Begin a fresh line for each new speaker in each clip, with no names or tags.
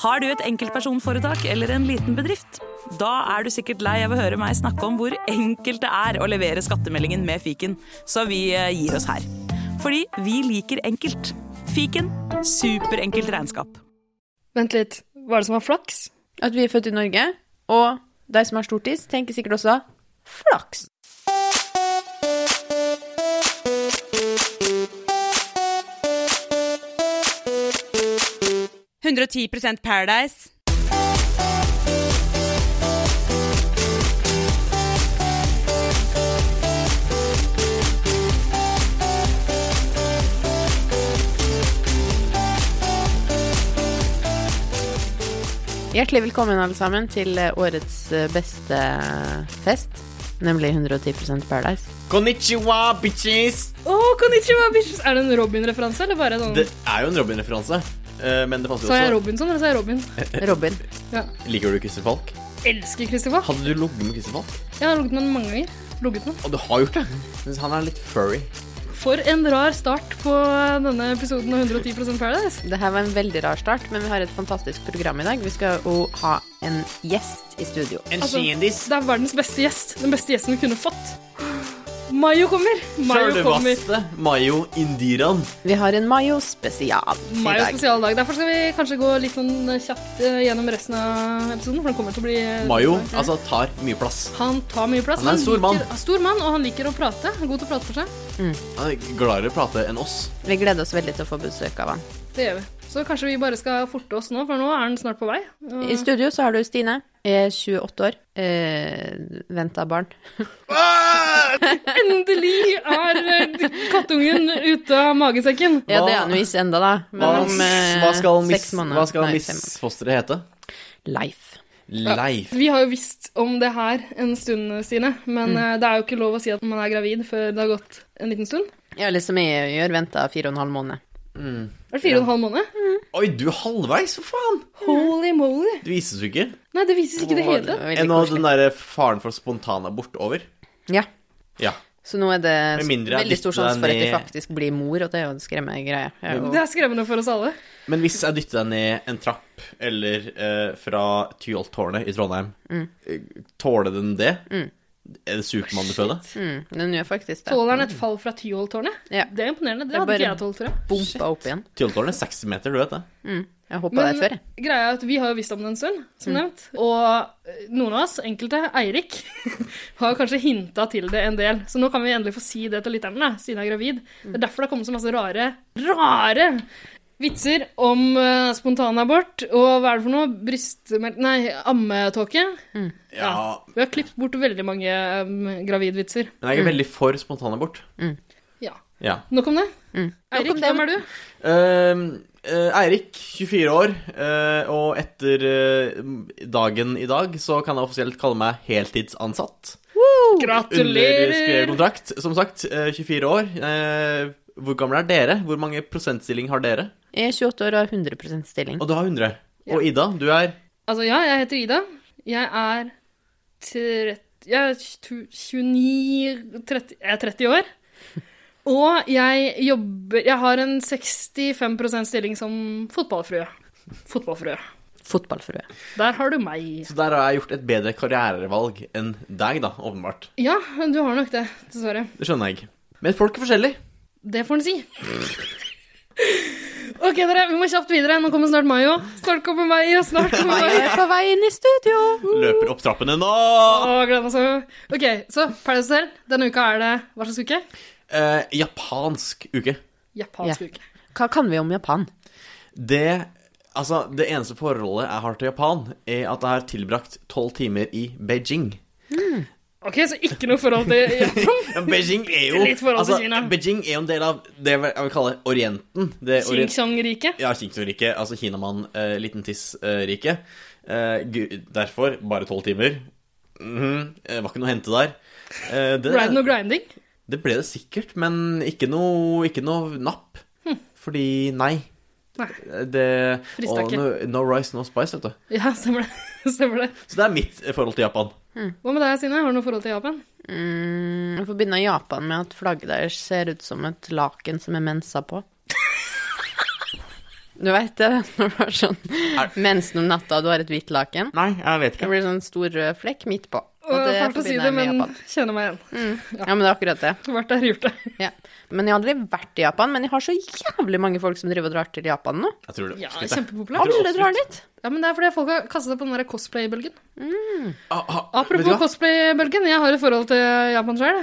Har du et enkeltpersonforetak eller en liten bedrift? Da er du sikkert lei av å høre meg snakke om hvor enkelt det er å levere skattemeldingen med fiken, så vi eh, gir oss her. Fordi vi liker enkelt. Fiken superenkelt regnskap.
Vent litt. Hva er det som var flaks?
At vi er født i Norge, og de som har stortids, tenker sikkert også flaks.
Paradise.
Hjertelig velkommen alle sammen til eh, årets eh, beste eh, fest, nemlig 110 Paradise.
Konnichiwa, bitches!
Å, konnichiwa, bitches! Er det en Robin-referanse, eller bare sånn
Det er jo en Robin-referanse. eh, Men det passer
Sa jeg
jo også.
Robinson, eller sa jeg Robin?
Robin.
Liker du Christer Falk?
Elsker Christer Falk.
Hadde du ligget med Christer Falk?
Jeg har ligget med ham mange ganger. Ligget med.
Og du har gjort det. Mens han er litt furry.
han. For en rar start på denne episoden av 110 Paradise.
Det her var en veldig rar start, men vi har et fantastisk program i dag. Vi skal jo ha en gjest i studio.
En
Altså,
kjendis.
Det er verdens beste gjest. Den beste gjesten vi kunne fått. Mayo kommer! Mayo kommer.
Sjølvaste Mayo Indiran.
Vi har en Mayo spesial i
Mayo
dag.
spesial dag. Derfor skal vi kanskje gå litt sånn kjapt eh, gjennom resten av episoden, for den kommer til å bli eh,
Mayo
lang.
altså tar mye plass.
Han tar mye plass.
Han er en stor mann.
Liker, stor mann, og han liker å prate. Han er God til å prate for seg.
Han er gladere å prate enn oss.
Vi gleder oss veldig til å få besøk av han.
Det gjør vi. Så kanskje vi bare skal forte oss nå, for nå er den snart på vei. Og
I studio så har du Stine, eh, 28 år, eh, venta barn. Ah!
Endelig er eh, kattungen ute av magesekken.
Ja, det er han jo ikke ennå, da. Men
Hva,
om eh,
hva skal miss,
seks måneder.
hva skal
nei, fem
miss fosteret hete?
måneder. Leif.
Leif.
Vi har jo visst om det her en stund, Stine,
Mm.
men eh, det er jo ikke lov å si at man er gravid før det har gått en liten stund.
Ja, liksom jeg gjør, venta fire og en halv måned.
Er det fire og en halv måned?
Oi, du er halvveis, for faen!
Holy moly!
Du vises jo ikke.
Nei, det vises ikke i det
Å,
hele
det
tatt.
var veldig
Enn av
koselig.
den derre faren for spontanabort over.
Ja.
Ja.
Så nå er det
Med mindre jeg
veldig stor
dytter
sjanse for at
den
jeg
i-
faktisk blir mor, og det er jo en skremmende greie. Jeg er jo-
Det er skremmende for oss alle.
Men hvis jeg dytter deg ned en trapp eller eh, fra Tyholttårnet i Trondheim, eh, tåler den det? Er det Supermann du føder?
Mm, den gjør faktisk det.
Tåler han et fall fra Tyholttårnet?
Ja.
Det er imponerende. Det
er
hadde ikke
bare-
jeg tålt, tror jeg.
Bumpa opp igjen.
Tyholttårnet er 60 meter, du vet det?
Jeg hoppa
Men
der før, jeg.
greia er at vi har jo visst om det en stund, som
Mm.
nevnt. Og eh, noen av oss, enkelte, Eirik, har kanskje hinta til det en del. Så nå kan vi endelig få si det til lytterne, da, siden jeg er gravid. Det er derfor det har kommet så masse rare, rare vitser om eh, spontanabort og hva er det for noe? Brystmelk... Nei, ammetåke.
Ja.
Vi har klippet bort veldig mange eh, gravidvitser.
Men jeg er veldig for spontanabort.
Ja.
Ja.
Nok om det.
Mm. Nok
Eirik,
om det.
hvem er du?
Ehm, eh, Eirik, 24 år, eh, og etter eh, dagen i dag så kan jeg offisielt kalle meg heltidsansatt. Under
Gratulerer!
skrevet kontrakt, som sagt. eh, 24 år. Eh, hvor gamle er dere? Hvor mange prosentstilling har dere?
Jeg er 28 år og har 100 stilling.
Mm.
Og du har 100. Og Ida, du er
Altså, ja, jeg heter Ida. Jeg er 30, jeg er tju- 29 30, Jeg er 30 år. Og jeg jobber Jeg har en 65 stilling som fotballfrue. Fotballfrue.
Fotballfrue.
Der har du meg.
Så der har jeg gjort et bedre karrierevalg enn deg, da, åpenbart.
Ja, du har nok det, dessverre.
Det skjønner jeg. Men folk er forskjellige.
Det får en si. OK, dere, vi må kjapt videre. Nå kommer snart Mayo. Snart kommer Mayo, snart kommer Mayo.
Jeg er på vei inn i studio!
Løper opp trappene nå!
Å, gleder meg så. OK, så Paradise Hotel. Denne uka er det hva slags uke?
Eh, japansk uke.
Japansk
Ja.
uke.
Hva kan vi om Japan?
Det Altså, det eneste forholdet jeg har til Japan, er at jeg har tilbrakt tolv timer i Beijing.
OK, så ikke noe forhold til Japan.
Ja, Beijing er jo
Litt forhold til
altså,
Kina.
Beijing er jo en del av det jeg vil- jeg vil kalle Orienten. Det orien-
Xinjiang-riket.
Ja, Kingston-riket. Altså Kinamann, eh, liten tiss-riket. derfor bare tolv timer. Mhm, eh, var ikke noe å hente der. Eh, det,
Riding og grinding.
det ble det sikkert, men ikke noe, ikke noe napp.
Hm.
Fordi nei.
Nei.
Det,
Frista
og
ikke.
no, no rice, no spice, vet du.
Ja, stemmer det. stemmer det.
Så det er mitt eh, forhold til Japan.
Hva med deg, Sine? Har du noe forhold til Japan?
Mm, jeg får begynne i Japan med at flagget deres ser ut som et laken som er mensa på. Du vet det, når du har sånn
Er-
mensen om natta og du har et hvitt laken.
Nei, jeg vet
Det
ikke.
blir sånn stor rød flekk midt på. Og
Og
det
Fælt å si
forbinder
det,
jeg med
men
Japan.
kjenner meg igjen.
Ja, men det er akkurat det.
Vært der, gjort det.
Ja. Men jeg har aldri vært i Japan, men jeg har så jævlig mange folk som driver og drar til Japan nå.
Jeg tror det.
Ja,
Absolutt, jeg.
kjempepopulært.
Jeg tror
Alle drar
absolutt-
dit.
Ja, men det er fordi folk har kastet seg på den der cosplay-bølgen.
Ah, ah, vet du
Apropos
hva?
cosplay-bølgen, jeg har et forhold til Japan sjøl.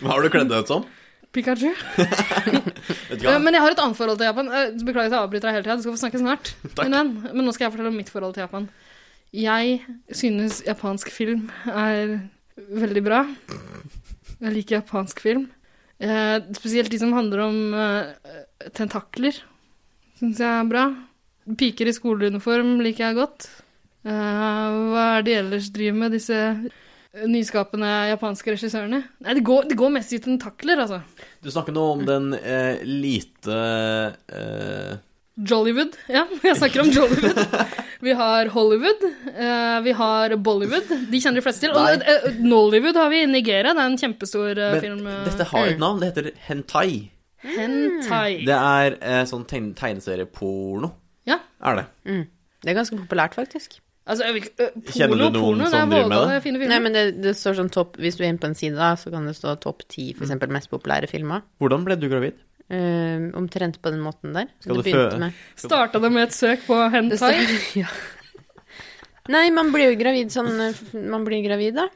Hva har du kledd deg ut som?
Pikachu.
Vet du hva?
Eh, Men jeg har et annet forhold til Japan. Eh, Beklager at jeg avbryter deg hele tida, du skal få snakke snart.
Takk.
Min venn. Men nå skal jeg fortelle om mitt forhold til Japan. Jeg synes japansk film er veldig bra. Jeg liker japansk film. Eh, spesielt de som handler om eh, tentakler, syns jeg er bra. Piker i skoleuniform liker jeg godt. Eh, hva er det de ellers driver med, disse nyskapende japanske regissørene? Nei, det går, det går mest i tentakler, altså.
Du snakker nå om den eh, lite eh,
Jollywood. Ja, jeg snakker om Jollywood. Vi har Hollywood, eh, vi har Bollywood. De kjenner de fleste til. Og
Nei.
eh, Nollywood har vi i Nigeria. Det er en kjempestor eh,
Men
film. eh,
dette har et navn. Det heter hentai.
Hentai.
Det er eh, sånn tegn tegneserieporno.
Ja.
Er det.
Det er ganske populært, faktisk.
Altså, jeg vil ikke- eh, porno,
Kjenner du noen
porno, det er
som driver med
vågale,
det?
Fine
Nei,
filmer.
men det, det står sånn topp Hvis du er inne på en side, da, så kan det stå topp ti
Mm.
for eksempel mest populære filmer.
Hvordan ble du gravid?
Eh, omtrent på den måten der.
Skal
det
du
begynte
fø-
med.
Starta det med et søk på
Det
hentai?
står, ja. Nei, man blir jo gravid sånn eh, Man blir gravid, da.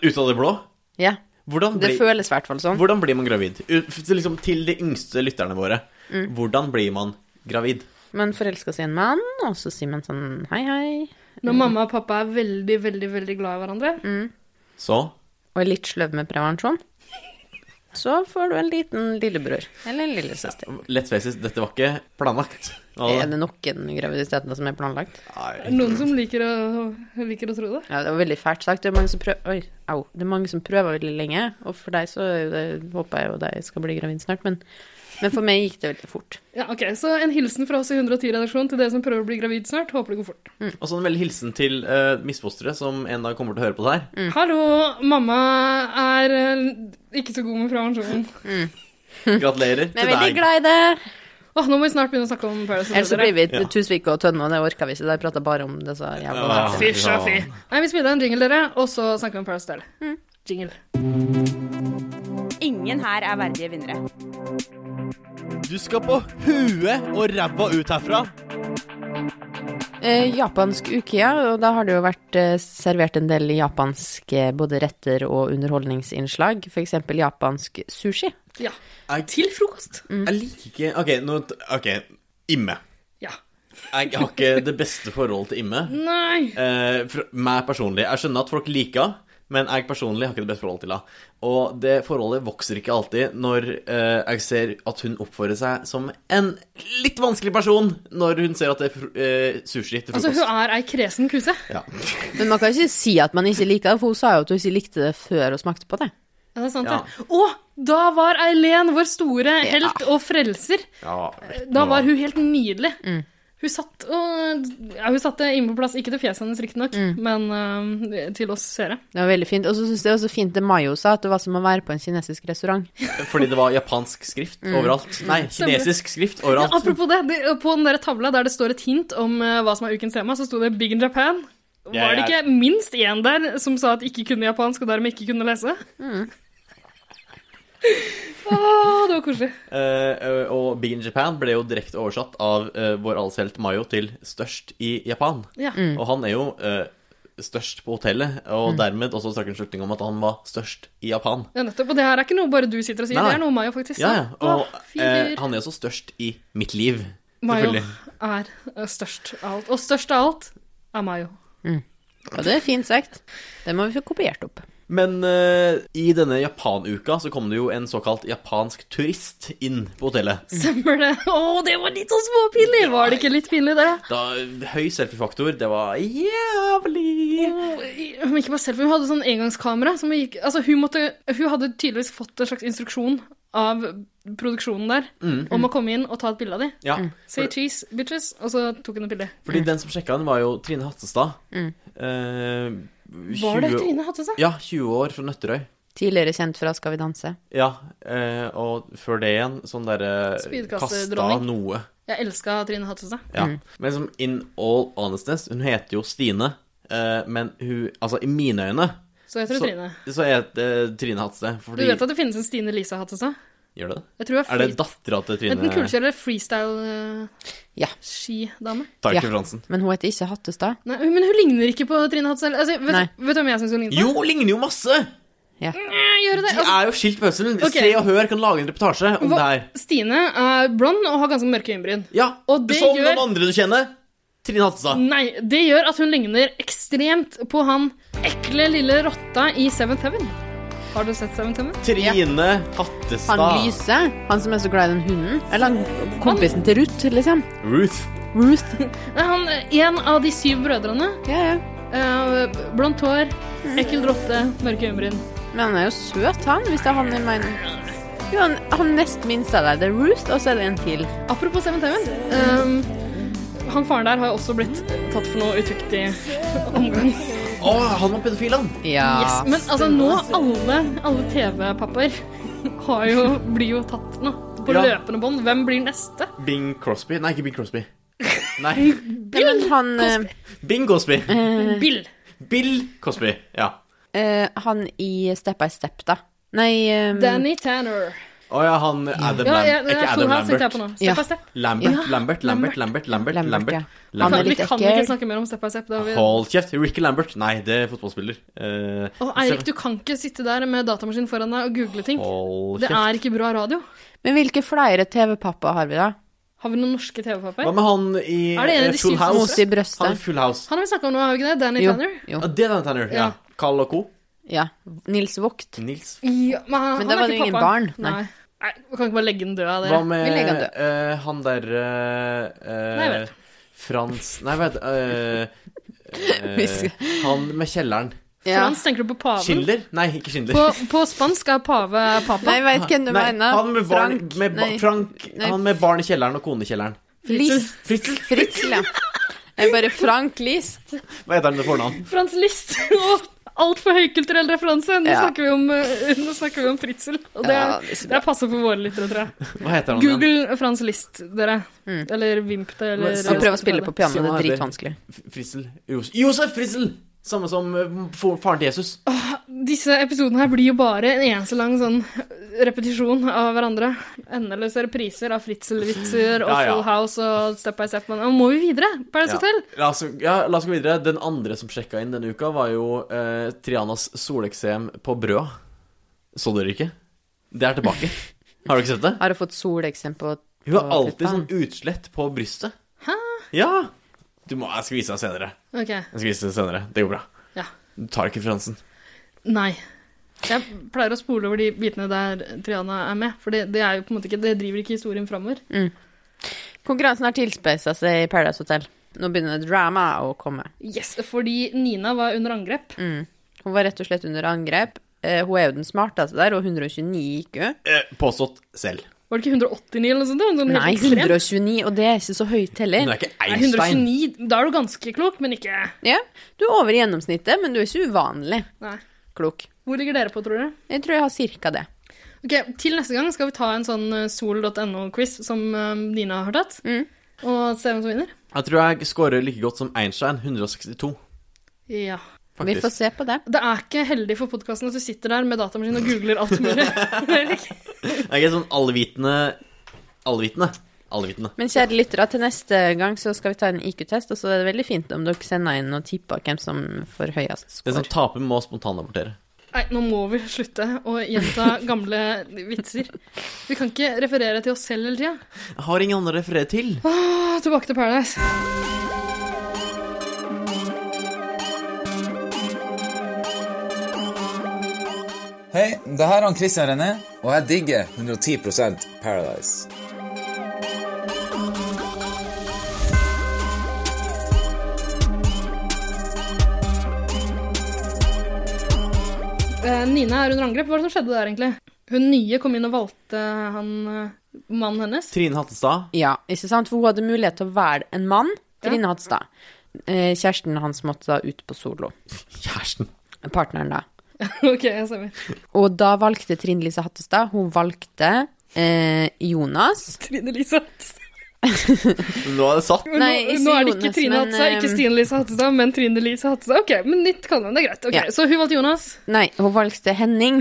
Ut av det blå?
Ja.
Hvordan
Det
blir,
føles i hvert fall sånn.
hvordan blir man gravid? U- f- Liksom til de yngste lytterne våre.
Mm.
Hvordan blir man gravid?
Man forelsker seg i en mann, og så sier man sånn hei, hei.
Når mamma og pappa er veldig, veldig veldig glad i hverandre.
Mm.
Så
Og er litt sløv med prevensjon. Så får du en liten lillebror. Eller en lillesøster.
Let's face it, dette var ikke planlagt.
Er det noen graviditeter som er planlagt?
Nei.
Noen som liker å, liker å tro det.
Ja, det var veldig fælt sagt. Det er mange som prøver Oi, au. Det er mange som prøver veldig lenge. Og for deg så er jo det, håper jeg jo deg skal bli gravid snart, men, men for meg gikk det veldig fort.
Ja, ok, Så en hilsen fra oss i 110-redaksjonen til dere som prøver å bli gravid snart. Håper det går fort.
Og så en veldig hilsen til uh, misfostre som en dag kommer til å høre på det her.
Hallo, mamma er eh, ikke så god med prevensjonen.
Gratulerer
Men Mm. jeg er
til
veldig
deg.
glad i det.
Åh, nå må vi snart begynne å snakke om Paradise
Ellers så blir
Hotel.
vi
Ja.
til Tusvik og Tønne, og det orka vi ikke. Der prata bare om disse jævla
Ah, Ja.
Fy sjafi. Nei, vi spiller en jingle, dere, og så snakker vi om Paradise Hotel. Jingle.
Ingen her er verdige vinnere.
Du skal på huet og ræva ut herfra.
Eh, japansk uke, ja. Og da har det jo vært eh, servert en del japanske både retter og underholdningsinnslag. F.eks. japansk sushi.
Ja.
Jeg,
Til frokost.
Mm.
jeg liker ikke OK, nå, t- ok, Imme.
Ja.
Jeg har ikke det beste forhold til Imme.
Nei.
Eh, for meg personlig. Jeg skjønner at folk liker henne, men jeg personlig har ikke det beste forholdet til henne. Og det forholdet vokser ikke alltid når eh, jeg ser at hun oppfører seg som en litt vanskelig person når hun ser at det er fr eh, sushi til
Altså,
frokost.
hun er ei kresen kuse.
ja.
Men man kan ikke si at man ikke liker det, for hun sa jo at hun ikke likte det før hun smakte på det.
Ja, det er sant,
Ja.
det. Å, da var Eileen vår store helt og frelser. Da var hun helt nydelig. Hun satt og ja, Hun satte inn på plass, ikke til fjeset hennes riktignok, men eh, til oss seere.
Det var veldig fint. Og så syns jeg det var så fint det Mayo sa, at det var som å være på en kinesisk restaurant.
Fordi det var japansk skrift overalt. Nei, kinesisk skrift
Mm. Ja,
overalt.
apropos det, det, på den der tavla der det står et hint om eh, hva som er ukens tema, så sto det Big in Japan.
Ja,
Var det
jeg-
ikke minst én der som sa at ikke kunne japansk og dermed ikke kunne lese? Åh, det var koselig.
Eh, og Big in Japan ble jo direkte oversatt av eh, vår allshelt Mayo til størst i Japan.
Ja.
Og han er jo eh, størst på hotellet, og
Mm.
dermed også trakk en slutning om at han var størst i Japan.
ja, nettopp. Og det her er ikke noe bare du sitter og sier,
Nei, nei.
det er noe Mayo faktisk
Ja,
sa.
ja. Og
Åh, fin
eh,
fyr.
han er også størst i mitt liv.
Mayo
Selvfølgelig.
er eh, størst av alt. Og størst av alt er Mayo.
Og det er fint sagt. Det må vi få kopiert opp.
Men eh, i denne Japanuka så kom det jo en såkalt japansk turist inn på hotellet.
Stemmer det? Å, det var litt sånn småpinlig! Var det ikke litt pinlig, det?
Da, høy selfiefaktor, det var jævlig
Hun ikke bare selfie, hun hadde sånn engangskamera. Som hun, gikk, altså hun, måtte, hun hadde tydeligvis fått en slags instruksjon av produksjonen der
Mm.
om å komme inn og ta et bilde av dem.
Ja.
Say cheese, bitches, og så tok hun et bilde.
Fordi den som sjekka den, var jo Trine Hattestad. Eh,
Mm. Var det
20
Trine Hattestad?
Ja, 20 år fra Nøtterøy.
Tidligere kjent fra Skal vi danse.
Ja, eh, og før det igjen sånn derre
Spydkasterdronning.
Kasta noe.
Jeg elska Trine Hattestad.
Ja. Men som in all honestness, hun heter jo Stine, eh, men hun Altså, i mine øyne
Så heter
så,
du Trine.
så er det Trine Hatse.
Du
Fordi
vet at det finnes en Stine Lisa Hattestad?
Gjør det det?
Jeg tror det
Er
er,
det eh? dattera til
fri... enten
Trine
kulekjører eller freestyle-skidame.
Ja.
Tack
Ja.
Fransen?
Men hun heter ikke Hattestad.
Nei, men hun ligner ikke på Trine Hattestad. Altså, vet,
Nei.
vet du hvem jeg syns hun ligner på?
Jo, ligner jo masse!
Ja.
Jeg gjør det.
De
Altså,
er jo skilt på Østfold.
Ok.
Se og Hør kan lage en reportasje om det
hva-
her.
Stine er blond og har ganske mørke øyenbryn.
Ja,
Og
du
det
så om
gjør- Mm,
noen andre du kjenner. Trine Hattestad.
Nei, det gjør at hun ligner ekstremt på han ekle lille rotta i Seventh Heaven. Har du sett Seventh Heaven?
Trine Hattestad.
Han lyse, han som er så glad i den hunden. Eller han, kompisen til Ruth, liksom.
Ruth.
Ruth.
Nei, han eh, en av de syv brødrene.
Ja, ja.
Eh, blondt hår, ekkel rotte, mørke øyenbryn.
Men han er jo søt, han, hvis det er han i min Jo, han, han nest minste der. Det er Ruth, og så er det en til.
Apropos Seventh Heaven. ehm, han faren der har jo også blitt tatt for noe utuktig omgang.
Å, han var pedofil, han.
Ja.
Yes, men altså nå alle, alle TV-pappaer har jo, blir jo tatt nå. På
Ja.
løpende bånd. Hvem blir neste?
Bing Crosby. Nei, ikke Bing Crosby. Nei,
Nei, men han, eh,
Bing Cosby.
Bill.
Bill Cosby. Ja.
eh, han i Step by Step, da. Nei um,
Danny Tanner.
Å ja, han Adam
Ja, ja,
Lambert.
det
Ikke
er Full
Adam
House tenkte jeg
Lambert.
på nå.
Ja.
Step by step.
Lambert, Lambert, Lambert, Lambert,
Lambert,
Lambert, Lambert.
ja. Han er
Vi
litt
kan
ekkel.
ikke snakke mer om Step by step. Da har vi...
Hold kjeft. Ricky Lambert. Nei, det er fotballspiller. Eh,
Og Eirik, du kan ikke sitte der med datamaskin foran deg og google ting.
Hold
Det
kjeft.
er ikke bra radio.
Men hvilke flere TV-pappaer har vi, da?
Har vi noen norske
Hva
TV-pappaer?
med han i
Er det en av
eh,
de
Full
syv som
House?
Mose i
Han i
brøstet.
Full House.
Han har vi snakka om nå, har vi ikke det? Danny
Jo,
Tanner?
jo.
Ja, det er den tenner. Ja.
Ja.
Carl og co.
Ja. Nils Vogt.
Nils.
Ja, men han,
Men
han
da
er
var
ikke
det jo ingen
pappa.
barn.
Nei.
Nei.
Nei, Vi kan ikke bare legge den død av
Hva
dere.
med
Vi legger han død.
eh, han derre eh,
Nei, jeg vet.
Frans Nei, vet du
Vi skal-
Han med kjelleren.
Ja.
Frans, tenker du på paven?
Schindler? Nei, ikke Schindler.
På, på spansk er pave pappa.
Nei, jeg veit hvem du
Nei,
mener.
han med barn, med ba
nei,
Frank
Nei.
Han med barn i kjelleren og kone i kjelleren.
List.
Fritzel?
Fritzel, ja. Jeg bare Frank List.
Hva heter han med fornavn?
Frans List og altfor høykulturell referanse. Nå,
Ja.
snakker vi om, eh, nå snakker vi om Fritzel. Og det,
Ja,
er-
det er så
det er passe for våre lyttere, tror jeg.
Hva heter han igjen?
Google Frans List, dere. Eller Vimp det, eller
Men så-
Og prøv Mm. å spille på piano, det
Så
er
er det-
dritvanskelig.
F- Fritzel Jos- Josef Fritzel! Samme som eh, for- faren til Jesus.
Disse episodene her blir jo bare en eneste lang sånn repetisjon av hverandre. Endeløse repriser av
Mm.
Fritzel-vitser og
Ja, ja.
Full House og Step by Step. Men nå må vi videre! Paradise
Ja.
Hotel.
La oss, ja, la oss gå videre. Den andre som sjekka inn denne uka, var jo eh, Trianas soleksem på brøda. Så dere ikke? Det er tilbake. Har dere ikke sett det?
Har du fått soleksempel på
Hun har alltid
puppa?
sånn utslett på brystet.
Hæ?
Ja! Du må, jeg skal vise deg senere.
Ok.
Jeg skal vise deg senere. Det går bra.
Ja.
Du tar ikke referansen.
Nei. Jeg pleier å spole over de bitene der Triana er med, for det, det er jo på en måte ikke Det driver ikke historien framover.
Mm. Konkurransen har tilspeisa seg i Paradise Hotel. Nå begynner drama å komme.
Yes, fordi Nina var under angrep.
Mm. Hun var rett og slett under angrep. Eh, hun er jo den smarteste der, og 129 gikk hun.
Eh, påstått selv.
Var det ikke 189 eller noe sånt? Sånn helt
Nei,
ekstremt.
129, og det er ikke så høyt
Hun
heller.
er ikke
Nei,
Einstein.
129 Da er du ganske klok, men ikke
Ja, du er over i gjennomsnittet, men du er ikke uvanlig
Nei.
klok.
Hvor ligger dere på, tror dere?
Jeg tror jeg har cirka det.
Ok, Til neste gang skal vi ta en sånn eh, sol.no-quiz som eh, Nina har tatt,
Mm.
og se hvem som vinner.
Jeg tror jeg scorer like godt som Einstein. 162,
Ja.
Vi
faktisk.
får se på det.
Det er ikke heldig for podkasten at du sitter der med datamaskin og googler alt mulig. Erik.
Jeg er ikke sånn allvitende Allvitende. Allvitende.
Men kjære lyttere, til neste gang så skal vi ta en IQ-test, og så er det veldig fint om dere sender inn og tipper hvem som får høyest
Den som
score.
sånn taper, må spontanrapportere.
Nei, nå må vi slutte å gjenta gamle vitser. Vi kan ikke referere til oss selv hele tida.
Jeg har ingen andre å referere til.
Åh, Tilbake til Paradise.
Hei, det her er han Christian René, og jeg digger 110 Paradise.
Eh, Nina er under angrep. Hva var det som skjedde der, egentlig? Hun nye kom inn og valgte han eh, mannen hennes.
Trine Hattestad.
Ja, ikke sant? For hun hadde mulighet til å være en mann, Trine Hadstad. Eh, Kjæresten hans måtte da ut på solo.
Kjæresten.
Partneren, da.
ok, jeg stemmer.
Og da valgte Trine Lise Hattestad Hun valgte eh, Jonas.
Trine Lise.
Nå er det satt.
Men
Nei,
nå,
ikke
nå er det ikke
Jonas,
Trine
men,
Hattestad, ikke
ehm,
Stine Lise Hattestad, men Trine Lise Hattestad. Ok, men nytt kallenavn, det er greit. Ok,
Ja.
Så hun valgte Jonas.
Nei, hun valgte Henning.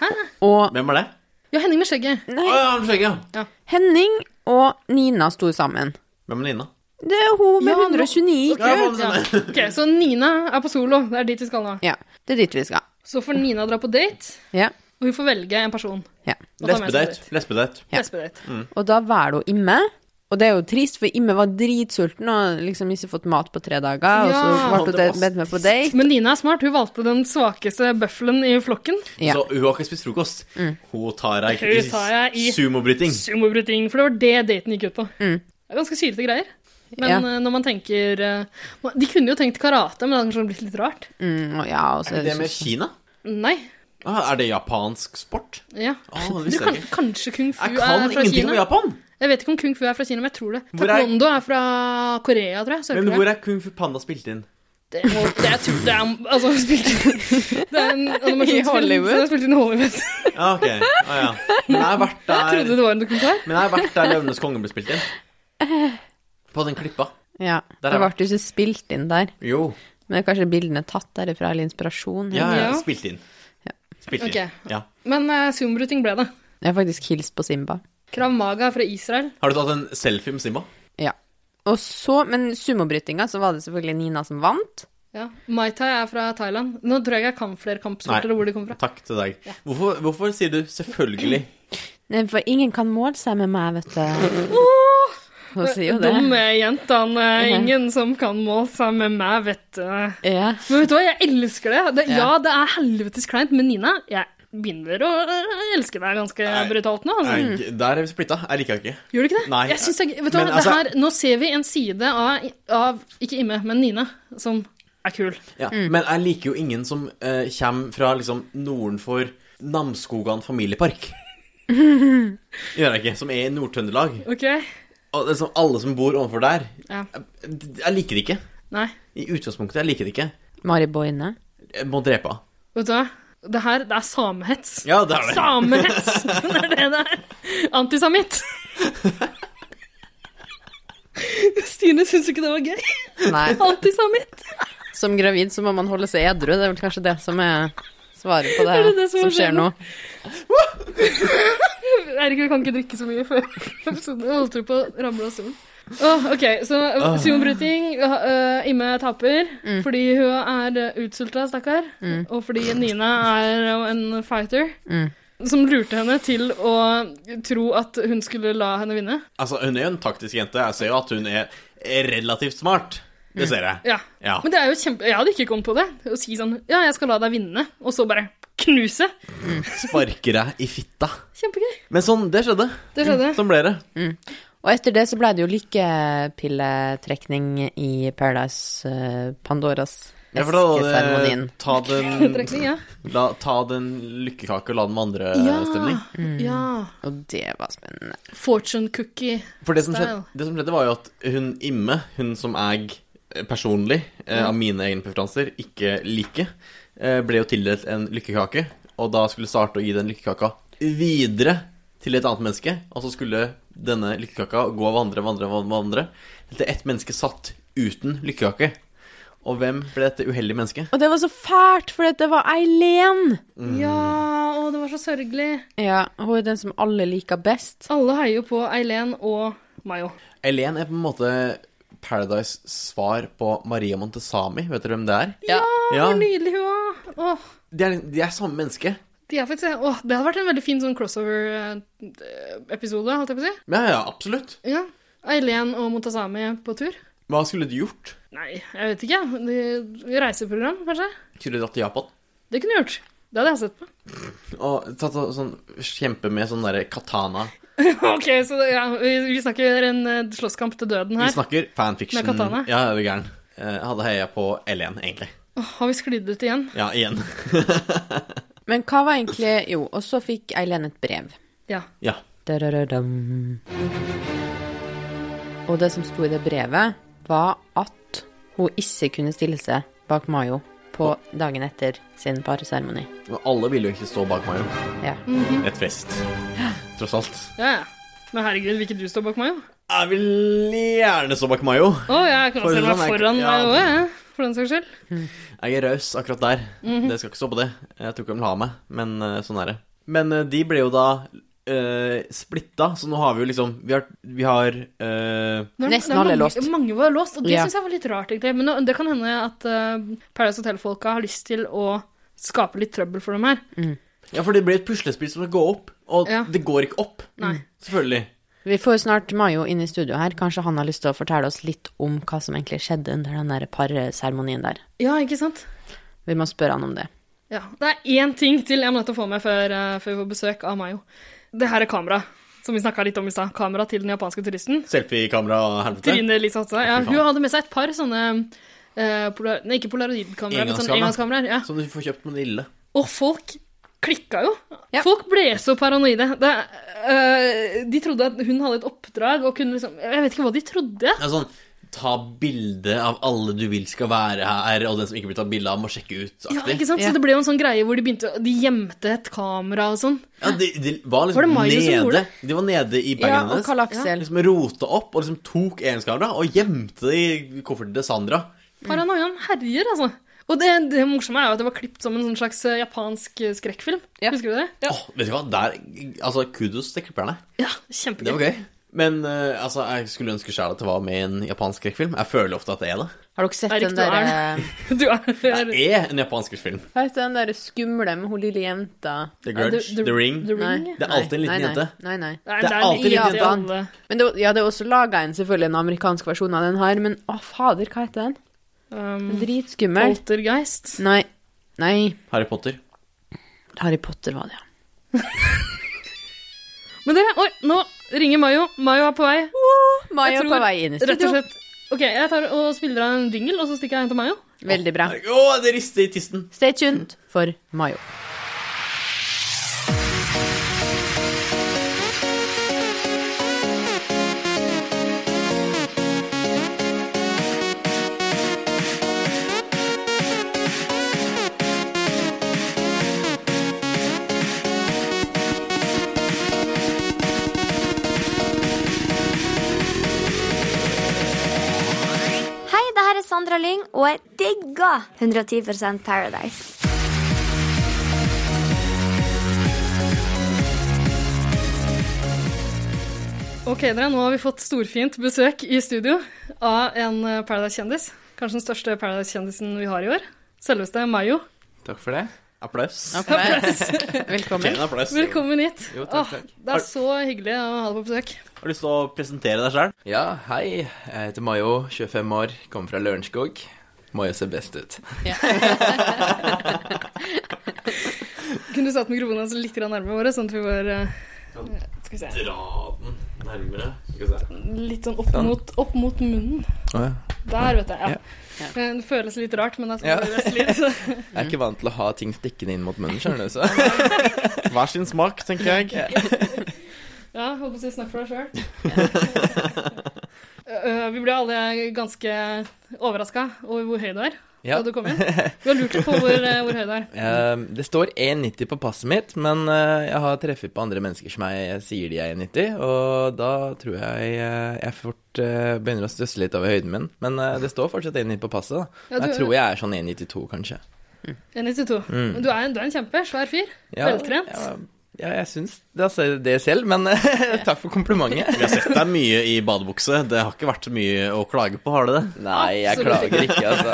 Hæ?
Og
Hvem er det?
Ja, Henning med skjegget.
Å
Nei,
ja, han med skjegget, ja.
Henning og Nina sto sammen.
Hvem er Nina?
Det er hun med
Ja, nå-
129 IQ.
Ja, faen,
Ja.
sånn.
Ok, Så Nina er på solo. Det er dit vi skal nå.
Ja, det er dit vi skal.
Så får Nina dra på date,
Ja,
og hun får velge en person.
ja.
Og ta med seg
Lesbedate. Lesbedate.
Ja.
Lesbedate.
Mm.
Og da velger hun Imme. Og det er jo trist, for Imme var dritsulten og liksom ikke fått mat på tre
Ja.
dager. og så ble hun bedt med på date.
Men Nina er smart. Hun valgte den svakeste bøffelen i flokken.
Ja.
Så hun har ikke spist frokost. Hun tar deg i,
Hun tar deg i-
Mm.
sumobryting.
Sumobryting. For det var det daten gikk ut på. Det er ganske sylete greier. Men
Ja.
eh, når man tenker eh, man- De kunne jo tenkt karate, men det hadde kanskje blitt litt rart.
Mm, og ja, og så
Er
er
det med
det så...
Kina?
Mm.
Nei.
Ah, er det japansk sport?
Ja.
Ah, det
Du
visste
kan,
jeg ikke.
kanskje kung fu
Jeg
er
kan
fra
ingenting om
Kina.
Japan!
Jeg vet ikke om kung fu er fra Kina, men jeg tror det.
Hvor er-
Taekwondo er fra Korea, tror jeg.
Men
Sør-Korea.
hvor er Kung Fu Panda spilt inn?
Det, må, det, jeg tror det er Altså, spilt Det er en
I
animasjonsfilm
Hollywood?
som er spilt inn i Hollywood.
Ja, ok. Ah, ja. Men jeg har vært
Jeg trodde
der
det var en dokumentar.
Men jeg har vært der Løvenes konge ble spilt inn. På den klippa.
Ja.
Der
Det
er
ble
det.
jo ikke spilt inn der.
Jo.
Men det er kanskje bildene er tatt derifra, eller inspirasjon.
Ja, ja.
Ja.
Spilt inn. Spilt inn.
Ok.
Ja.
Men uh, zoombruting ble det.
Jeg har faktisk hilst på Simba.
Krav Maga er fra Israel.
Har du tatt en selfie med Simba?
Ja. Og så, men sumobrytinga, så var det selvfølgelig Nina som vant.
Ja. Mai Tai er fra Thailand. Nå tror jeg ikke jeg kan flere kampsporter
Nei.
og hvor de kom fra.
Takk til deg. Hvorfor, hvorfor sier du 'selvfølgelig'?
Nei, for ingen kan måle seg med meg, vet du. Hun sier jo det.
Dumme jentene.
Mhm.
eh, Ingen som kan måle seg med meg, vet du. Men
Ja.
vet du hva, jeg elsker det. det ja,
Ja.
det er helvetes kleint, men Nina, jeg begynner å øh, elske deg ganske
Nei.
brutalt nå. Altså.
Jeg, der er vi splitta. Jeg liker det ikke.
Gjør du ikke det?
Nei.
jeg synes jeg, vet du hva,
Men
det
altså-
her, Nå ser vi en side av, av ikke Imme, men Nina, som er kul.
Ja. Men jeg liker jo ingen som eh, kommer fra liksom nordenfor Namsskogan familiepark. Gjør jeg ikke. Som er i Nord-Trøndelag.
Ok?
Og det er som alle som bor overfor der.
Ja.
Jeg, jeg liker det ikke.
Nei.
I utgangspunktet jeg liker det ikke.
Mari Boine.
Jeg må drepe henne.
Vet du hva? Det her det er samehets.
Ja, det er det.
Samehets! Det er det det er. Antisamitt. Stine syns ikke det var gøy.
Nei.
Antisamitt.
Som gravid så må man holde seg edru. Det er vel kanskje det som er svaret på det,
Er det det som
som,
skjer
skjer nå.
Eirik, vi kan ikke drikke så mye før episoden. Jeg holdt på å ramle av stolen. Åh, ok, så uh, sumobryting. uh, uh, Imme taper fordi hun er uh, utsulta, stakkar. Og fordi Nina er uh, en fighter.
Mm.
Som lurte henne til å tro at hun skulle la henne vinne.
Altså, hun er jo en taktisk jente. Jeg ser jo at hun er relativt smart. Det ser jeg.
Mm. Ja.
Ja.
Men det er jo kjempe... Jeg hadde ikke kommet på det. Å si sånn Ja, jeg skal la deg vinne, og så bare knuse.
Sparker deg i fitta.
Kjempegøy.
Men sånn, det skjedde.
Det skjedde.
Sånn ble det.
Og etter det så ble det jo lykkepilletrekning i Paradise eh, Pandoras
Ja, for da var det
eskeseremonien.
ta den,
Trekning, ja.
la, ta den lykkekake og la den vandre eh,
Ja.
stemning.
ja.
Og det var spennende.
Fortune cookie.
For det som,
Style.
skjedde, det som skjedde, var jo at hun Imme, hun som jeg eh, personlig, eh, av mine egne preferanser, ikke liker, eh, ble jo tildelt en lykkekake, og da skulle starte å gi den lykkekaka videre til et annet menneske, og så skulle denne lykkekaka gå og vandre, vandre, vandre, vandre, til ett menneske satt uten lykkekake. Og hvem ble dette uheldige mennesket?
Og det var så fælt, for det var Eileen!
Ja, å, det var så sørgelig.
Ja, hun er den som alle liker best.
Alle heier jo på Eileen og Mayo.
Elen er på en måte Paradise svar på Maria Montesami, vet dere hvem det er?
Ja.
Ja,
Hvor nydelig hun var. Åh,
de er, de er samme menneske.
de er faktisk, åh, det hadde vært en veldig fin sånn crossover-episode, holdt jeg på å si.
Ja, ja, absolutt.
Ja. Eileen og Montazami på tur.
Hva skulle du gjort?
Nei, jeg vet ikke. De- Reiseprogram, kanskje?
Skulle dratt til Japan
Det kunne jeg gjort. Det hadde jeg sett på.
og tatt og sånn, kjempe med sånn derre katana.
Ok, så det- ja, vi, vi snakker en eh, slåsskamp til døden
Vi
her.
snakker fanfiction.
Med katana?
Ja, er du gæren. Eh, Jeg hadde heia på L1, egentlig.
Åh, har vi sklidd ut igjen?
Ja, igjen.
Men hva var egentlig Jo, og så fikk Eileen et brev.
Ja.
Ja.
Dararardam. Og det som sto i det brevet, var at hun ikke kunne stille seg bak Mayo på dagen etter sin parseremoni.
Men alle ville jo ikke stå bak meg, jo.
Ja.
Et fest. Tross alt.
ja, ja. Men herregud, vil ikke du stå bak meg, jo?
Jeg vil gjerne stå bak Mayo.
Å, jeg kan
For
stille meg
sånn er ikke-
foran
ja.
deg òg, jeg. For den saks skyld.
Jeg er raus akkurat der.
Mhm.
Det skal ikke stå på det. Jeg tror ikke de vil ha meg, men eh, sånn er det. Men eh, de ble jo da eh, splitta, så nå har vi jo liksom Vi har, vi har eh,
Når-
Nesten
det er
alle
mange,
er låst.
Mange var låst, og det
Ja.
synes jeg var litt rart, egentlig. Men nå- det kan hende at eh, Paradise Hotel-folka har lyst til å skape litt trøbbel for dem her.
Ja, for det blir et puslespill som skal gå opp, og
Ja.
det går ikke opp.
Nei.
Selvfølgelig.
Vi får jo snart Mayo inn i studio her. Kanskje han har lyst til å fortelle oss litt om hva som egentlig skjedde under den der parseremonien der.
Ja, ikke sant?
Vi må spørre han om det.
Ja. Det er én ting til jeg må nødt til å få med før, eh, før vi får besøk av Mayo. Det her er kamera, som vi snakka litt om i stad. Kamera til den japanske turisten.
Selfiekamera og helvete.
Trine Lise Hatsa. Ja,
Fy faen.
hun hadde med seg et par sånne eh, polar, Nei, ikke polaroidkameraer, men sånn
Engangskamera.
engangskameraer. Ja.
Som du får kjøpt med Nille.
Og folk klikka jo.
Ja.
Folk ble så paranoide. Det, eh, de trodde at hun hadde et oppdrag og kunne liksom Jeg vet ikke hva de trodde.
Det er sånn Ta bilde av alle du vil skal være her, og den som ikke blir tatt bilde av, må sjekke ut.
Ja, ikke
aktig.
sant?
Ja.
Så det ble jo en sånn greie hvor de begynte å- De gjemte et kamera og sånn.
Ja, de, de var
Var det
liksom
Mayo som gjorde
nede.
det?
De var nede i
Ja,
bagen
og
hennes.
Karl Aksel.
liksom rota opp og liksom tok engangskamera og gjemte det i kofferten til Sandra.
Mm.
Paranoiaen herjer, altså. Og det, det morsomme er jo at det var klippet som en sånn slags eh, japansk eh, skrekkfilm.
Ja.
Husker du det?
Åh, vet du hva, der Altså, kudos til klipperne.
Ja,
Det
Kjempegøy.
var gøy. Men eh, altså, jeg skulle ønske sjæl at det var med i en japansk skrekkfilm. Jeg føler ofte at det er det.
Har dere sett
Erik,
den
du er
der, eh,
Du er
Det er en japansk skrekkfilm.
Hva heter den der skumle med hun lille jenta?
The Grudge, The, Ring.
The Ring. ja.
Det er alltid en liten
nei, nei,
jente.
Nei, nei.
Nei,
Det er alltid
litt
litt
i
Japan.
alle-
Men det, ja, det er også laga en selvfølgelig en amerikansk versjon av den her, men å fader, hva heter den? Mm.
Um,
Dritskummel.
Poltergeist.
Nei. Nei.
Harry Potter.
Harry Potter var det, ja.
Men dere, oi, nå ringer Mayo. Mayo er på vei.
Mayo
Jeg
er
tror-
på vei inn i
Rett og
studio.
slett. Ok, jeg tar og spiller av en jingle, og så stikker jeg hen til Mayo.
Veldig bra.
Å, det rister i tissen.
Stay tuned for Mayo.
Hei, det her er Sandra Lyng, og jeg digger 110 Paradise.
Ok, dere, nå har vi fått storfint besøk i studio av en eh, Paradise-kjendis. Kanskje den største Paradise-kjendisen vi har i år. Selveste Mayo.
Takk for det.
Applaus.
Velkommen.
Tjen applaus.
Velkommen hit.
Jo, takk, takk.
Åh, det er så hyggelig å ha deg på besøk.
Har du lyst til å presentere deg sjøl?
Ja, hei. Jeg heter Mayo, 25 år, kommer fra Lørenskog. Mayo ser best ut.
Kunne du satt mikrofonen hans litt grann nærmere våre, sånn at vi var eh,
Sånn.
skal vi se,
Dra den nærmere. Skal vi se.
litt sånn opp mot, opp mot munnen?
ja.
Der, vet jeg. Ja. Eh, Det føles litt rart, men det er sånn det føles litt.
Jeg er ikke vant til å ha ting stikkende inn mot munnen, skjønner du. Så.
Hver sin smak, tenker jeg.
Ja, jeg håper å si snakk for deg sjøl. vi ble alle ganske overraska over hvor høy du er
Ja.
da du kom inn. Vi har lurt litt på hvor, eh, hvor høy du er.
Eh, det står 1,90 på passet mitt, men eh, jeg har treffet på andre mennesker som jeg sier de er 1,90, og da tror jeg eh, jeg fort eh, begynner å stusse litt over høyden min. Men eh, det står fortsatt 1,90 på passet, da.
Ja, du-
jeg tror jeg er sånn 1,92, kanskje.
1,92. Men du er, en, du er en kjempe. Svær fyr.
Mm. Ja,
Veltrent.
Ja, ja, jeg syns det, altså, det selv, men eh, takk for komplimentet.
Vi har sett deg mye i badebukse. Det har ikke vært så mye å klage på, har det det?
Nei, jeg
Absolutt
klager ikke, altså.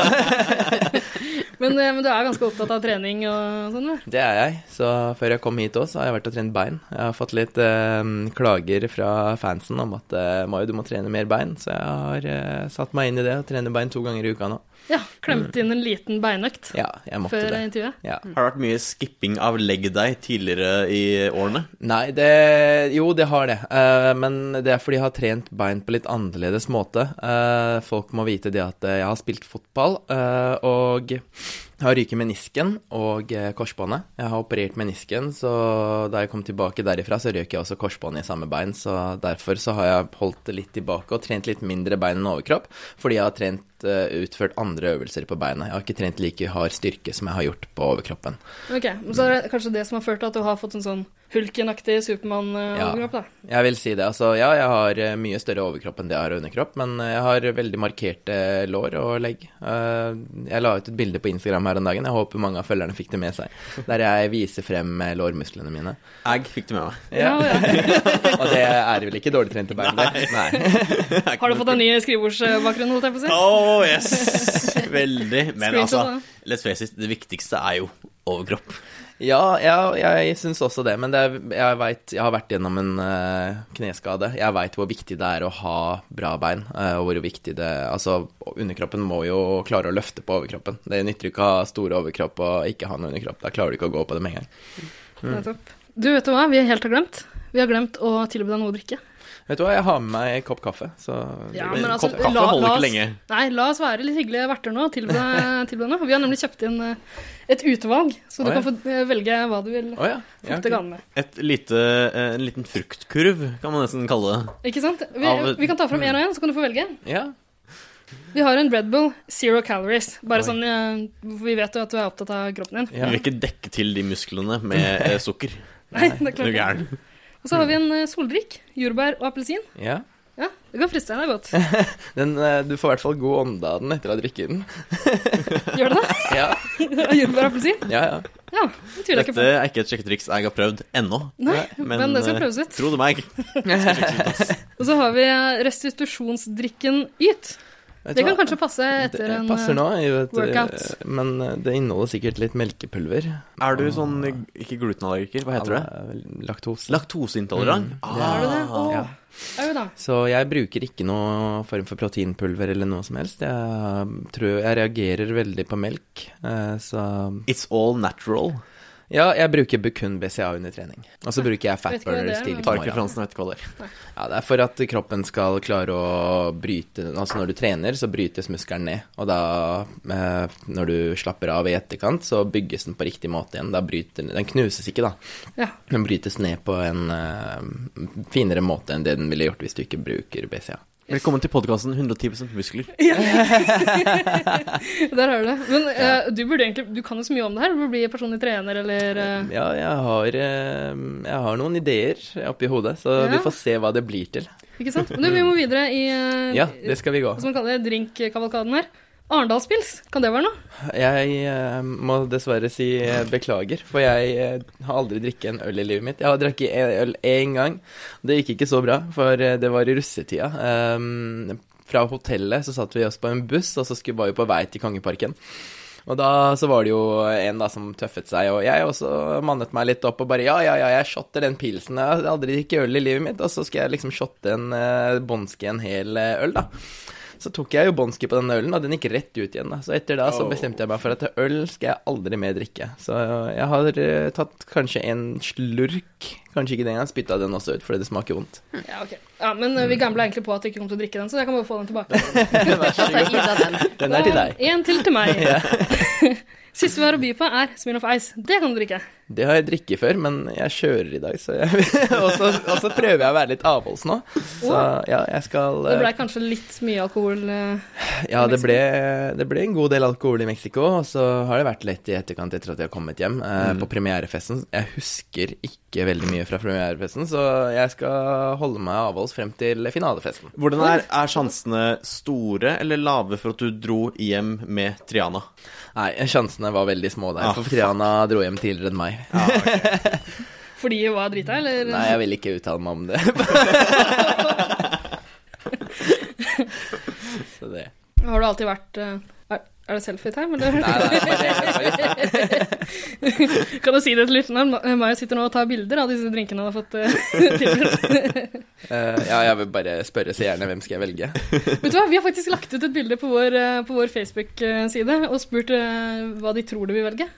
Men, eh, men du er ganske opptatt av trening og sånn, du.
Det er jeg. Så før jeg kom hit òg, så har jeg vært og trent bein. Jeg har fått litt eh, klager fra fansen om at eh, Mayo, du må trene mer bein. Så jeg har eh, satt meg inn i det og trener bein to ganger i uka nå.
Ja, klemte inn en liten beinøkt
Ja, Mm. jeg måtte
før
det.
intervjuet.
Ja.
Har det vært mye skipping av leg day tidligere i årene?
Nei, det Jo, det har det. Eh, men det er fordi jeg har trent bein på litt annerledes måte. Eh, folk må vite det at eh, jeg har spilt fotball, eh, og jeg har ryket menisken og eh, korsbåndet. Jeg har operert menisken, så da jeg kom tilbake derifra, så røk jeg også korsbåndet i samme bein. Så derfor så har jeg holdt det litt tilbake og trent litt mindre bein enn overkropp, fordi jeg har trent eh, utført andre øvelser på beinet. Jeg har ikke trent like hard styrke som jeg har gjort på overkroppen.
Ok, men Så er det kanskje det som har ført til at du har fått en sånn Hulken-aktig Supermann-overkropp, da.
Jeg vil si det. Altså, ja, jeg har eh, mye større overkropp enn det jeg har underkropp, men eh, jeg har veldig markerte lår og legg. Eh, Jeg la ut et bilde på Instagram her en dagen, jeg håper mange av følgerne fikk det med seg, der jeg viser frem eh, lårmusklene mine.
Jeg fikk det med meg.
Ja, ja.
Og det er vel ikke dårlig trente bein, det? Nei.
Har du fått en ny skrivebordsbakgrunn, holdt jeg på å si?
Oh, yes! Veldig. Men altså,
Screenshot, da.
let's face it, det viktigste er jo overkropp.
Ja, ja jeg syns også det, men det er, jeg vet, jeg har vært gjennom en eh, kneskade. Jeg veit hvor viktig det er å ha bra bein, eh, og hvor viktig det Altså, underkroppen må jo klare å løfte på overkroppen. Det nytter ikke å ha store overkropp og ikke ha noe underkropp. Da klarer du ikke å gå på det med en gang.
Nettopp. Du, vet du hva vi helt har glemt? Vi har glemt å tilby deg noe å drikke.
Vet du hva, jeg har med meg en kopp kaffe, så
Ja,
men
men altså,
kopp kaffe
la,
holder
la
ikke
oss,
lenge.
Nei, la oss være litt hyggelige verter nå. Tilby deg tilby deg noe. Vi har nemlig kjøpt inn eh, et utvalg, så du
Å, ja.
kan få eh, velge hva du vil
Å ja. ja.
fukte ganen med.
Et lite, eh, en liten fruktkurv, kan man nesten kalle det.
Ikke sant? Vi,
Av-
vi kan ta fram én og én, så kan du få velge.
ja.
Vi har en Red Bull Zero Calories. Bare sånn eh, Vi vet jo at du er opptatt av kroppen din.
Ja.
Vi vil ikke dekke til de musklene med eh, sukker.
Nei, det er
Er du
klart.
gæren?
Og så har vi en eh, soldrikk. Jordbær og appelsin.
ja.
Ja, det kan friste deg godt.
Den, eh, du får i hvert fall god ånde av den etter å ha drukket den.
Gjør det det?
Ja,
Jordbær og appelsin?
ja. ja.
Ja, det tviler jeg ikke
Dette
på.
er ikke et sjekketriks jeg har prøvd ennå.
Nei, men, det skal
eh,
prøves ut.
Tro det meg.
Og så har vi eh, restitusjonsdrikken Yt.
Vet du
Det kan
hva?
kanskje passe etter
det
en eh,
passer nå, i et, eh,
workout.
men eh, det inneholder sikkert litt melkepulver.
Er du sånn eh, ikke glutenallergiker, hva heter det?
Laktose.
Laktoseintolerant?
Er eh, du det?
Ah.
Å,
ja.
au da.
så jeg bruker ikke noe form for proteinpulver eller noe som helst. Jeg, mm, tror, jeg reagerer veldig på melk, eh, så
It's all natural.
Ja, jeg bruker Bukun BCA under trening. Og så bruker jeg
Vet ikke hva det er,
Fatburners tidlig
men-
på
Tar ikke
morgenen.
referansen, vet ikke hva det er.
Ja, det er for at kroppen skal klare å bryte Altså når du trener, så brytes muskelen ned. Og da, eh, når du slapper av i etterkant, så bygges den på riktig måte igjen. Da bryter den Den knuses ikke, da.
Ja.
Den brytes ned på en eh, finere måte enn det den ville gjort hvis du ikke bruker BCA.
Velkommen til podkasten 110 muskler.
Der har du det. Men eh, du, burde egentlig, du kan jo så mye om det her. Du burde bli personlig trener eller eh,
Ja, jeg har, eh, jeg har noen ideer oppi hodet, så
Ja.
vi får se hva det blir til.
Ikke sant? Men du, vi må videre i eh,
Ja, det skal vi gå.
hva skal man kalle det, drinkkavalkaden her. Arendalspils, kan det være noe?
Jeg eh, må dessverre si eh, beklager, for jeg eh, har aldri drikket en øl i livet mitt. Jeg har drukket en øl én gang. Det gikk ikke så bra, for eh, det var i russetida. Ehm, fra hotellet så satt vi oss på en buss, og så skulle var vi på vei til Kongeparken. Og da så var det jo en da som tøffet seg, og jeg også mannet meg litt opp og bare ja, ja, ja, jeg shotter den pilsen. Jeg har aldri drukket øl i livet mitt, og så skal jeg liksom shotte en eh, Bonski en hel eh, øl, da. Så tok jeg jo Bonski på den ølen, og den gikk rett ut igjen. Da. Så etter da så bestemte jeg meg for at øl skal jeg aldri mer drikke. Så jeg har eh, tatt kanskje en slurk, kanskje ikke den jeg spytta den også ut, fordi det smaker vondt.
Ja, ok. Ja, men eh, vi gambla egentlig på at du ikke kom til å drikke den, så jeg kan bare få den tilbake.
Da tar Ida den.
Den er til deg.
En til til meg. Siste vi har å by på, er Smirnoff Ice. Det kan du drikke.
Det har jeg drikket før, men jeg kjører i dag, så jeg og, så, og så prøver jeg å være litt avholds nå. Så ja, jeg skal
Det
eh,
blei kanskje litt mye alkohol. eh,
Ja, det ble, det ble en god del alkohol i Mexico, og så har det vært lett i etterkant etter at jeg har kommet hjem. Eh, På premierefesten Jeg husker ikke veldig mye fra premierefesten, så jeg skal holde meg avholds frem til finalefesten.
Hvordan er, er sjansene store eller lave for at du dro hjem med Triana?
Nei, sjansene var veldig små der,
Ah,
for Triana dro hjem tidligere enn meg.
Fordi jeg var drita, eller?
Nei, jeg vil ikke uttale meg om det. så det
Har du alltid vært eh, Er, er det selfie-time, eller?
Nei, nei, bare, bare,
Kan du si det til lytterne? Ma- eh, Maja sitter nå og tar bilder av disse drinkene hun har fått eh, tilbudt.
Eh, ja, jeg vil bare spørre seerne hvem skal jeg velge.
Vet du hva, vi har faktisk lagt ut et bilde på vår, eh, på vår Facebook-side og spurt eh, hva de tror du vil velge.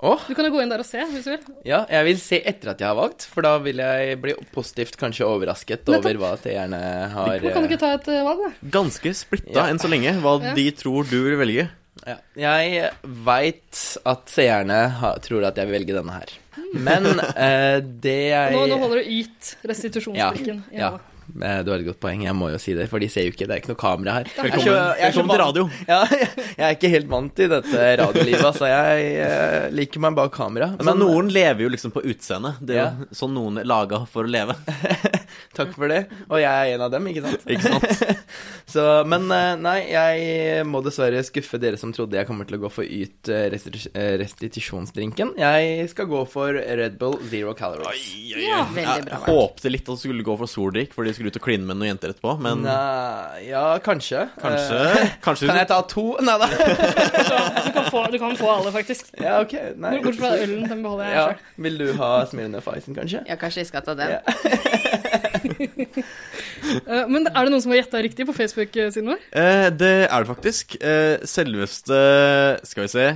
Åh,
Du kan jo gå inn der og se, hvis du vil.
Ja, jeg vil se etter at jeg har valgt, for da vil jeg bli positivt kanskje overrasket over hva seerne har
Men kan du ikke ta et eh, valg, da?
Ganske splitta
Ja.
enn så lenge hva
Ja.
de tror du vil velge.
eh, ja. Jeg veit at seerne ha, tror at jeg vil velge denne her. Men eh, det jeg
Nå, nå holder du yt restitusjonsdrikken.
ja, ja. eh, du har et godt poeng, jeg må jo si det, for de ser jo ikke, det er ikke noe kamera her. Jeg er
Velkommen-
så- jeg er så
velkommen til
vant-
radio.
Ja, jeg, jeg er ikke helt vant til dette radiolivet, altså. Jeg eh, liker meg bak kamera.
Altså, noen lever jo liksom på utseendet. Det er jo
Ja.
sånn noen er laga for å leve.
eh, Takk for det. Og jeg er en av dem, ikke sant?
Ikke sant?
Så, men eh, nei, jeg må dessverre skuffe dere som trodde jeg kommer til å gå for Yt eh, restri eh, restitusjonsdrinken. Jeg skal gå for Red Bull Zero Calories.
Ja,
veldig bra
Jeg
valg.
håpte litt at du skulle gå for soldrikk, fordi du skulle ut og kline med noen jenter etterpå, men
Nei, ja, kanskje.
kanskje,
Eh,
kanskje
Kan jeg ta to? Nei da.
Du kan få, du kan få alle, faktisk.
Ja, ok. Nei.
Bort fra ølen, den beholder jeg
Ja.
selv.
Vil du ha Smirnøff Isen, kanskje?
Ja, kanskje jeg skal ta den.
Ja.
Eh, Men er det noen som har gjetta riktig på Facebook-siden vår?
Eh, Det er det faktisk. Eh, Selveste Skal vi se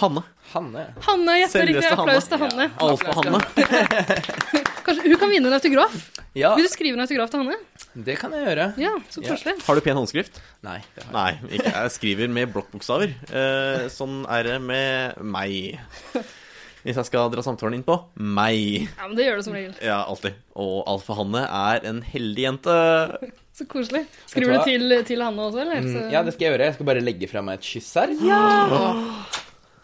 Hanne.
Hanne.
Hanne gjetta riktig.
Selveste
Applaus til
Hanne.
Hanne.
Alfa Hanne.
Kanskje hun kan vinne en autograf?
Ja,
Vil du skrive en autograf til Hanne?
det kan jeg gjøre.
Ja, så koselig.
Har du pen håndskrift?
Nei. det har jeg.
Nei, ikke. jeg skriver med blokkbokstaver. Eh, Sånn er det med meg. Hvis jeg skal dra samtalen inn på meg.
Ja, men Det gjør det som regel.
Ja, alltid. Og Alfa Hanne er en heldig jente.
Så koselig. Skriver du
Vet du
til, til Hanne også, eller? Så...
Mm, Ja, det skal jeg gjøre. Jeg skal bare legge fra meg et kyss her.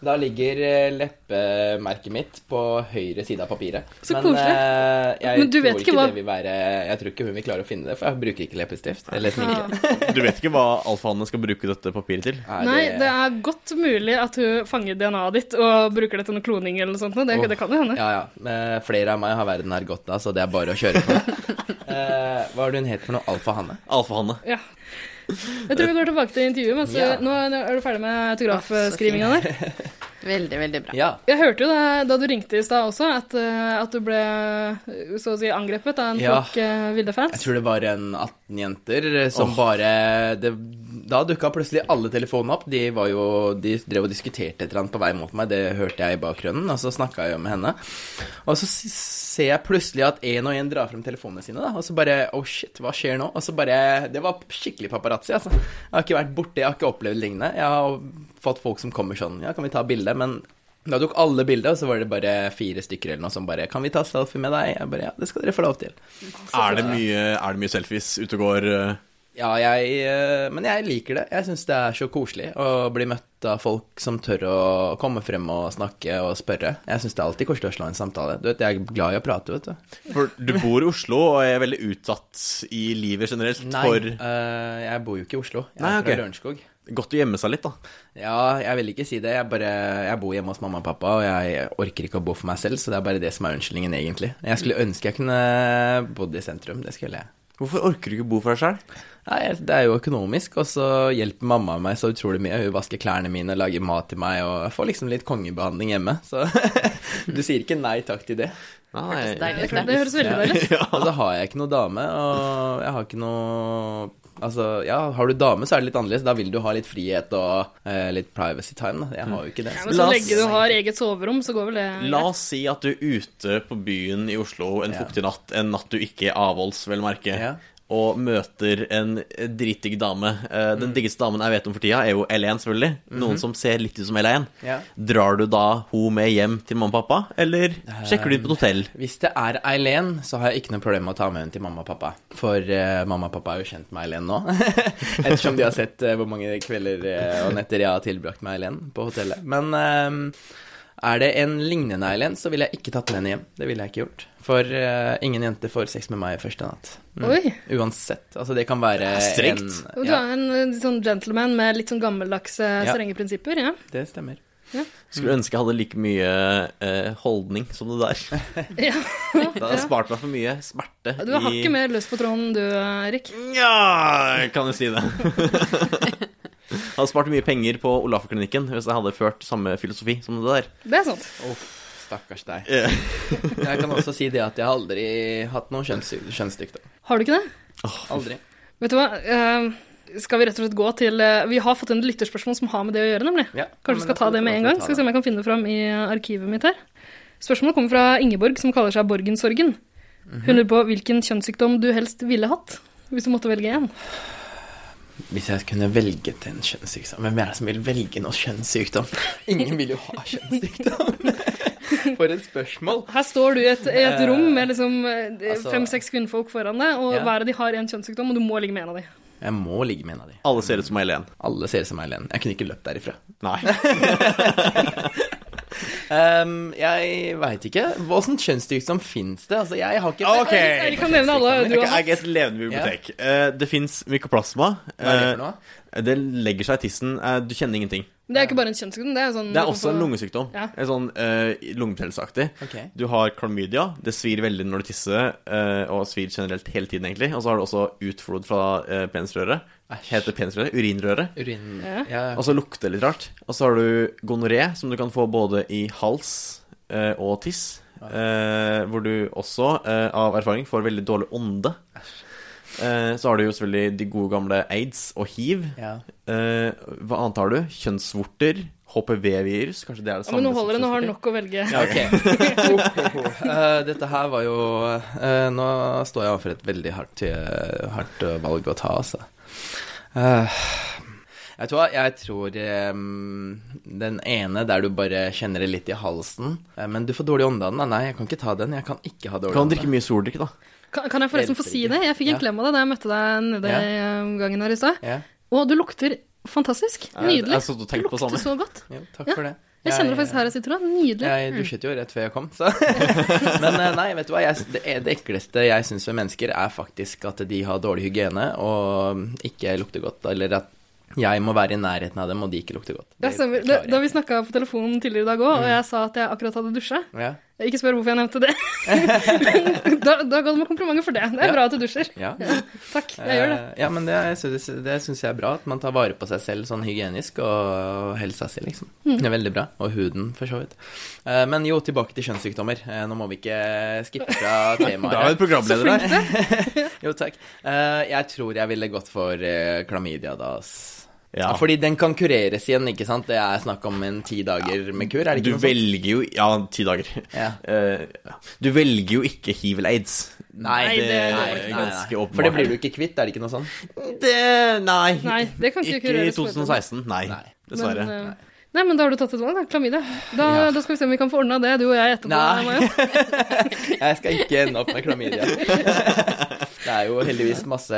Da ligger eh, leppemerket mitt på høyre side av papiret.
Så
Men,
koselig.
eh, jeg
Men du vet
tror
ikke hva-
det vil være Jeg tror ikke hun vil klare å finne det, for jeg bruker ikke leppestift eller sminke.
Ja.
Du vet ikke hva Alfa Hanne skal bruke dette papiret til?
Er
Nei, det er godt mulig at hun fanger DNA-et ditt og bruker det til noe kloning eller noe sånt. Det, det kan jo hende.
Ja, ja. Men eh, flere av meg har verden her godt av, så det er bare å kjøre på. Eh, hva var det hun het for noe? Alfa Hanne?
Alfa Hanne.
Ja. Jeg tror vi går tilbake til intervjuet. Men så,
Ja.
nå, nå er du ferdig med autografskrivinga der.
Veldig, veldig bra.
Ja.
Jeg hørte jo da, da du ringte i stad også, at, eh, at du ble eh, så å si angrepet av en
Ja.
flokk eh, ville
Jeg
fans.
tror det var en 18 jenter som bare det, Da dukka plutselig alle telefonene opp. De, var jo, de drev og diskuterte et eller annet på vei mot meg, det hørte jeg i bakgrunnen. Og så snakka jeg jo med henne. Og så s- ser jeg plutselig at én og én drar frem telefonene sine, da. Og så bare Oh shit, hva skjer nå? Og så bare Det var skikkelig paparazzi, altså. Jeg har ikke vært borti, jeg har ikke opplevd lignende. Jeg har fått folk som kommer sånn Ja, kan vi ta bilde? Men da tok alle bildet, og så var det bare fire stykker eller noe som bare Kan vi ta selfie med deg? Jeg bare Ja, det skal dere få lov til.
Er det mye, er det mye selfies ute og går? eh?
Ja, jeg, eh, men jeg liker det. Jeg syns det er så koselig å bli møtt av folk som tør å komme frem og snakke og spørre. Jeg syns det er alltid koselig å slå en samtale. Du vet, Jeg er glad i å prate, vet du.
For du bor i Oslo og er veldig utsatt i livet generelt for
eh, jeg bor jo ikke i Oslo. Jeg er
Nei, ok.
fra Lørenskog.
Godt å gjemme seg litt, da.
Ja, jeg vil ikke si det. Jeg, bare, jeg bor hjemme hos mamma og pappa, og jeg orker ikke å bo for meg selv, så det er bare det som er unnskyldningen, egentlig. Jeg skulle ønske jeg kunne bodd i sentrum. Det skulle jeg.
Hvorfor orker du ikke bo for deg sjøl?
Nei, det er jo økonomisk, og så hjelper mamma meg så utrolig mye. Hun vasker klærne mine og lager mat til meg, og jeg får liksom litt kongebehandling hjemme. Så du sier ikke nei takk til det.
Nei.
Deilig.
Det høres veldig deilig ut.
Og så har jeg ikke noe dame, og jeg har ikke noe Altså, ja, har du dame, så er det litt annerledes. Da vil du ha litt frihet og eh, litt privacy time. Da. Jeg har jo ikke det.
Ja,
Så.
men så
La oss-
lenge du har eget soverom, så går vel det
La oss si at du er ute på byen i Oslo en
Ja.
fuktig natt, en natt du ikke er avholds, vel å merke,
Ja.
og møter en dritdigg dame. Eh, Den
Mm.
diggeste damen jeg vet om for tida, er jo L1, selvfølgelig. Noen som ser litt ut som L1.
Mhm. Ja.
Drar du da ho med hjem til mamma og pappa, eller sjekker du inn på et hotell?
Hvis det er Eileen, så har jeg ikke noe problem med å ta med henne til mamma og pappa. For eh, mamma og pappa er jo kjent med Eileen nå. Ettersom de har sett eh, hvor mange kvelder eh, og netter jeg har tilbrakt med Eileen på hotellet. Men eh, er det en lignende Eileen, så ville jeg ikke tatt med henne hjem. Det ville jeg ikke gjort. For eh, ingen jente får sex med meg første natt.
Oi.
Uansett. Altså, det kan være
Det er strengt.
en
Du
Ja,
er en eh, sånn gentleman med litt sånn gammeldagse,
Ja.
strenge prinsipper. ja.
det stemmer.
Skulle ønske jeg hadde like mye eh, holdning som det der.
ja.
Det hadde spart meg for mye smerte.
Du har hakket mer løs på tråden du, eh, Erik.
Ja, kan du si det. jeg hadde spart mye penger på Olafklinikken hvis jeg hadde ført samme filosofi som det der.
Det er sant.
Stakkars deg.
Eh,
Jeg kan også si det at jeg har aldri hatt noe kjønns kjønnsdyktig.
Har du ikke det?
Aldri.
Vet du hva? Eh, skal vi rett og slett gå til eh, Vi har fått en lytterspørsmål som har med det å gjøre, nemlig.
Ja.
Kanskje vi skal ta det med en gang? Skal vi se om jeg kan finne det fram i arkivet mitt her. Spørsmålet kommer fra Ingeborg, som kaller seg Borgensorgen. Hun lurer på hvilken kjønnssykdom du helst ville hatt, hvis du måtte velge én.
Hvis jeg kunne velge til en kjønnssykdom Hvem er det som vil velge noe kjønnssykdom? Ingen vil jo ha kjønnssykdom. For et spørsmål!
Her står du i et, i et
Eh,
rom med liksom
altså-
fem-seks kvinnfolk foran deg, og
Ja.
hver av de har en kjønnssykdom, og du må ligge med en av de.
Jeg må ligge med en av de.
Alle ser ut som Eileen.
Alle ser ut som Eileen. Jeg kunne ikke løpt derifra.
Nei.
Ehm, jeg veit ikke. Hva slags kjønnssykdom fins det? Altså, jeg har ikke
Jeg kan nevne alle du har
Jeg er et levende bibliotek. Eh, Det fins mykoplasma.
Hva er det for noe?
Eh, Det legger seg i tissen. Eh, Du kjenner ingenting.
Men det er ikke bare en kjønnssykdom, det er jo sånn
Mm.
Det er også en lungesykdom.
Ja.
En sånn uh, lungebetennelseaktig.
Ok.
Du har klamydia. Det svir veldig når du tisser, eh, og svir generelt hele tiden, egentlig. Og så har du også utflod fra uh, penisrøret. Heter penisrøret urinrøret.
Urin
Ja.
ja.
Og så lukter det litt rart. Og så har du gonoré, som du kan få både i hals eh, og tiss. eh, hvor du også, eh, av erfaring, får veldig dårlig ånde. Eh, så har du jo selvfølgelig de gode gamle aids og hiv.
Ja.
Eh, hva annet har du? Kjønnsvorter? HPV-virus? Kanskje det er det
Ja,
samme?
men nå holder det,
som
nå har du
kjønnsvorter?
nok å velge.
Ja, ok. Oh, Eh, dette her var jo eh, Nå står jeg overfor et veldig hardt, eh, hardt eh, valg å ta, altså. Eh, jeg tror, jeg tror eh, den ene der du bare kjenner det litt i halsen eh, Men du får dårlig ånde av den. da. Nei, jeg kan ikke ta den. Jeg kan ikke ha dårlig
Kan
ånde.
drikke mye soldrikk, da.
Kan, kan jeg forresten få si det? Jeg fikk en
Ja.
klem av deg da jeg møtte deg nede
Ja.
i eh, gangen her i stad.
Ja,
Og du lukter fantastisk.
Jeg-
Nydelig.
jeg satt og tenkte på
Du lukter
samme.
så godt.
jo, takk
Ja,
for det.
Jeg kjenner det faktisk her jeg sitter nå. Nydelig.
Jeg dusjet jo rett før jeg kom, så Men eh, nei, vet du hva. Jeg, det, er- det ekleste jeg syns ved mennesker, er faktisk at de har dårlig hygiene og mm, ikke lukter godt. Eller at jeg må være i nærheten av dem, og de ikke lukter godt.
Ja,
Det
stemmer. Da,
klarer jeg.
da sånn vi snakka på telefonen tidligere i dag òg, og jeg sa at jeg akkurat hadde dusja
ja.
Ikke spør hvorfor jeg nevnte det. da, da ga du meg komplimenter for det. Det er
Ja.
bra at du dusjer.
Ja.
Takk. Jeg gjør det.
Eh, Ja, men det, jeg synes, det syns jeg er bra. At man tar vare på seg selv sånn hygienisk, og helsa si, liksom.
Mm.
Det er veldig bra. Og huden, for så vidt. Eh, Men jo, tilbake til kjønnssykdommer. Eh, Nå må vi ikke skippe fra temaet.
Da er vi programleder der.
Jo, takk. Eh, jeg tror jeg ville gått for eh, klamydia, da. ass.
Ja.
Fordi den kan kureres igjen, ikke sant? Det er snakk om en ti dager med kur, er det
Du
ikke noe sånt?
velger jo Ja, ti dager.
Ja.
Eh, ja. du velger jo ikke hiv eller aids.
Nei,
det er
Nei, nei, nei.
ganske åpenbart.
For det blir du ikke kvitt, er det ikke noe sånn?
Det Nei.
Nei, det kan ikke
ikke i
kureres på
2016. Nei,
Nei.
dessverre.
Men, eh, Nei, men da har du tatt et valg, da. Klamydia. Da,
Ja.
da skal vi se om vi kan få ordna det, du og jeg etterpå.
Nei.
Maja.
Jeg skal ikke ende opp med klamydia. Det er jo heldigvis masse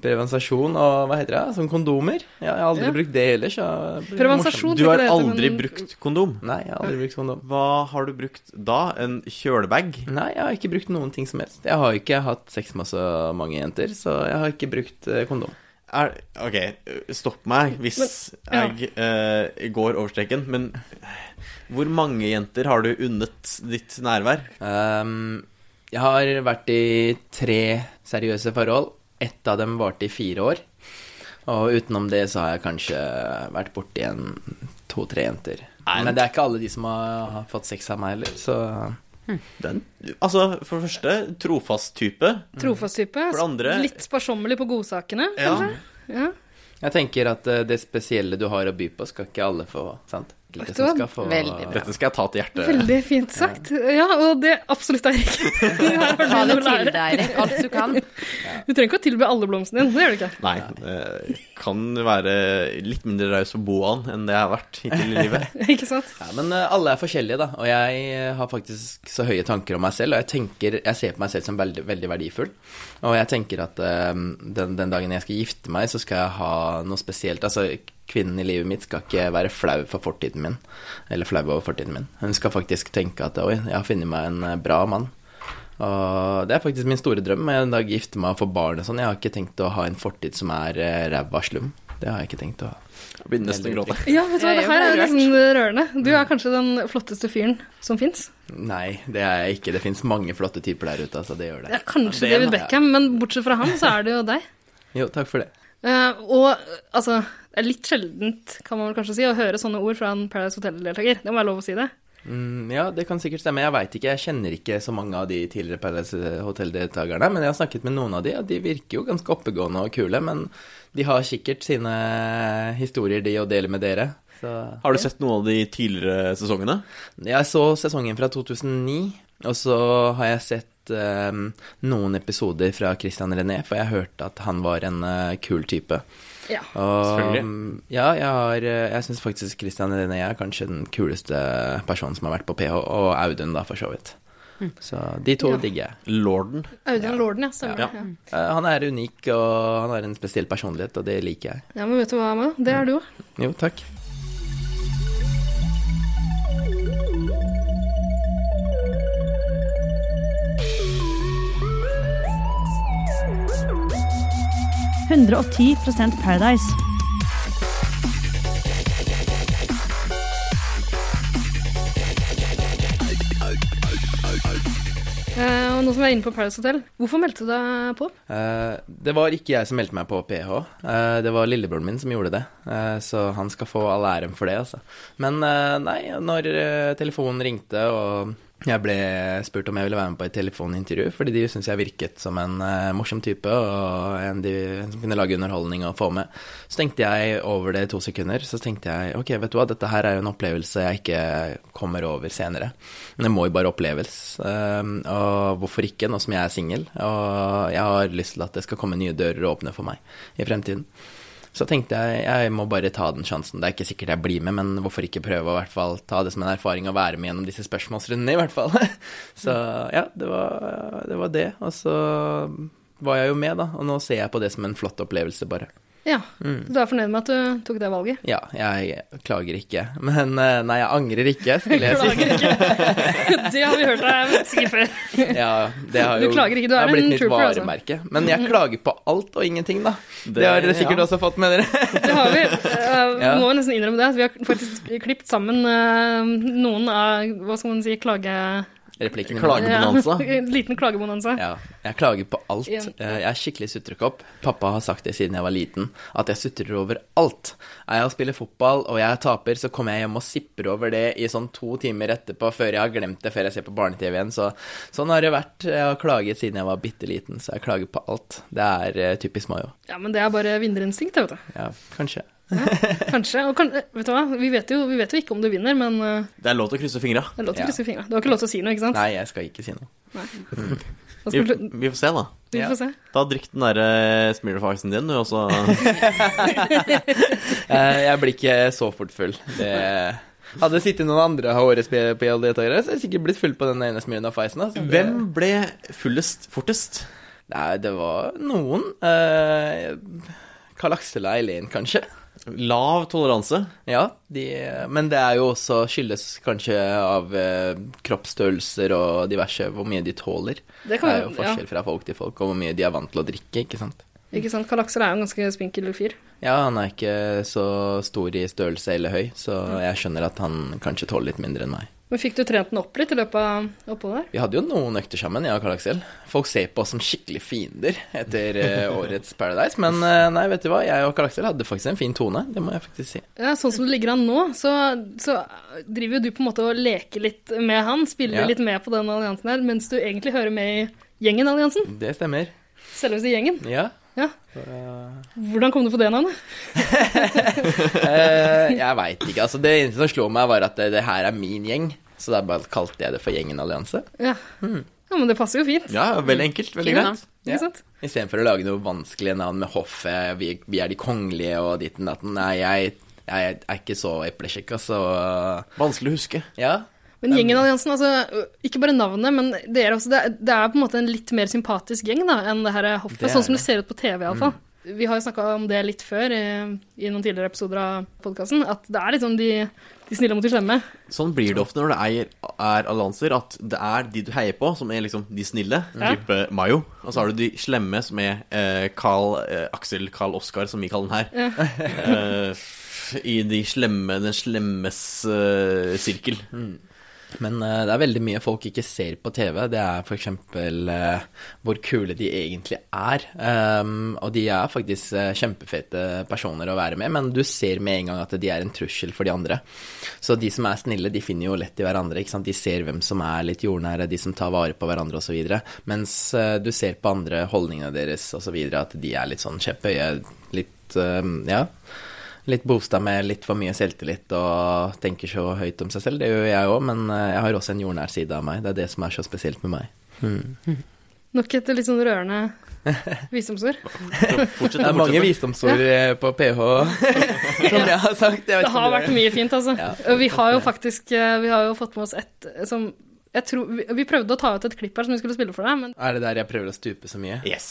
prevensasjon og hva heter det, sånn kondomer. Jeg har aldri
Ja.
brukt det heller, så det blir
Prevensasjon,
du har
ikke det heter,
aldri
men-
brukt kondom.
morsomt. Nei, jeg har aldri brukt kondom.
Hva har du brukt da? En kjølebag?
Nei, jeg har ikke brukt noen ting som helst. Jeg har ikke hatt sex med så mange jenter, så jeg har ikke brukt eh, kondom.
Er, ok, stopp meg hvis
Men-
jeg eh, går over streken, men hvor mange jenter har du unnet ditt nærvær?
Ehm, jeg har vært i tre seriøse forhold. Ett av dem varte i fire år. Og utenom det så har jeg kanskje vært borti en to-tre jenter. Men det er ikke alle de som har, har fått sex av meg heller, så
Hm.
Den, altså, for det første, trofast type.
Trofast type.
For det andre-
Litt sparsommelig på godsakene,
Ja.
kanskje. Ja.
jeg tenker at eh, det spesielle du har å by på, skal ikke alle få, sant? Enkelte som skal få
Veldig bra.
Dette skal jeg ta til hjertet.
Veldig fint sagt. Ja, og det absolutt er ikke Her har du
Ta det
noe å
til
lære.
deg, Eirik. Alt du kan.
Du trenger ikke å tilby alle blomstene dine, det gjør du ikke.
Nei. eh, kan være litt mindre raus på boaen enn det jeg har vært hittil i livet.
Ikke sant?
Ja, men eh, alle er forskjellige, da. Og jeg eh, har faktisk så høye tanker om meg selv. Og jeg tenker, jeg ser på meg selv som veldig, veldig verdifull. Og jeg tenker at eh, den, den dagen jeg skal gifte meg, så skal jeg ha noe spesielt. Altså, kvinnen i livet mitt skal ikke være flau for fortiden min. Eller flau over fortiden min. Hun skal faktisk tenke at oi, jeg har funnet meg en eh, bra mann. Og det er faktisk min store drøm. Jeg en dag gifte meg og få barn og sånn. Jeg har ikke tenkt å ha en fortid som er eh, ræva slum. Det har jeg ikke tenkt å ha.
Jeg begynner nesten å gråte.
Ja, vet du hva,
Det er
det
jo
her er
bare
nesten rørende. Du er kanskje den flotteste fyren som fins.
Nei, det er jeg ikke. Det fins mange flotte typer der ute, altså. Det gjør
Det
det.
er kanskje
Det er
David
noe.
Beckham, men bortsett fra ham, så er det jo deg.
Jo, takk for det.
Eh, og eh, altså, det er litt sjeldent, kan man vel kanskje si, å høre sånne ord fra en Paradise Hotel-deltaker. Det må være lov å si det.
Mm, ja, det kan sikkert stemme. Jeg veit ikke. Jeg kjenner ikke så mange av de tidligere Paradise Hotel-deltakerne, men jeg har snakket med noen av de, og de virker jo ganske oppegående og kule. Men de har sikkert sine historier, de, å dele med dere. Så
Har du sett noen av de tidligere sesongene?
Jeg så sesongen fra 2009, og så har jeg sett eh, noen episoder fra Christian René, for jeg hørte at han var en eh, kul type.
Ja.
Og,
Selvfølgelig.
mm, ja, jeg, har, eh, jeg syns faktisk Christian René er kanskje den kuleste personen som har vært på PH, og Audun, da, for så vidt. Så de to
Mm. Ja.
digger jeg.
Lorden.
Audun Lorden, ja. Stemmer
Ja.
det. Ja.
Eh, Han er unik, og han har en spesiell personlighet, og det liker jeg.
ja, men vet du hva, Emma? Det er du òg.
Jo, takk.
Eh, og nå som vi er inne på Paradise Hotel, hvorfor meldte du deg på?
Eh, det var ikke jeg som meldte meg på PH. Eh, det var lillebroren min som gjorde det. Eh, så han skal få all æren for det, altså. Men eh, nei, når eh, telefonen ringte og jeg ble spurt om jeg ville være med på et telefonintervju, fordi de syntes jeg virket som en eh, morsom type og en, de, en som kunne lage underholdning og få med. Så tenkte jeg over det i to sekunder, så tenkte jeg ok, vet du hva, dette her er jo en opplevelse jeg ikke kommer over senere. Men det må jo bare oppleves. Um, og hvorfor ikke, nå som jeg er singel, og jeg har lyst til at det skal komme nye dører å åpne for meg i fremtiden. Så tenkte jeg jeg må bare ta den sjansen. Det er ikke sikkert jeg blir med, men hvorfor ikke prøve å i hvert fall ta det som en erfaring å være med gjennom disse spørsmålsrundene, i hvert fall. Så ja, det var det. Var det. Og så var jeg jo med, da. Og nå ser jeg på det som en flott opplevelse, bare.
Ja,
Mm.
så Du er fornøyd med at du tok det valget?
Ja, jeg klager ikke. Men eh, nei, jeg angrer ikke, skulle jeg si.
Klager ikke. Det har vi hørt deg si før.
Ja, det har
Du
jo
klager ikke, du
det har
er en
blitt nytt
trooper, altså.
varemerke. Men jeg klager på alt og ingenting, da. Det, har dere sikkert
ja.
også fått med dere.
Det har vi. Eh,
Ja.
Må jo nesten innrømme det. at Vi har faktisk klippet sammen eh, noen av hva skal man si, klage...
Replikken min.
Klagebonanza.
Ja, en liten klagebonanza.
altså? Ja, jeg klager på alt.
Ja.
Eh, Jeg er skikkelig sutrekopp. Pappa har sagt det siden jeg var liten, at jeg sutrer over alt. Er jeg og spiller fotball og jeg taper, så kommer jeg hjem og sipper over det i sånn to timer etterpå, før jeg har glemt det, før jeg ser på barne-TV igjen. Så sånn har det vært. Jeg har klaget siden jeg var bitte liten, så jeg klager på alt. Det er eh, typisk meg òg.
Ja, men det er bare vinnerinstinkt, det, vet du.
Ja, kanskje.
Kanskje. Og kan, eh, vet du hva? Vi vet, jo, vi vet jo ikke om du vinner, men eh,
Det er lov til å krysse fingra.
det er lov til
Ja.
å krysse fingra. Du har ikke lov til å si noe, ikke sant?
Nei, jeg skal ikke si noe.
Da
Vi,
skulle,
vi får se, da.
vi
ja.
får se.
Ta Drikk den derre smearfaxen din, du, og så
Eh, Jeg blir ikke så fort full. Det... Hadde det sittet noen andre av årets PLD-tøyere, så hadde jeg sikkert blitt full på den ene smyren av feisen. Altså. Det-
Hvem ble fullest fortest?
Nei, det var noen. Eh, Karl Aksel og Eileen, kanskje.
Lav toleranse.
Ja, de, men det er jo også skyldes kanskje av eh, kroppsstørrelser og diverse, hvor mye de tåler.
Det
Det,
kan
er jo
jo- ja.
forskjell fra folk til folk, og hvor mye de er vant til å drikke, ikke sant.
Ikke sant? Karl Aksel er jo en ganske spinkel fyr.
Ja, han er ikke så stor i størrelse eller høy, så jeg skjønner at han kanskje tåler litt mindre enn meg.
Men fikk du trent den opp litt i løpet av oppholdet der?
Vi hadde jo noen økter sammen, jeg og Karl Aksel. Folk ser på oss som skikkelig fiender etter eh, årets Paradise, men eh, nei, vet du hva, jeg og Karl Aksel hadde faktisk en fin tone, det må jeg faktisk si.
Ja, sånn som det ligger an nå, så, så driver jo du på en måte og leker litt med han, spiller
Ja.
litt med på den alliansen her, mens du egentlig hører med i gjengen-alliansen.
Det stemmer.
Selveste gjengen.
Ja.
Ja. Hvordan kom du på det navnet?
Eh, jeg veit ikke. Altså, det eneste som slo meg, var at eh, det, det her er min gjeng. Så da bare kalte jeg det for Gjengen allianse.
Ja. ja, men det passer jo fint.
Ja, veldig enkelt. Veldig
Fint,
greit.
Hmm. Ja.
Ikke sant?
Istedenfor å lage noe vanskelige navn med hoffet, vi, vi er de kongelige og ditten datten. Nei, jeg, jeg er ikke så eplekjekk, altså.
Vanskelig å huske.
Ja.
Men gjengen-alliansen, altså, ikke bare navnet, men det er, også, det, er, det er på en måte en litt mer sympatisk gjeng da, enn det her hoffet,
Det er
sånn som
det. Hmm.
det ser ut på TV iallfall. Vi har jo snakka om det litt før i, i noen tidligere episoder av podkasten, at det er liksom de, de snille mot de slemme.
Sånn blir det ofte når det er, er allianser, at det er de du heier på, som er liksom de snille,
Ja.
type Mayo. Og så har du de slemme, som er eh, Carl, eh, Aksel Carl Oskar, som vi kaller den her. eh, I de slemme, den slemmes eh, sirkel.
Men eh, det er veldig mye folk ikke ser på TV. Det er f.eks. Uh, hvor kule de egentlig er. Um, og de er faktisk eh, kjempefete personer å være med, men du ser med en gang at de er en trussel for de andre. Så de som er snille, de finner jo lett i hverandre. Ikke sant? De ser hvem som er litt jordnære, de som tar vare på hverandre osv. Mens eh, du ser på andre holdningene deres osv. at de er litt sånn kjepphøye, litt eh, Ja. Litt boosta med litt for mye selvtillit og tenker så høyt om seg selv. Det gjør jeg òg, men eh, jeg har også en jordnær side av meg. Det er det som er så spesielt med meg.
Nok et litt sånn rørende visdomsord.
Fortsett,
Det er mange visdomsord eh, på PH, som jeg har sagt. Jeg vet
Det
ikke om
har
dere-
vært mye fint, altså. Og vi har jo faktisk eh, vi har jo fått med oss et eh, som jeg tror, vi, vi prøvde å ta ut et klipp her som vi skulle spille for deg, men
Er det der jeg prøver å stupe så mye?
Yes.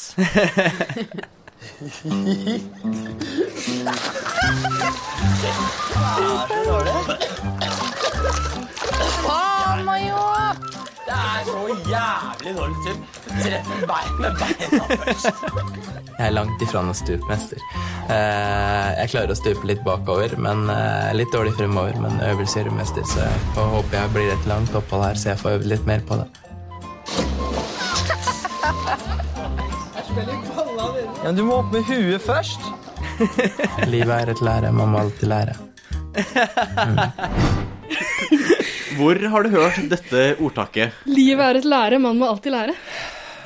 Jeg er langt ifra noen stupmester. Eh, Jeg klarer å stupe litt bakover, men eh, litt dårlig fremover. Men øvelse gjør mester, så jeg får- håper jeg blir et langt opphold her, så jeg får øvd litt mer på det. Ja, du må opp med huet først. Livet er et lære, man må alltid lære.
Hvor har du hørt dette ordtaket?
livet er et lære, man må alltid lære.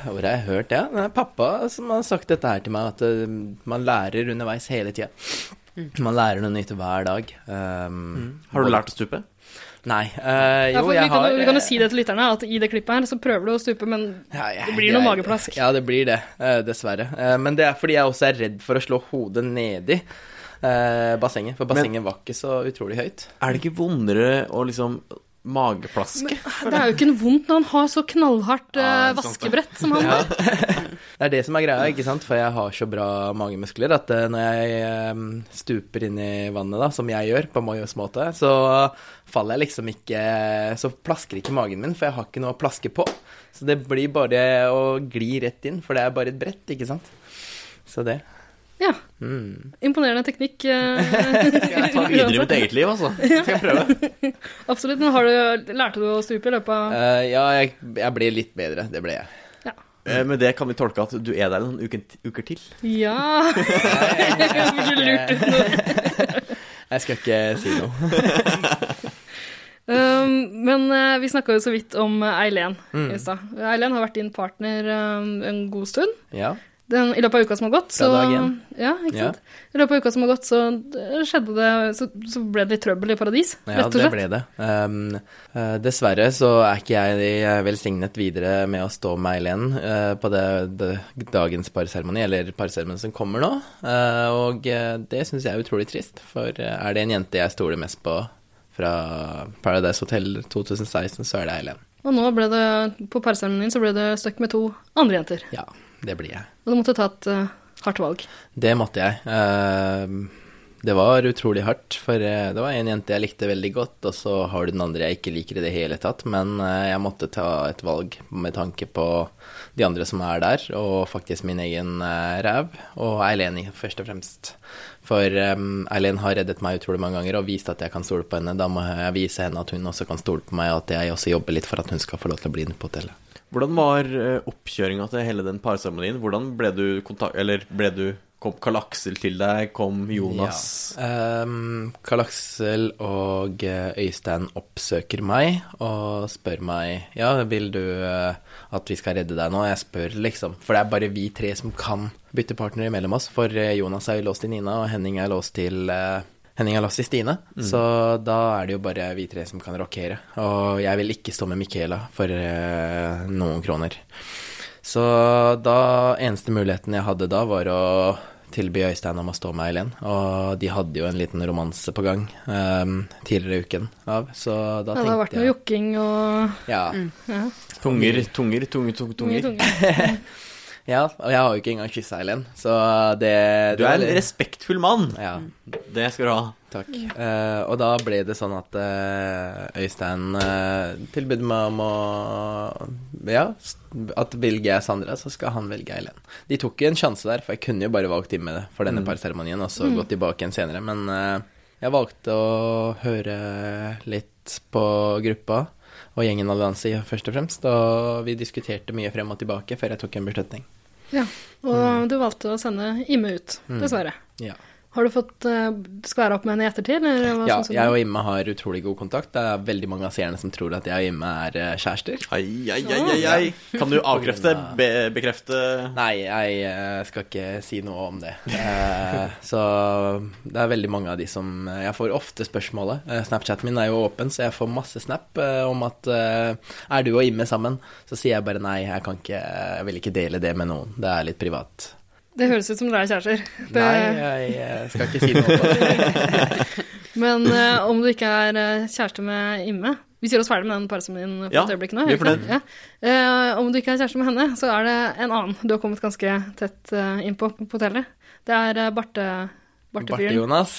Hvor har jeg hørt det? Det er pappa som har sagt dette her til meg, at eh, man lærer underveis hele tida.
Mm.
Man lærer noe nytt hver dag. Um,
Har du lært å stupe?
Nei. eh,
Ja,
jo,
for vi,
jeg
kan,
har
jo- vi kan jo si det til lytterne, at i det klippet her så prøver du å stupe, men
Ja, jeg-
Det blir noe mageplask.
Ja, det blir det, eh, dessverre. Eh, Men det er fordi jeg også er redd for å slå hodet nedi eh, bassenget, for bassenget var ikke så utrolig høyt.
Er det ikke vondere å liksom mageplaske?
det er jo ikke noe vondt når han har så knallhardt eh,
Ja, det er sant, det.
vaskebrett som han har.
Det er det som er greia, ikke sant? For jeg har så bra magemuskler at eh, når jeg eh, stuper inn i vannet, da, som jeg gjør på Moyos måte, så faller jeg liksom ikke Så plasker ikke magen min, for jeg har ikke noe å plaske på. Så det blir bare å gli rett inn, for det er bare et brett, ikke sant? Så det.
Ja.
Mm.
Imponerende teknikk. eh,
Ta videre i mitt eget liv, altså. Skal jeg prøve?
Absolutt. Men har du, lærte du å stupe i løpet av
Eh, ja, jeg, jeg ble litt bedre. Det ble jeg.
Eh, Med det kan vi tolke at du er der noen uker, uker til.
Ja! Burde lurt ut noe.
Jeg skal ikke si noe.
Um, men eh, vi snakka jo så vidt om eh, Eileen
Mm.
i stad. Eileen har vært din partner um, en god stund.
Ja.
Den, I løpet av uka som har gått,
Fra
så
dag én.
Ja, ikke
Ja.
sant? I løpet av uka som har gått, så eh, skjedde det Så, så ble det litt trøbbel i paradis,
ja,
rett og
det
slett.
ble det. Um, eh, dessverre så er ikke jeg velsignet videre med å stå med Eileen eh, på det, det, dagens parseremoni, eller parseremoni som kommer nå. Eh, og eh, det syns jeg er utrolig trist, for eh, er det en jente jeg stoler mest på fra Paradise Hotel 2016, så er det Eileen.
Og nå ble det, på parseremonien, så ble det stuck med to andre jenter.
Ja, det blir jeg.
Og du måtte ta et eh, hardt valg.
Det måtte jeg. Ehm, Det var utrolig hardt, for eh, det var en jente jeg likte veldig godt, og så har du den andre jeg ikke liker i det hele tatt, men eh, jeg måtte ta et valg med tanke på de andre som er der, og faktisk min egen eh, ræv, og Eileen i- først og fremst. For ehm, Eileen har reddet meg utrolig mange ganger og vist at jeg kan stole på henne. Da må jeg vise henne at hun også kan stole på meg, og at jeg også jobber litt for at hun skal få lov til å bli inne på hotellet.
Hvordan var eh, oppkjøringa til hele den parseremonien? Hvordan ble du kontakt... Eller ble du Kom Karl Aksel til deg? Kom Jonas?
Ja. Ehm, Karl Aksel og eh, Øystein oppsøker meg og spør meg Ja, vil du eh, at vi skal redde deg nå? Jeg spør, liksom. For det er bare vi tre som kan bytte partner imellom oss. For eh, Jonas er jo låst til Nina, og Henning er låst til eh, Henning er låst til Stine, så da er det jo bare vi tre som kan rokere. Og jeg vil ikke stå med Michaela for eh, noen kroner. Så da eneste muligheten jeg hadde da, var å tilby Øystein om å stå med Eileen. Og de hadde jo en liten romanse på gang ehm, tidligere i uken av, så da
Ja, det har vært noe Mm.
tenkte jeg
jokking og
ja,
Tunger, tunger, tunger, tunger.
mye
tunger.
tunge.
ja, og jeg har jo ikke engang kyssa Eileen, så det
Du er en respektfull mann.
ja,
Mm.
Det skal du ha.
Takk. Eh, og da ble det sånn at eh, Øystein eh, tilbød meg om å Ja, s- at velger jeg Sandra, så skal han velge Eileen. De tok jo en sjanse der, for jeg kunne jo bare valgt Timme for denne parseremonien og så
Mm.
gått tilbake igjen senere, men eh, jeg valgte å høre litt på gruppa og gjengen Allianse i- først og fremst, og vi diskuterte mye frem og tilbake før jeg tok en beslutning. Mm.
Ja. Og du valgte å sende Imme ut, dessverre.
Ja.
Har du fått uh, skværa opp med henne i ettertid? Eller hva
Ja,
syns du?
jeg og Imme har utrolig god kontakt. Det er veldig mange av seerne som tror at jeg og Imme er eh, kjærester.
Ai, ai, ai, ai, ai. Kan du avkrefte? Be bekrefte?
Nei, jeg eh, skal ikke si noe om det. Eh, Så det er veldig mange av de som eh, Jeg får ofte spørsmålet. Eh, Snapchaten min er jo åpen, så jeg får masse snap eh, om at eh, Er du og Imme sammen? Så sier jeg bare nei, jeg kan ikke Jeg vil ikke dele det med noen. Det er litt privat.
Det høres ut som dere er kjærester. Det,
Nei, jeg eh, skal ikke si noe om det.
Men eh, om du ikke er eh, kjæreste med Imme Vi sier oss ferdig med den parsemien på
Ja,
et øyeblikk nå.
vi er
gjør vi ikke det? Ja. Eh, om du ikke er kjæreste med henne, så er det en annen du har kommet ganske tett eh, innpå på hotellet. Det er eh, Barte,
Barte
Bartefyren.
Jonas.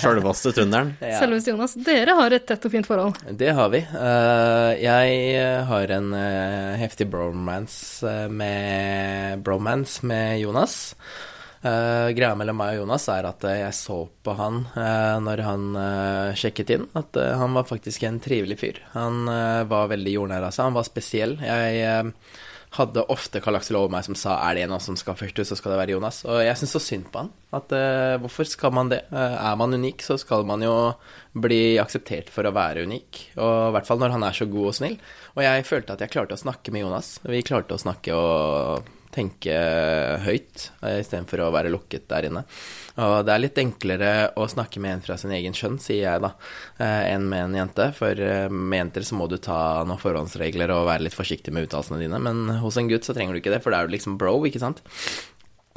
Sjølvaste trønderen.
Ja.
Selveste Jonas. Dere har et tett og fint forhold.
Det har vi. Eh, jeg eh, har en eh, heftig bromance eh, med, bromance med Jonas. Eh, greia mellom meg og Jonas er at eh, jeg så på han eh, når han eh, sjekket inn, at eh, han var faktisk en trivelig fyr. Han eh, var veldig jordnær av seg, han var spesiell. Jeg eh, hadde ofte Karl Aksel over meg som sa er det en av oss som skal først ut, så skal det være Jonas. Og jeg syns så synd på han. At eh, hvorfor skal man det? Eh, er man unik, så skal man jo bli akseptert for å være unik. Og i hvert fall når han er så god og snill. Og jeg følte at jeg klarte å snakke med Jonas. Vi klarte å snakke og tenke høyt eh, istedenfor å være lukket der inne. Og det er litt enklere å snakke med en fra sin egen kjønn, sier jeg da, eh, enn med en jente. For eh, med jenter så må du ta noen forhåndsregler og være litt forsiktig med uttalelsene dine. Men hos en gutt så trenger du ikke det, for da er du liksom bro, ikke sant.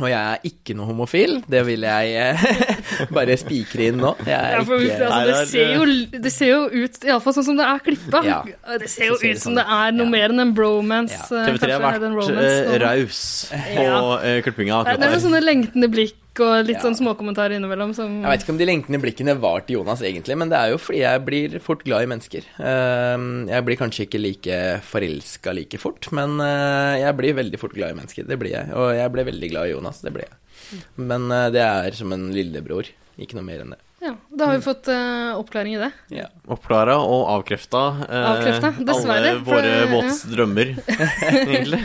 Og jeg er ikke noe homofil, det vil jeg eh, bare spikre inn nå. Jeg
Ja,
er
for,
ikke
altså,
Nei,
det,
det er-
ser jo, det ser jo ut, iallfall sånn som det er klippa,
Ja.
det ser jo
Så ser det
ut som
sånn
det
ut.
er noe
Ja.
mer enn en bromance.
Ja.
eh,
TV3
kanskje,
har
eller en
vært
romance,
eh,
nå.
raus på
Ja.
eh, klippinga
Nei, Det
akkurat
er sånn noen
der.
sånne lengtende blikk og litt
Ja.
sånn småkommentarer innimellom som
Jeg vet ikke om de lengtende blikkene var til Jonas egentlig, men det er jo fordi jeg blir fort glad i mennesker. Ehm, Jeg blir kanskje ikke like forelska like fort, men eh, jeg blir veldig fort glad i mennesker. Det blir jeg. Og jeg ble veldig glad i Jonas, det ble jeg. Men eh, det er som en lillebror. Ikke noe mer enn det.
Ja, da
Mm.
har vi fått eh, oppklaring i det.
Ja.
Oppklara og avkrefta eh,
Avkrefta, dessverre,
alle
for-
våre
ja.
våtes drømmer, egentlig.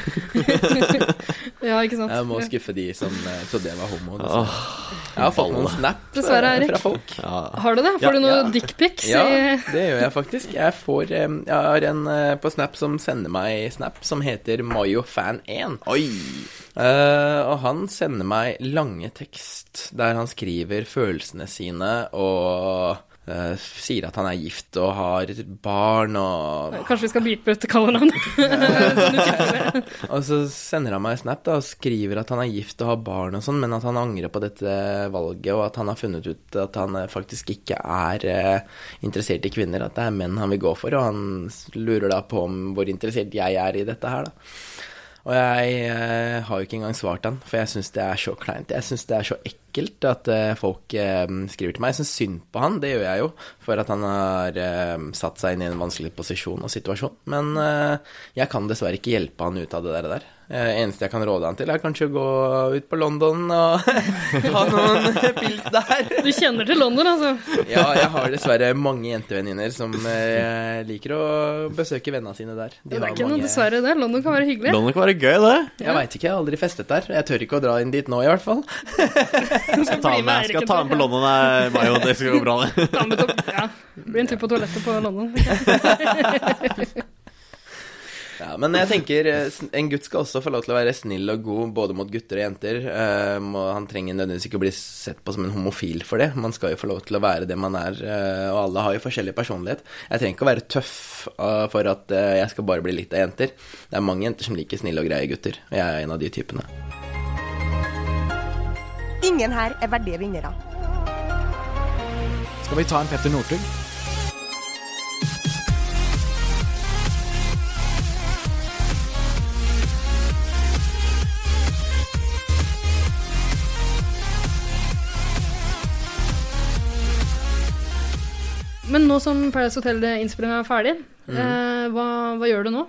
Ja, ikke sant?
Jeg må skuffe de som eh, trodde jeg var homo. dessverre. Jeg har fått noen snap eh,
Dessverre, Erik.
fra folk.
Ja.
Har du det? Får
Ja,
du noe
ja.
dickpics?
Ja,
i-
det gjør jeg faktisk. Jeg, får, eh, jeg har en eh, på Snap som sender meg snap, som heter MayoFan1.
Oi.
Eh, og han sender meg lange tekst der han skriver følelsene sine og eh, sier at han er gift og har barn og
Kanskje vi skal beepe ut kallenavn? Sånn
Og så sender han meg snap da, og skriver at han er gift og har barn og sånn, men at han angrer på dette valget, og at han har funnet ut at han eh, faktisk ikke er eh, interessert i kvinner, at det er menn han vil gå for, og han s- lurer da på om hvor interessert jeg er i dette her, da. Og jeg eh, har jo ikke engang svart han, for jeg syns det er så kleint. Jeg syns det er så ekkelt at eh, folk eh, skriver til meg. Jeg syns synd på han, det gjør jeg jo, for at han har eh, satt seg inn i en vanskelig posisjon og situasjon. Men eh, jeg kan dessverre ikke hjelpe han ut av det der. der. Eh, eneste jeg kan råde han til, er kanskje å gå ut på London og ta noen pils der.
Du kjenner til London, altså.
Ja, jeg har dessverre mange jentevenninner som eh, liker å besøke vennene sine der. De
Det er
har
ikke noe
mange-
dessverre det. London kan være hyggelig.
London kan være gøy, det.
Jeg veit ikke, jeg har aldri festet der. Jeg tør ikke å dra inn dit nå, i hvert fall.
Skal
bli
ta
med
med,
Eirik
skal
en
ta
tur,
med på
ja.
London, nei, Mayo. Det skal gå bra, det.
Ta med topp- Ja. Blir en tur på toalettet på London.
Ja, men jeg tenker eh, sn- en gutt skal også få lov til å være snill og god både mot gutter og jenter. Eh, må, han trenger nødvendigvis ikke bli sett på som en homofil for det. Man skal jo få lov til å være det man er, eh, og alle har jo forskjellig personlighet. Jeg trenger ikke å være tøff eh, for at eh, jeg skal bare bli litt av jenter. Det er mange jenter som liker snille og greie gutter, og jeg er en av de typene.
Ingen her er verdige vinnere.
Skal vi ta en Petter Northug?
Men nå som Paradise Hotel-innspillinga er ferdig,
Mm.
eh, hva, hva gjør du nå?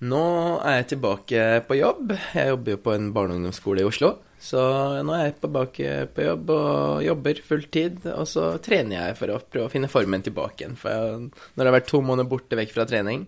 Nå er jeg tilbake på jobb. Jeg jobber jo på en barne- og ungdomsskole i Oslo. Så nå er jeg tilbake på jobb og jobber fulltid. Og så trener jeg for å prøve å finne formen tilbake igjen. For jeg, når jeg har vært to måneder borte vekk fra trening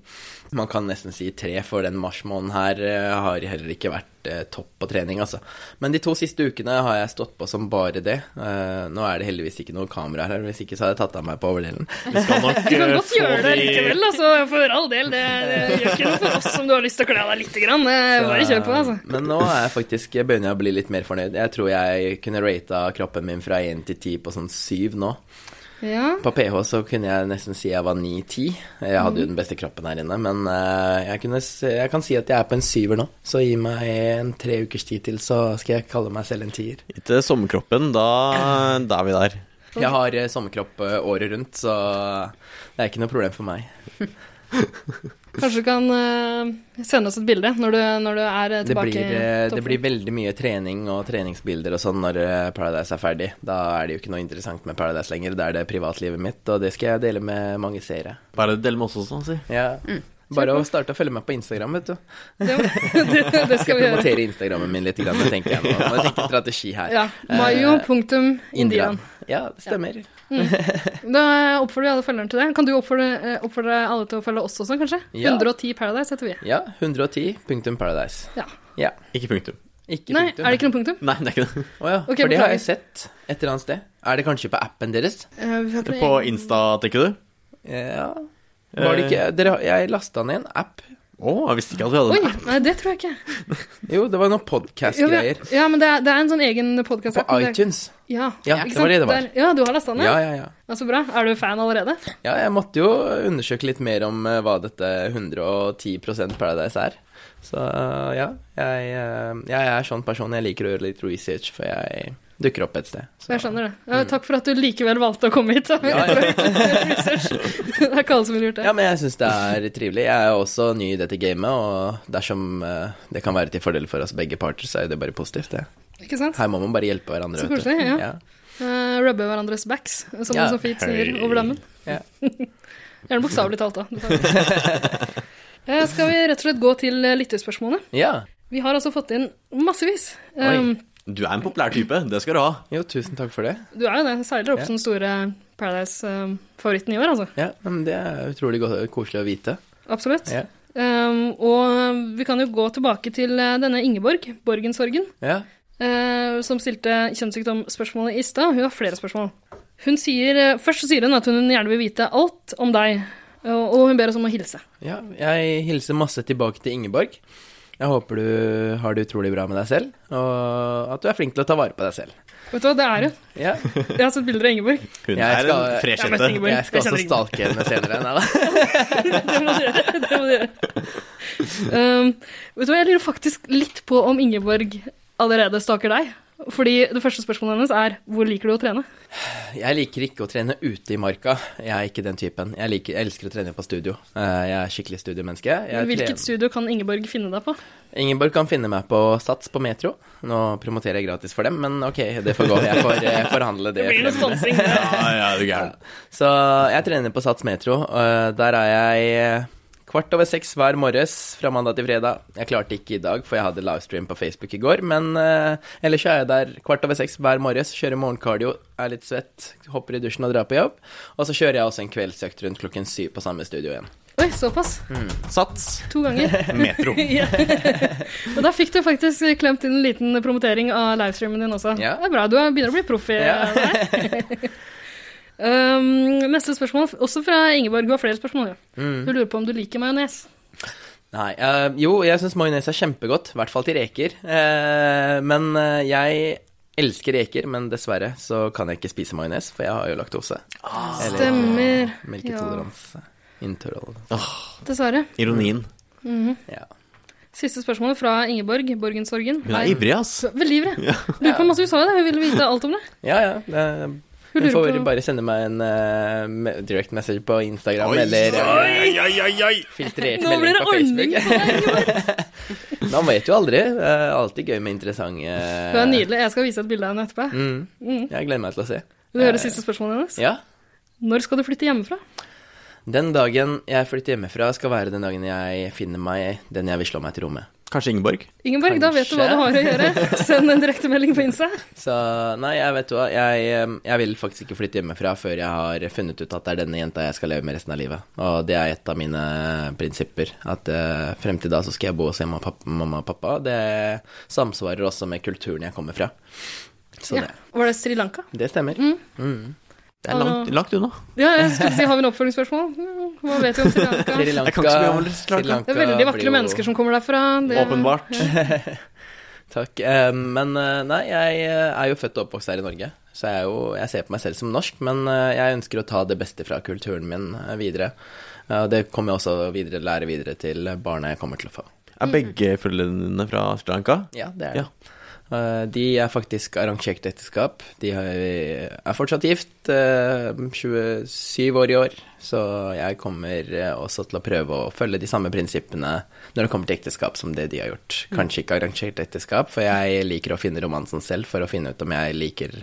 Man kan nesten si tre, for den marsmåneden her eh, har heller ikke vært helt eh, topp på trening, altså. Men de to siste ukene har jeg stått på som bare det. Eh, nå er det heldigvis ikke noe kamera her, hvis ikke så hadde jeg tatt av meg på overdelen.
Vi skal nok
Du kan
eh,
godt
få
gjøre det
de-
likevel, altså. For all del. Det, det gjør ikke noe for oss om du har lyst til å kle av deg lite grann. Det er Bare kjør på, altså.
Ehm, Men nå er jeg faktisk, jeg begynner jeg å bli litt mer fornøyd. Jeg tror jeg kunne rata kroppen min fra 1 til 10 på sånn 7 nå.
Ja.
På PH så kunne jeg nesten si jeg var 9-10. Jeg hadde
Mhm.
jo den beste kroppen her inne, men eh, jeg, kunne, s- jeg kan si at jeg er på en syver nå. Så gi meg en tre ukers tid til, så skal jeg kalle meg selv en tier.
Ikke sommerkroppen, da, da er vi der.
Jeg har eh, sommerkropp eh, året rundt, så det er ikke noe problem for meg.
Kanskje du kan eh, sende oss et bilde når du, når du er eh,
Det
tilbake.
blir, eh,
i toppen.
det blir veldig mye trening og treningsbilder og sånn når eh, Paradise er ferdig. Da er det jo ikke noe interessant med Paradise lenger, da er det privatlivet mitt, og det skal jeg dele med mange seere.
Bare del med oss også, sånn si.
Ja.
Mm.
Bare å starte å følge meg på Instagram, vet du.
det, det, det skal vi gjøre.
Promotere Instagrammen min litt, grann, det tenker jeg nå. Må jeg tenke strategi her.
Ja.
Eh,
Mayo.indian.
Indian. Ja, det stemmer.
Da oppfordrer vi alle følgerne til det. Kan du oppfordre, eh, oppfordre alle til å følge oss også, kanskje?
Ja.
110 Paradise heter vi.
Ja, 110 punktum Paradise.
Ja.
Ja.
Ikke punktum.
Ikke
Nei,
punktum.
er det ikke noe punktum?
Nei, det er ikke det.
Å ja,
Ok,
for det har
beklager.
jeg sett et eller annet sted. Er det kanskje på appen deres?
Eh, vi har ikke noe
På
egen-
Insta, tenker du?
Ja. Var det ikke Dere, har- jeg lasta ned en app.
Å, jeg visste ikke at vi hadde
Oi,
den.
nei, det tror jeg ikke.
Jo, det var
Jo,
noen
vi-
podcast-greier.
Ja, men det er, det er en sånn egen podkast.
På iTunes.
Ja,
Ja,
ikke
det
sant?
var det det var.
Der- ja, du har lasta den ned?
Ja,
Ja.
ja, ja.
Så bra. Er du fan allerede?
Ja, jeg måtte jo undersøke litt mer om eh, hva dette 110 Paradise er. Så eh, ja, jeg, eh, jeg er sånn person. Jeg liker å gjøre litt research før jeg dukker opp et sted. Så. Mm.
Jeg skjønner det. Ja, takk for at du likevel valgte å komme hit.
Ja, ja.
det er ikke alle som ville gjort det.
Ja, men jeg syns det er trivelig. Jeg er også ny i dette gamet, og dersom eh, det kan være til fordel for oss begge parter, så er det bare positivt, det.
Ikke sant?
Her må man bare hjelpe hverandre,
Så
vet du.
koselig, ja. Eh, rubbe hverandres backs, som
Ja,
man så fint sier
hei.
over dammen.
Ja.
Gjerne bokstavelig talt, da. Eh, Skal vi rett og slett gå til eh, lyttespørsmålene?
ja.
Vi har altså fått inn massevis.
Oi.
Um,
Du er en populær type, det skal du ha.
Jo, tusen takk for det.
du er jo det. Seiler opp
Ja.
som store Paradise-favoritten i år, altså.
Ja, men det er utrolig godt, koselig å vite.
Absolutt.
Ja.
Um, og vi kan jo gå tilbake til eh, denne Ingeborg, Borgensorgen,
Ja.
eh, som stilte kjønnssykdomsspørsmålet i stad. Hun har flere spørsmål. Hun sier, eh, først så sier hun at hun gjerne vil vite alt om deg, og og hun ber oss om å hilse.
Ja, jeg hilser masse tilbake til Ingeborg. Jeg håper du har det utrolig bra med deg selv, og at du er flink til å ta vare på deg selv.
Vet du hva, det er hun.
Ja,
Jeg har sett bilder av Ingeborg.
Hun
Jeg
er
skal-
en fresh
Jeg vet
jente.
ikke hvor-
jeg skal
jeg kjenner
også
Ingeborg.
stalke henne senere. Nei da.
Det må du gjøre. Det må du gjøre. Um, vet du hva, jeg lurer faktisk litt på om Ingeborg allerede staker deg. Fordi det første spørsmålet hennes er hvor liker du å trene?
Jeg liker ikke å trene ute i marka. Jeg er ikke den typen. Jeg, liker, jeg elsker å trene på studio. Eh, Jeg er skikkelig studiomenneske. Jeg
Hvilket
trener-
studio kan Ingeborg finne deg på?
Ingeborg kan finne meg på Sats på Metro. Nå promoterer jeg gratis for dem, men ok, det får gå. Jeg får eh, forhandle det.
Det blir noe
frem.
sponsing. det.
Ja, ja, du er gæren.
Så jeg trener på Sats Metro. og Der er jeg eh, kvart over seks hver morges fra mandag til fredag. Jeg klarte ikke i dag, for jeg hadde livestream på Facebook i går. Men eh, ellers så er jeg der kvart over seks hver morges, kjører morgenkardio, er litt svett, hopper i dusjen og drar på jobb. Og så kjører jeg også en kveldsøkt rundt klokken syv på samme studio igjen.
Oi, såpass.
Hmm,
Sats.
To ganger.
Metro.
Ja. Og da fikk du faktisk klemt inn en liten promotering av livestreamen din også.
Ja.
Det er bra, du er- begynner å bli proff i
Ja.
det her. um, neste spørsmål, også fra Ingeborg. Du har flere spørsmål. Ja.
Hmm.
Du lurer på om du liker majones.
Nei, eh, jo, jeg syns majones er kjempegodt, i hvert fall til reker. Eh, men eh, jeg elsker reker, men dessverre så kan jeg ikke spise majones, for jeg har jo laktose. Eller-
Stemmer.
Melketoleranse. Intolerance.
Dessverre.
Ironien.
Ja.
Siste spørsmål fra Ingeborg Borgensorgen.
Hun er ivrig, ass.
Veldig ivrig. Lurer på masse hun sa jo det. Hun ville vite alt om det.
ja, ja. det-
Hun
Du
lurer
får
på
bare sende meg en eh, me- direct message på Instagram
Oi,
eller eh,
oi, oi, oi, oi.
filtrert
Nå blir
melding
det
på
ordning
Facebook.
på deg!
Man vet jo aldri. Det er alltid gøy med interessante
Hun er nydelig. Jeg skal vise et bilde av henne etterpå.
Mm. Jeg gleder meg til å se.
Vil du høre siste spørsmålet hennes?
Ja.
Når skal du flytte hjemmefra?
Den dagen jeg flytter hjemmefra, skal være den dagen jeg finner meg den jeg vil slå meg til ro med.
Kanskje Ingeborg?
Ingeborg, da vet du hva du har å gjøre. Send en direktemelding på Insta.
Så nei, jeg vet hva, jeg, eh, jeg vil faktisk ikke flytte hjemmefra før jeg har funnet ut at det er denne jenta jeg skal leve med resten av livet. Og det er et av mine prinsipper, at eh, frem til da så skal jeg bo hos hjemme og pappa, mamma og pappa. Det samsvarer også med kulturen jeg kommer fra. Så
Ja.
det,
Var det Sri Lanka?
det stemmer. Mm.
Det er langt, langt unna.
Ja, jeg skulle si, har vi noen oppfølgingsspørsmål? Mm, Hva vet vi om Sri Lanka?
Sri
Det
Lanka,
Jeg kan ikke så mye om Sri Lanka.
er veldig vakre
blir jo-
mennesker som kommer derfra. Det,
Åpenbart.
Takk. Eh, Men eh, nei, jeg eh, er jo født og oppvokst her i Norge, så jeg, er jo, jeg ser på meg selv som norsk, men eh, jeg ønsker å ta det beste fra kulturen min eh, videre. Eh, og Det kommer jeg også videre, lære videre til barna jeg kommer til å få.
Er begge foreldrene dine fra Sri Lanka?
Ja, det er det. Eh, De er faktisk arrangert ekteskap. De har- er fortsatt gift, eh, 27 år i år, så jeg kommer eh, også til å prøve å følge de samme prinsippene når det kommer til ekteskap som det de har gjort. Kanskje ikke arrangert ekteskap, for jeg liker å finne romansen selv for å finne ut om jeg liker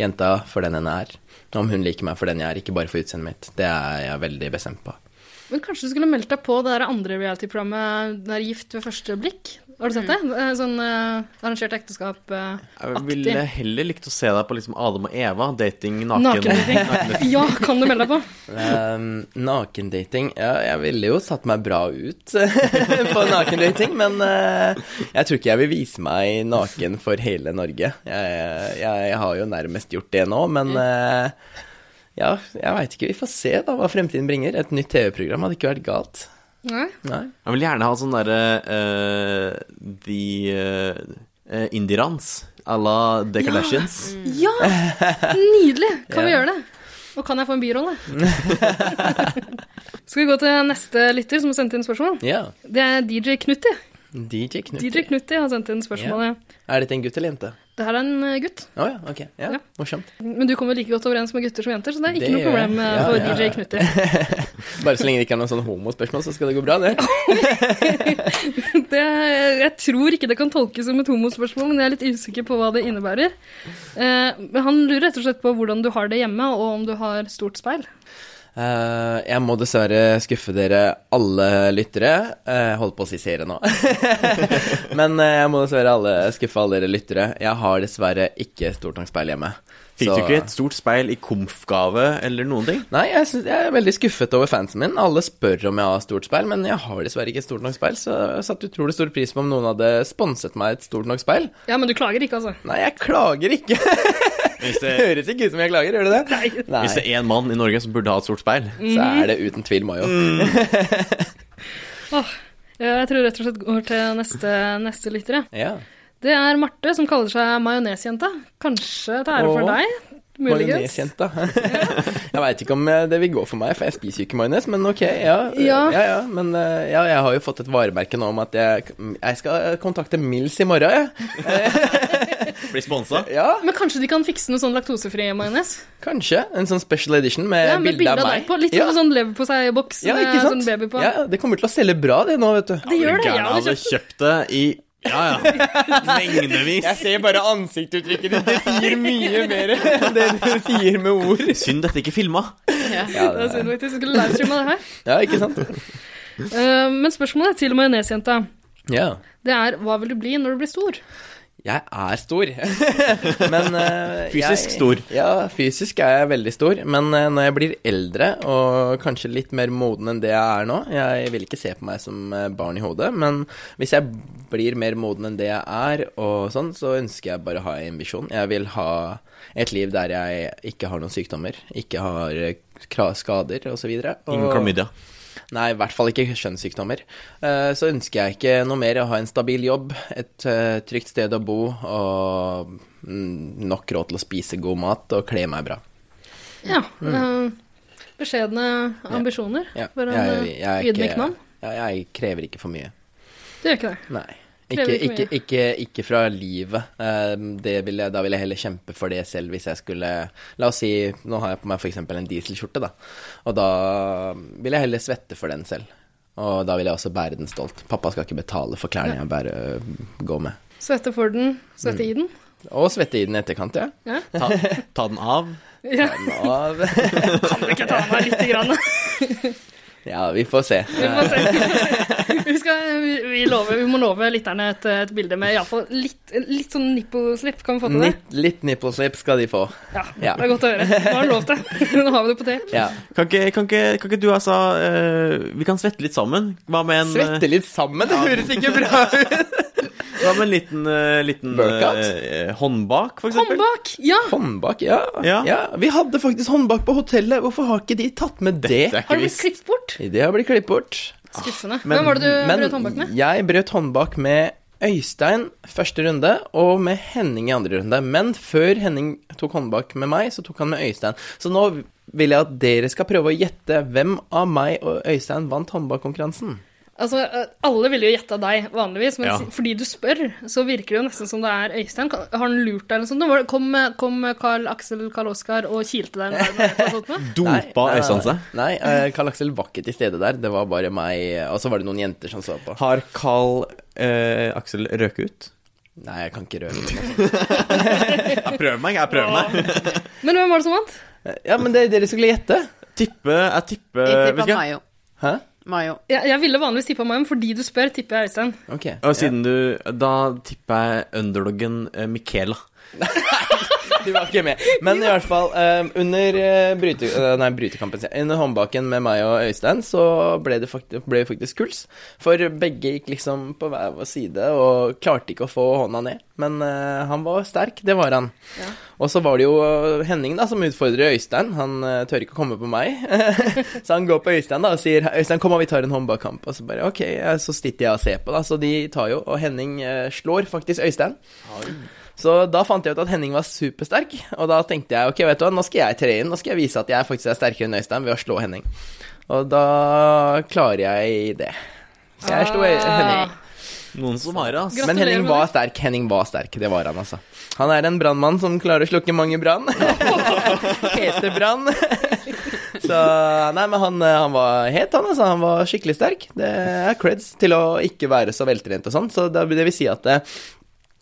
jenta for den henne er. Om hun liker meg for den jeg er, ikke bare for utseendet mitt. Det er jeg veldig bestemt på.
Men kanskje du skulle meldt deg på det der andre reality-programmet der Gift ved første blikk? Har du sett det? Eh, Sånn eh, arrangert eh,
Jeg
ekteskap-aktig.
ville heller likt å se deg på liksom Adam og Eva, dating naken.
Nakendating. Ja, kan du melde deg på?
Um, nakendating Ja, jeg ville jo satt meg bra ut på nakendating, men eh, jeg tror ikke jeg vil vise meg naken for hele Norge. Jeg, jeg, jeg har jo nærmest gjort det nå, men eh, ja, jeg veit ikke. Vi får se da hva fremtiden bringer. Et nytt TV-program hadde ikke vært galt.
Nei.
Nei.
Jeg vil gjerne ha sånn derre uh, The uh, Indirans à la The Kardashians.
Ja! Nydelig! Kan vi gjøre det? Og kan jeg få en birolle? Skal vi gå til neste lytter som har sendt inn spørsmål?
Ja.
Det er DJ Knutti.
DJ Knut.
DJ Knutti har sendt inn spørsmålet.
Er dette en gutt eller jente?
Det her er en eh, gutt,
Å ja, ok. Ja,
Ja.
Morsomt.
men du kommer like godt overens med gutter som jenter, så det er ikke
Det
noe
gjør jeg.
problem eh,
Ja,
for
ja, ja.
DJ Knutti.
Bare så lenge det ikke er noe sånn homospørsmål, så skal det gå bra, det.
Det, jeg tror ikke det kan tolkes som et homospørsmål, men jeg er litt usikker på hva det innebærer. Eh, men han lurer rett og slett på hvordan du har det hjemme, og om du har stort speil.
Eh, jeg må dessverre skuffe dere alle lyttere. Uh, holdt på å si seere nå. Men eh, jeg må dessverre alle, skuffe alle dere lyttere. Jeg har dessverre ikke stort nok speil hjemme.
Fikk
Så-
du ikke et stort speil i komfgave eller noen ting?
Nei, jeg, synes, jeg er veldig skuffet over fansen min. Alle spør om jeg har stort speil, men jeg har dessverre ikke et stort nok speil, så jeg satte utrolig stor pris på om noen hadde sponset meg et stort nok speil.
Ja, men du klager ikke, altså.
Nei, jeg klager ikke.
Hvis det,
Høres ikke ut som jeg klager, gjør det det? Nei.
hvis det er én mann i Norge som burde ha et stort speil
Mm.
Så er det uten tvil Mayo.
Mm.
Åh, eh, jeg tror rett og slett går til neste, neste lytter, jeg.
Ja.
Det er Marte som kaller seg majonesjenta. Kanskje til ære for
Åh.
deg? Muligens.
Majonesjenta. jeg veit ikke om eh, det vil gå for meg, for jeg spiser jo ikke majones, men ok, ja.
Ja.
ja, ja, Men eh, ja, jeg har jo fått et varemerke nå om at jeg, jeg skal eh, kontakte Mills i morgen, jeg.
blir sponsa.
Ja,
Men kanskje de kan fikse noe sånn laktosefri majones?
kanskje. En sånn special edition med,
Ja, med bilde av deg på. Litt
ja.
som en sånn leverposteiboks
ja,
med
ikke
sånn
sant?
baby på.
Ja, det kommer til å selge bra, det nå, vet du.
Det gjør det,
Jeg
jeg hadde
hadde
kjøpt
kjøpt det i Ja, ja. Mengdevis.
Jeg ser bare ansiktsuttrykket ditt. Det sier mye mer enn det du sier med ord.
Synd dette ikke filma.
Ja,
det. er
det,
synd faktisk, jeg skulle livestreama det her.
ja ikke sant?
Eh, men spørsmålet til majonesjenta,
Ja.
det er hva vil du bli når du blir stor?
Jeg er stor, men eh,
Fysisk
jeg,
stor.
Ja, fysisk er jeg veldig stor, men eh, når jeg blir eldre og kanskje litt mer moden enn det jeg er nå Jeg vil ikke se på meg som eh, barn i hodet, men hvis jeg blir mer moden enn det jeg er, og sånn, så ønsker jeg bare å ha en visjon. Jeg vil ha et liv der jeg ikke har noen sykdommer, ikke har eh, kra- skader osv.
Ingen klamydia.
Nei, i hvert fall ikke kjønnssykdommer. Eh, Så ønsker jeg ikke noe mer å ha en stabil jobb, et eh, trygt sted å bo og mm, nok råd til å spise god mat og kle meg bra.
Ja. eh, beskjedne ambisjoner
Mm. Ja,
for en eh,
er
ydmyk
ikke-
mann.
Ja, jeg krever ikke for mye.
Du gjør ikke det.
Nei.
Krever
Ikke,
ikke
ikke, ikke, ikke fra livet. Eh, Det vil jeg, da vil jeg heller kjempe for det selv hvis jeg skulle La oss si nå har jeg på meg f.eks. en dieselskjorte, da. Og da vil jeg heller svette for den selv. Og da vil jeg også bære den stolt. Pappa skal ikke betale for klærne jeg bærer, øh, går med.
Svette for den, svette
Mm.
i den.
Og svette i den etterkant, ja.
Ta, ta den av.
Ja,
Av.
ikke ta meg lite grann.
Ja, vi får se.
Vi får se. Vi skal, vi vi, lover, vi må love lytterne et, et bilde med iallfall litt, litt sånn nipposlip. Kan vi få til det?
Litt, litt nipple slip skal de få.
Ja,
Ja.
Det er godt å høre. Nå har du lov til. Nå har vi det på tape.
Ja.
Kan ikke, kan ikke, kan ikke du, altså eh, Vi kan svette litt sammen. Hva med en, eh,
Svette litt sammen, det høres ikke bra ut!
hva med en liten, eh, liten eh,
Workout?
eh, håndbak, for eksempel?
Håndbak! Ja!
Håndbak, ja. ja.
Ja.
Vi hadde faktisk håndbak på hotellet, hvorfor har ikke de tatt med det?
Det er
Har
ikke
du blitt
visst.
klippet bort?
Det har blitt klippet bort.
Skuffende.
Ah, men-
Hvem var det du
Men
brøt håndbak med?
jeg brøt håndbak med Øystein første runde, og med Henning i andre runde. Men før Henning tok håndbak med meg, så tok han med Øystein. Så nå vil jeg at dere skal prøve å gjette hvem av meg og Øystein vant håndbakkonkurransen.
Altså, eh, Alle ville jo gjette deg vanligvis, men
Ja.
si- fordi du spør, så virker det jo nesten som det er Øystein. Kan- Har han lurt deg eller noe sånt? Var det- Kom, eh, kom eh, Carl Aksel Carl Oskar og kilte deg? med- med- med- sånt med?
Dopa
Nei, nei,
Øystein seg?
Nei, eh, Karl Aksel var ikke til stede der. Det var bare meg, og så var det noen jenter som så på.
Har Carl eh, Aksel røket ut?
Nei, jeg kan ikke røpe.
Jeg prøver meg, jeg prøver meg.
Men hvem var det som vant?
Ja, men det er dere skulle gjette.
Tippe, jeg tipper
Jeg
vet
tippa
ikke.
Mayo.
Hæ?
Mayo.
Jeg, jeg ville vanligvis tippa meg om, fordi du spør, tipper jeg Øystein.
Ok.
Og siden du Da tipper jeg underdoggen eh, Michaela.
Du var ikke med. Men i hvert fall, eh, under eh, bryte, eh, nei, brytekampen sier jeg. Under håndbaken med meg og Øystein, så ble det faktisk, ble det faktisk kuls. For begge gikk liksom på hver vår side og klarte ikke å få hånda ned. Men eh, han var sterk, det var han. Og så var det jo eh, Henning da, som utfordrer Øystein. Han eh, tør ikke å komme på meg. så han går på Øystein da og sier 'Øystein, kom, da, vi tar en håndbakkamp'. Og så bare OK, eh, så sitter jeg og ser på, da. Så de tar jo, og Henning eh, slår faktisk Øystein. Så da fant jeg ut at Henning var supersterk, og da tenkte jeg ok, vet du hva, nå skal jeg tre inn, nå skal jeg vise at jeg faktisk er sterkere enn Øystein ved å slå Henning. Og da klarer jeg det. Så jeg slo Øy- Henning.
Noen som har det, altså.
Men
Gratulerer
Henning
med
var
det.
sterk. Henning var sterk, det var han, altså. Han er en brannmann som klarer å slukke mange brann. Hete brann. Så Nei, men han, eh, han var het, han, altså. Han var skikkelig sterk. Det er creds til å ikke være så veltrent og sånn. Så det, det vil si at eh,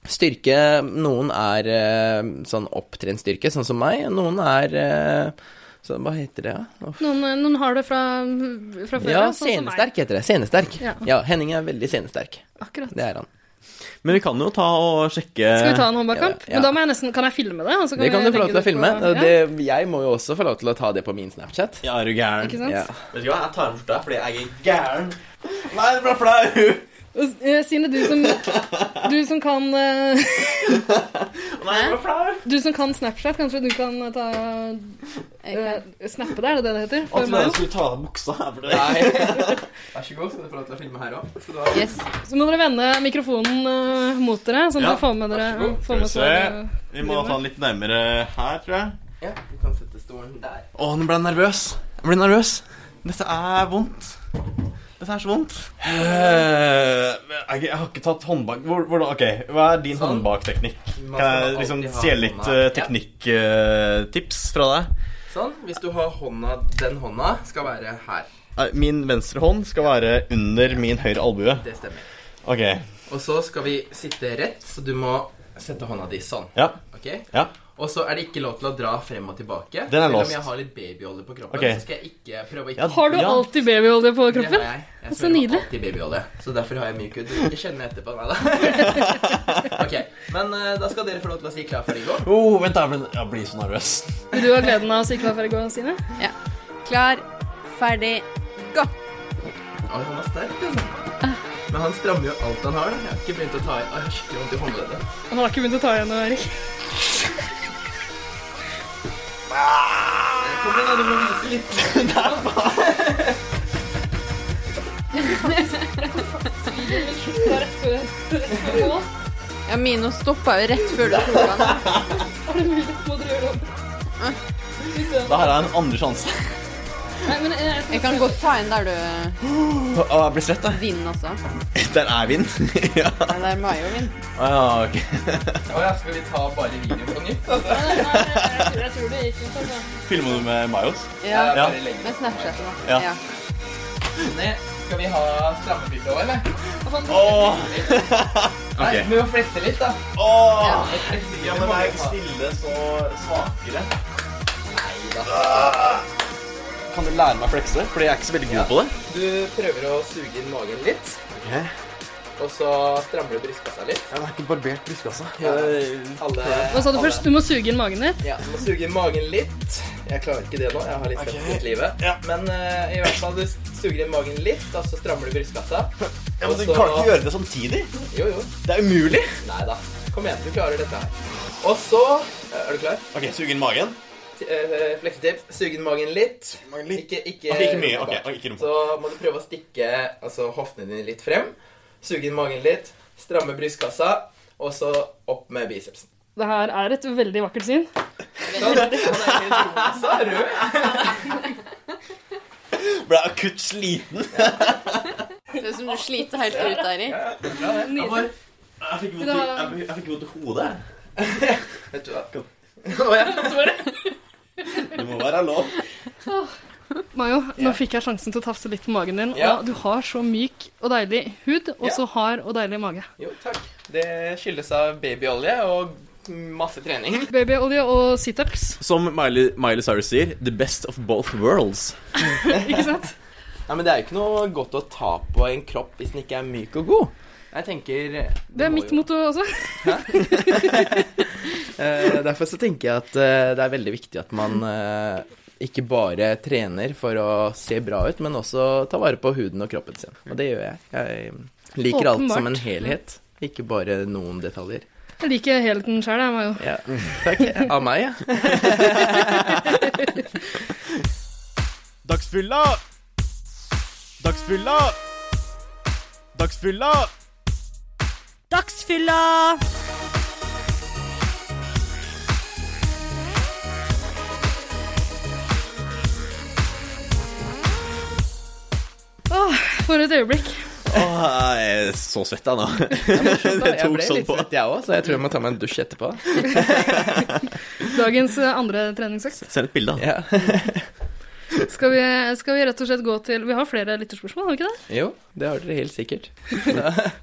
styrke Noen er eh, sånn opptrent styrke, sånn som meg. og Noen er eh, så, Hva heter det, da? Ja?
Noen, eh, noen har det fra, fra før
Ja,
sånn som meg.
senesterk heter det. Senesterk.
Ja.
Ja, Henning er veldig senesterk.
Akkurat.
Det er han.
Men vi kan jo ta og sjekke
Skal vi ta en håndbakkamp?
Ja, ja.
Men da må jeg nesten, kan jeg filme det? og så
Det kan
vi
du få
legge
lov til å
det
filme.
på-
og
ja.
Det, jeg må jo også få lov til å ta det på min Snapchat.
Ja, er du gæren?
Ikke sant?
Ja.
Vet du hva, jeg tar den bort deg fordi jeg er gæren. Nei, det ble flau.
Og, eh, Sine, du som, du som kan eh,
Nei, det ble flau.
Du som kan Snapchat, kanskje du kan ta eh, Snappe det, er det det det heter? For meg.
skulle ta av deg buksa. her, for det-
Vær så god, skal du få lov til å filme her òg.
Yes.
Så må dere vende mikrofonen eh, mot dere, sånn at
Ja,
dere får med dere
vær så god.
får med
Skal vi se.
dere-
Vi må ta den litt nærmere her, tror jeg.
Ja, du kan sette stolen der.
Å, nå ble jeg nervøs. Jeg ble nervøs. Dette er vondt. Dette er så vondt. Eh, Jeg, jeg har ikke tatt håndbak... Hvor, hvordan- ok, Hva er din
Sånn.
håndbakteknikk?
Man
Kan
skal
jeg liksom
alltid ha
stjele litt
hånda.
eh, teknikktips fra deg?
Sånn. Hvis du har hånda Den hånda skal være her.
Eh, Min venstre hånd skal være under min høyre albue.
Det stemmer.
Ok.
Og så skal vi sitte rett, så du må sette hånda di sånn.
Ja.
Ok?
ja.
Og så er det ikke lov til å dra frem og tilbake.
Den er
Selv
låst.
om jeg har litt babyolje på kroppen,
Ok.
så skal jeg ikke prøve å ikke
Ja,
Har du
Ja.
alltid babyolje på
Det har
kroppen?
jeg. Jeg
Så
smører meg
nydelig.
alltid babyolje. Så derfor har jeg myk hud. Ikke kjenn meg etterpå, nei da. ok, men eh, da skal dere få lov til å si klar, ferdig, gå.
Oh, vent, da, jeg blir- jeg blir så nervøs.
Vil du ha gleden av å si hva for å gå, Sine?
Klar, ferdig, gå.
Oi, han er sterk, altså.
Ah.
Men han strammer jo alt han har. da. Jeg har ikke begynt å ta i. Oi, jeg har skikkelig vondt i håndleddet.
Han har ikke begynt å ta igjen noe, Erik.
Kom igjen, da, du må vise litt.
Bare før. Nå
Ja, Mino stoppa jo rett før du tok
er
han.
det mulig. Må dere gjøre det. Vi ser.
Da har jeg en andre sjanse.
Nei, men jeg, jeg,
Jeg kan godt ta en der du
Å, jeg blir svett, jeg.
vinner, altså.
Der er vind. ja.
Den der Mayo vinner.
Å, ja, ok.
Å, ja, skal vi ta bare video på nytt, altså?
Nei, nei, jeg, jeg tror det gikk ut. Altså.
Filmer du med Mayos?
Ja.
Jeg
Ja.
bare legger
Med Snapchat nå.
Ja.
Ja.
den ned. Skal vi ha stramme bilder òg, eller?
Åh,
Nei,
Ok.
vi må flette litt, da.
åh.
Ja.
Et fleksibelt
Ja, men er
måte å ta-
stille så svakere?
da.
Kan du lære meg å flekse? Fordi jeg er ikke så veldig god på det.
Du prøver å suge inn magen litt. Og så strammer du brystkassa litt.
Jeg har ikke barbert altså. brystkassa.
Alle,
Hva sa du
alle-
først? Du må suge inn magen ditt.
Ja, du må suge i magen litt. Jeg klarer ikke det nå. Jeg har litt okay. fett livet. Men eh, i hvert fall, du suger i magen litt, og så strammer du brystkassa.
Ja,
Og
men du
så-
kan ikke gjøre det samtidig.
Jo, jo.
Det er umulig.
Nei da. Kom igjen, du klarer dette her. Og så eh, Er du klar?
Ok, sug inn magen.
T- eh, Fleksetips. Sug inn magen litt. Ikke, ikke,
Ok, ikke mye. Ok,
rumpa.
ok, ikke rumpa.
Så må du prøve å stikke altså, hoftene dine litt frem. Suge inn magen litt. Stramme brystkassa. Og så opp med bicepsen.
Det her er et veldig vakkert syn.
Sånn. Han er helt rosa rød.
Ble akutt sliten.
Det er som du sliter helt ut der i.
Jeg bare- jeg fikk vondt i- jeg fikk- jeg fikk vondt i hodet.
Vet du hva?
Det må være lov.
Mayo, nå fikk jeg sjansen til å tafse litt på magen din.
Ja.
Og du har så myk og deilig hud, og
Ja.
så hard og deilig mage.
Jo, takk. Det skyldes av babyolje og masse trening.
Babyolje og situps,
Som Miley, Miley Cyrus sier, the best of both worlds.
ikke sant?
Nei, men Det er jo ikke noe godt å ta på en kropp hvis den ikke er myk og god. Jeg tenker
Det er mitt motto også.
Eh, derfor så tenker jeg at eh, det er veldig viktig at man eh, ikke bare trener for å se bra ut, men også ta vare på huden og kroppen sin. Og det gjør jeg. Jeg liker alt som en
Åpenbart.
helhet, ikke bare noen detaljer.
Jeg liker helheten sjøl, jeg, Mayo.
Ja. Takk. Av meg, ja.
Dagsfylla! Dagsfylla! Dagsfylla!
Dagsfylla!
Åh, for et øyeblikk.
Åh, jeg er så svett jeg nå. Det
Jeg
tok
ble
sånn
litt
på.
svett, jeg òg, så jeg tror jeg må ta meg en dusj etterpå.
Dagens eh, andre treningsøkt.
Send et bilde, da.
Ja.
Skal vi, skal vi rett og slett gå til Vi har flere lytterspørsmål, har vi ikke det?
Jo, det har dere helt sikkert.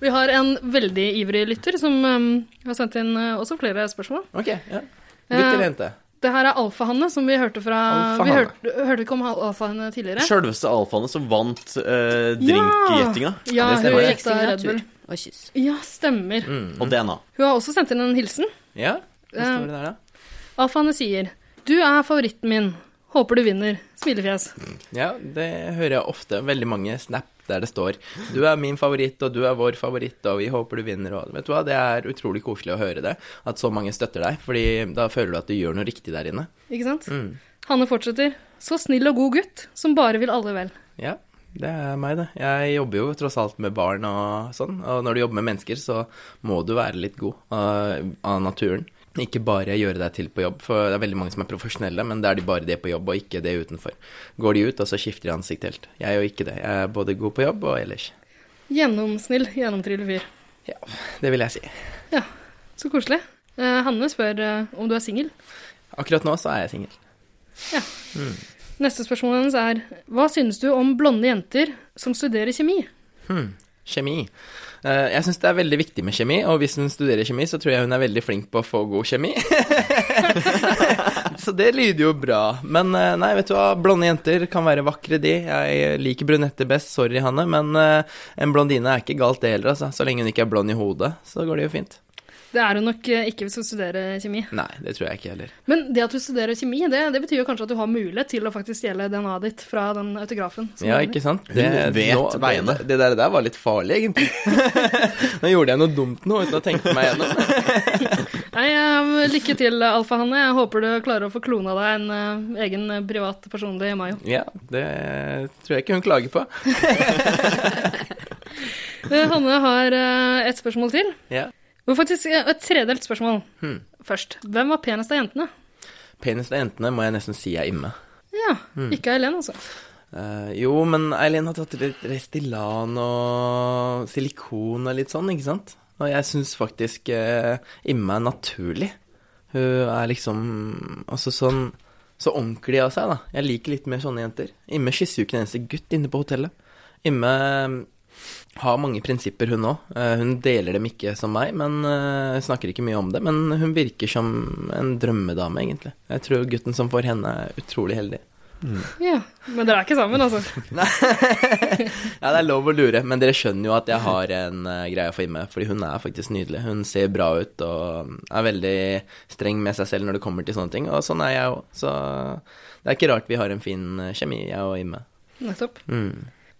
Vi har en veldig ivrig lytter som eh, har sendt inn eh, også flere spørsmål.
Ok, ja. Gutt eller jente?
Det her er Alfahanne, som vi hørte fra Vi
Alfahanne.
hørte, hørte ikke om Al- Alfahanne tidligere.
Sjølveste alfaene som vant eh, drinkgjettinga.
Ja,
Det
hun
stemmer. Mm.
gikk da Red Bull.
og kyss.
Ja, stemmer.
Og DNA.
Hun har også sendt inn en hilsen.
Ja? Hva står det der, da?
Alfahanne sier Du er favoritten min. Håper du vinner. Smilefjes.
Ja, det hører jeg ofte. Veldig mange snap der det står 'Du er min favoritt, og du er vår favoritt, og vi håper du vinner', og Vet du hva, det er utrolig koselig å høre det. At så mange støtter deg, fordi da føler du at du gjør noe riktig der inne.
Ikke sant?
Mm.
Hanne fortsetter. Så snill og god gutt som bare vil alle vel.
Ja, det er meg, det. Jeg jobber jo tross alt med barn og sånn, og når du jobber med mennesker, så må du være litt god av, av naturen. Ikke bare gjøre deg til på jobb, for det er veldig mange som er profesjonelle, men da er de bare det på jobb, og ikke det utenfor. Går de ut, og så skifter de ansikt helt. Jeg gjør ikke det. Jeg er både god på jobb og ellers.
Gjennomsnill, gjennomtrylle fyr.
Ja, det vil jeg si.
Ja, så koselig. Eh, Hanne spør eh, om du er singel.
Akkurat nå så er jeg singel.
Neste spørsmål hennes er Hva synes du om blonde jenter som studerer kjemi?
Kjemi. Eh, Jeg syns det er veldig viktig med kjemi, og hvis hun studerer kjemi, så tror jeg hun er veldig flink på å få god kjemi. så det lyder jo bra. Men eh, nei, vet du hva, blonde jenter kan være vakre, de. Jeg liker brunetter best, sorry Hanne, men eh, en blondine er ikke galt det heller, altså. Så lenge hun ikke er blond i hodet, så går det jo fint.
Det er hun nok eh, ikke hvis hun studerer kjemi.
Nei, det tror jeg ikke heller.
Men det at du studerer kjemi, det, det betyr jo kanskje at du har mulighet til å faktisk stjele DNA-et ditt fra den autografen. som
Ja,
Sånn er
ikke sant?
vet
det-
veiene.
Det, der, der var litt farlig, egentlig. nå gjorde jeg noe dumt nå, uten å tenke meg gjennom.
Nei, eh, lykke til, Alfahanne. Jeg håper du klarer å få klona deg en eh, egen eh, privat, personlig Mayo.
Ja, det tror jeg ikke hun klager på.
Eh, Hanne har eh, et spørsmål til.
Ja.
Men faktisk eh, et tredelt spørsmål
Hmm.
først. Hvem var penest av jentene?
Peneste jentene må jeg nesten si er imme.
Ja,
Hmm.
ikke Eileen, altså.
Eh, jo, men Eileen har tatt litt Restylane og silikon og litt sånn, ikke sant? Og jeg syns faktisk eh, Imme er naturlig. Hun er liksom altså sånn så ordentlig av seg, da. Jeg liker litt mer sånne jenter. Imme kysser jo ikke en eneste gutt inne på hotellet. Imme har mange prinsipper, hun òg. Hun deler dem ikke som meg, men eh, snakker ikke mye om det. Men hun virker som en drømmedame, egentlig. Jeg tror gutten som får henne, er utrolig heldig.
Ja. Men dere er ikke sammen, altså.
Ja, det er lov å lure, men dere skjønner jo at jeg har en eh, greie for Imme, fordi hun er faktisk nydelig. Hun ser bra ut og mm, er veldig streng med seg selv når det kommer til sånne ting, og sånn er jeg òg. Så det er ikke rart vi har en fin eh, kjemi, jeg og Imme.
Nettopp.
Mm.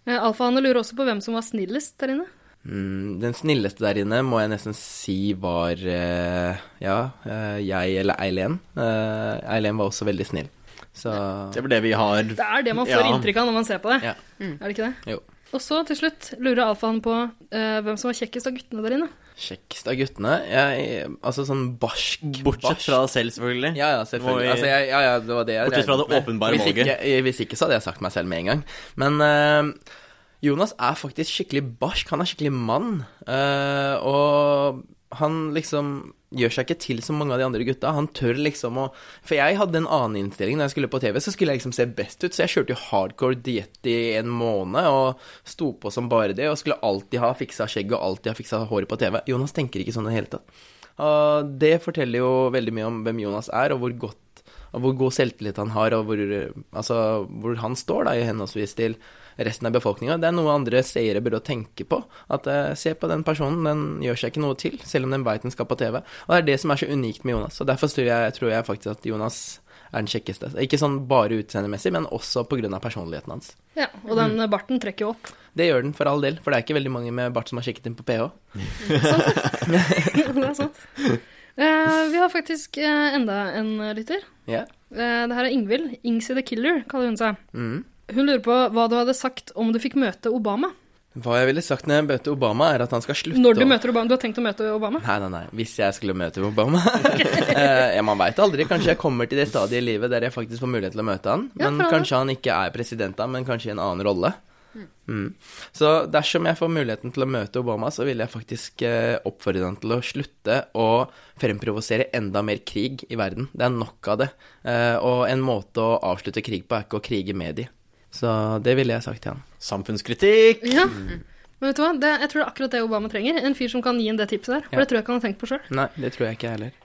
Eh, Alfahanne lurer også på hvem som var snillest der inne.
Mm, den snilleste der inne må jeg nesten si var eh, ja, eh, jeg eller Eileen. Eh, Eileen var også veldig snill, så
Det er vel det vi har.
Det er det man får
Ja.
inntrykk av når man ser på det.
Ja.
Er det ikke det?
Jo.
Og så til slutt lurer Alfahanne på eh, hvem som var kjekkest av guttene der inne.
kjekkest av guttene. Jeg, altså sånn barsk
Bortsett
barsk.
fra oss selv, selvfølgelig.
Ja, ja,
Må
selvfølgelig.
vi-
altså, jeg, ja, ja, det var det jeg
Bortsett fra
regnet
det
med.
åpenbare
hvis ikke,
valget.
eh, Hvis ikke så hadde jeg sagt meg selv med en gang. Men eh, Jonas er faktisk skikkelig barsk. Han er skikkelig mann. eh, og han liksom gjør seg ikke til som mange av de andre gutta. Han tør liksom å For jeg hadde en annen innstilling da jeg skulle på TV, så skulle jeg liksom se best ut, så jeg kjørte jo hardcore diett i en måned og sto på som bare det, og skulle alltid ha fiksa skjegget og alltid ha fiksa håret på TV. Jonas tenker ikke sånn i det hele tatt. Og det forteller jo veldig mye om hvem Jonas er, og hvor godt og hvor god selvtillit han har, og hvor, altså, hvor han står da, i henholdsvis til resten av befolkninga. Det er noe andre seere burde tenke på. At eh, se på den personen, den gjør seg ikke noe til, selv om den veit den skal på TV. Og det er det som er så unikt med Jonas, og derfor tror jeg, tror jeg faktisk at Jonas er den kjekkeste. Ikke sånn bare utseendemessig, men også pga. personligheten hans.
Ja, Og den
Mm.
eh, barten trekker jo opp.
Det gjør den, for all del, for det er ikke veldig mange med bart som har sjekket inn på PH.
det er sant. Eh, vi har faktisk eh, enda en eh, lytter.
Ja.
Eh, det her er Ingvild. Ingsi the Killer, kaller hun seg.
Mm.
Hun lurer på hva du hadde sagt om du fikk møte Obama.
Hva jeg ville sagt når jeg møter Obama, er at han skal slutte
Når du
å-
møter Obama. Du har tenkt å møte Obama?
Nei, nei, nei. Hvis jeg skulle møte Obama Eh, ja, Man veit aldri. Kanskje jeg kommer til det stadiet i livet der jeg faktisk får mulighet til å møte han.
Ja, for all
Men
del.
kanskje han ikke er president da, men kanskje i en annen rolle. Mm. Så dersom jeg får muligheten til å møte Obama, så vil jeg faktisk eh, oppfordre han til å slutte å fremprovosere enda mer krig i verden. Det er nok av det. Eh, og en måte å avslutte krig på er ikke å krige med de. Så det ville jeg sagt til han.
Samfunnskritikk!
Ja.
Mm.
Men vet du hva? Det, jeg tror det er akkurat det Obama trenger. En fyr som kan gi en det tipset der. For
Ja.
det tror jeg ikke han har tenkt på sjøl.
Nei, det tror jeg ikke jeg heller.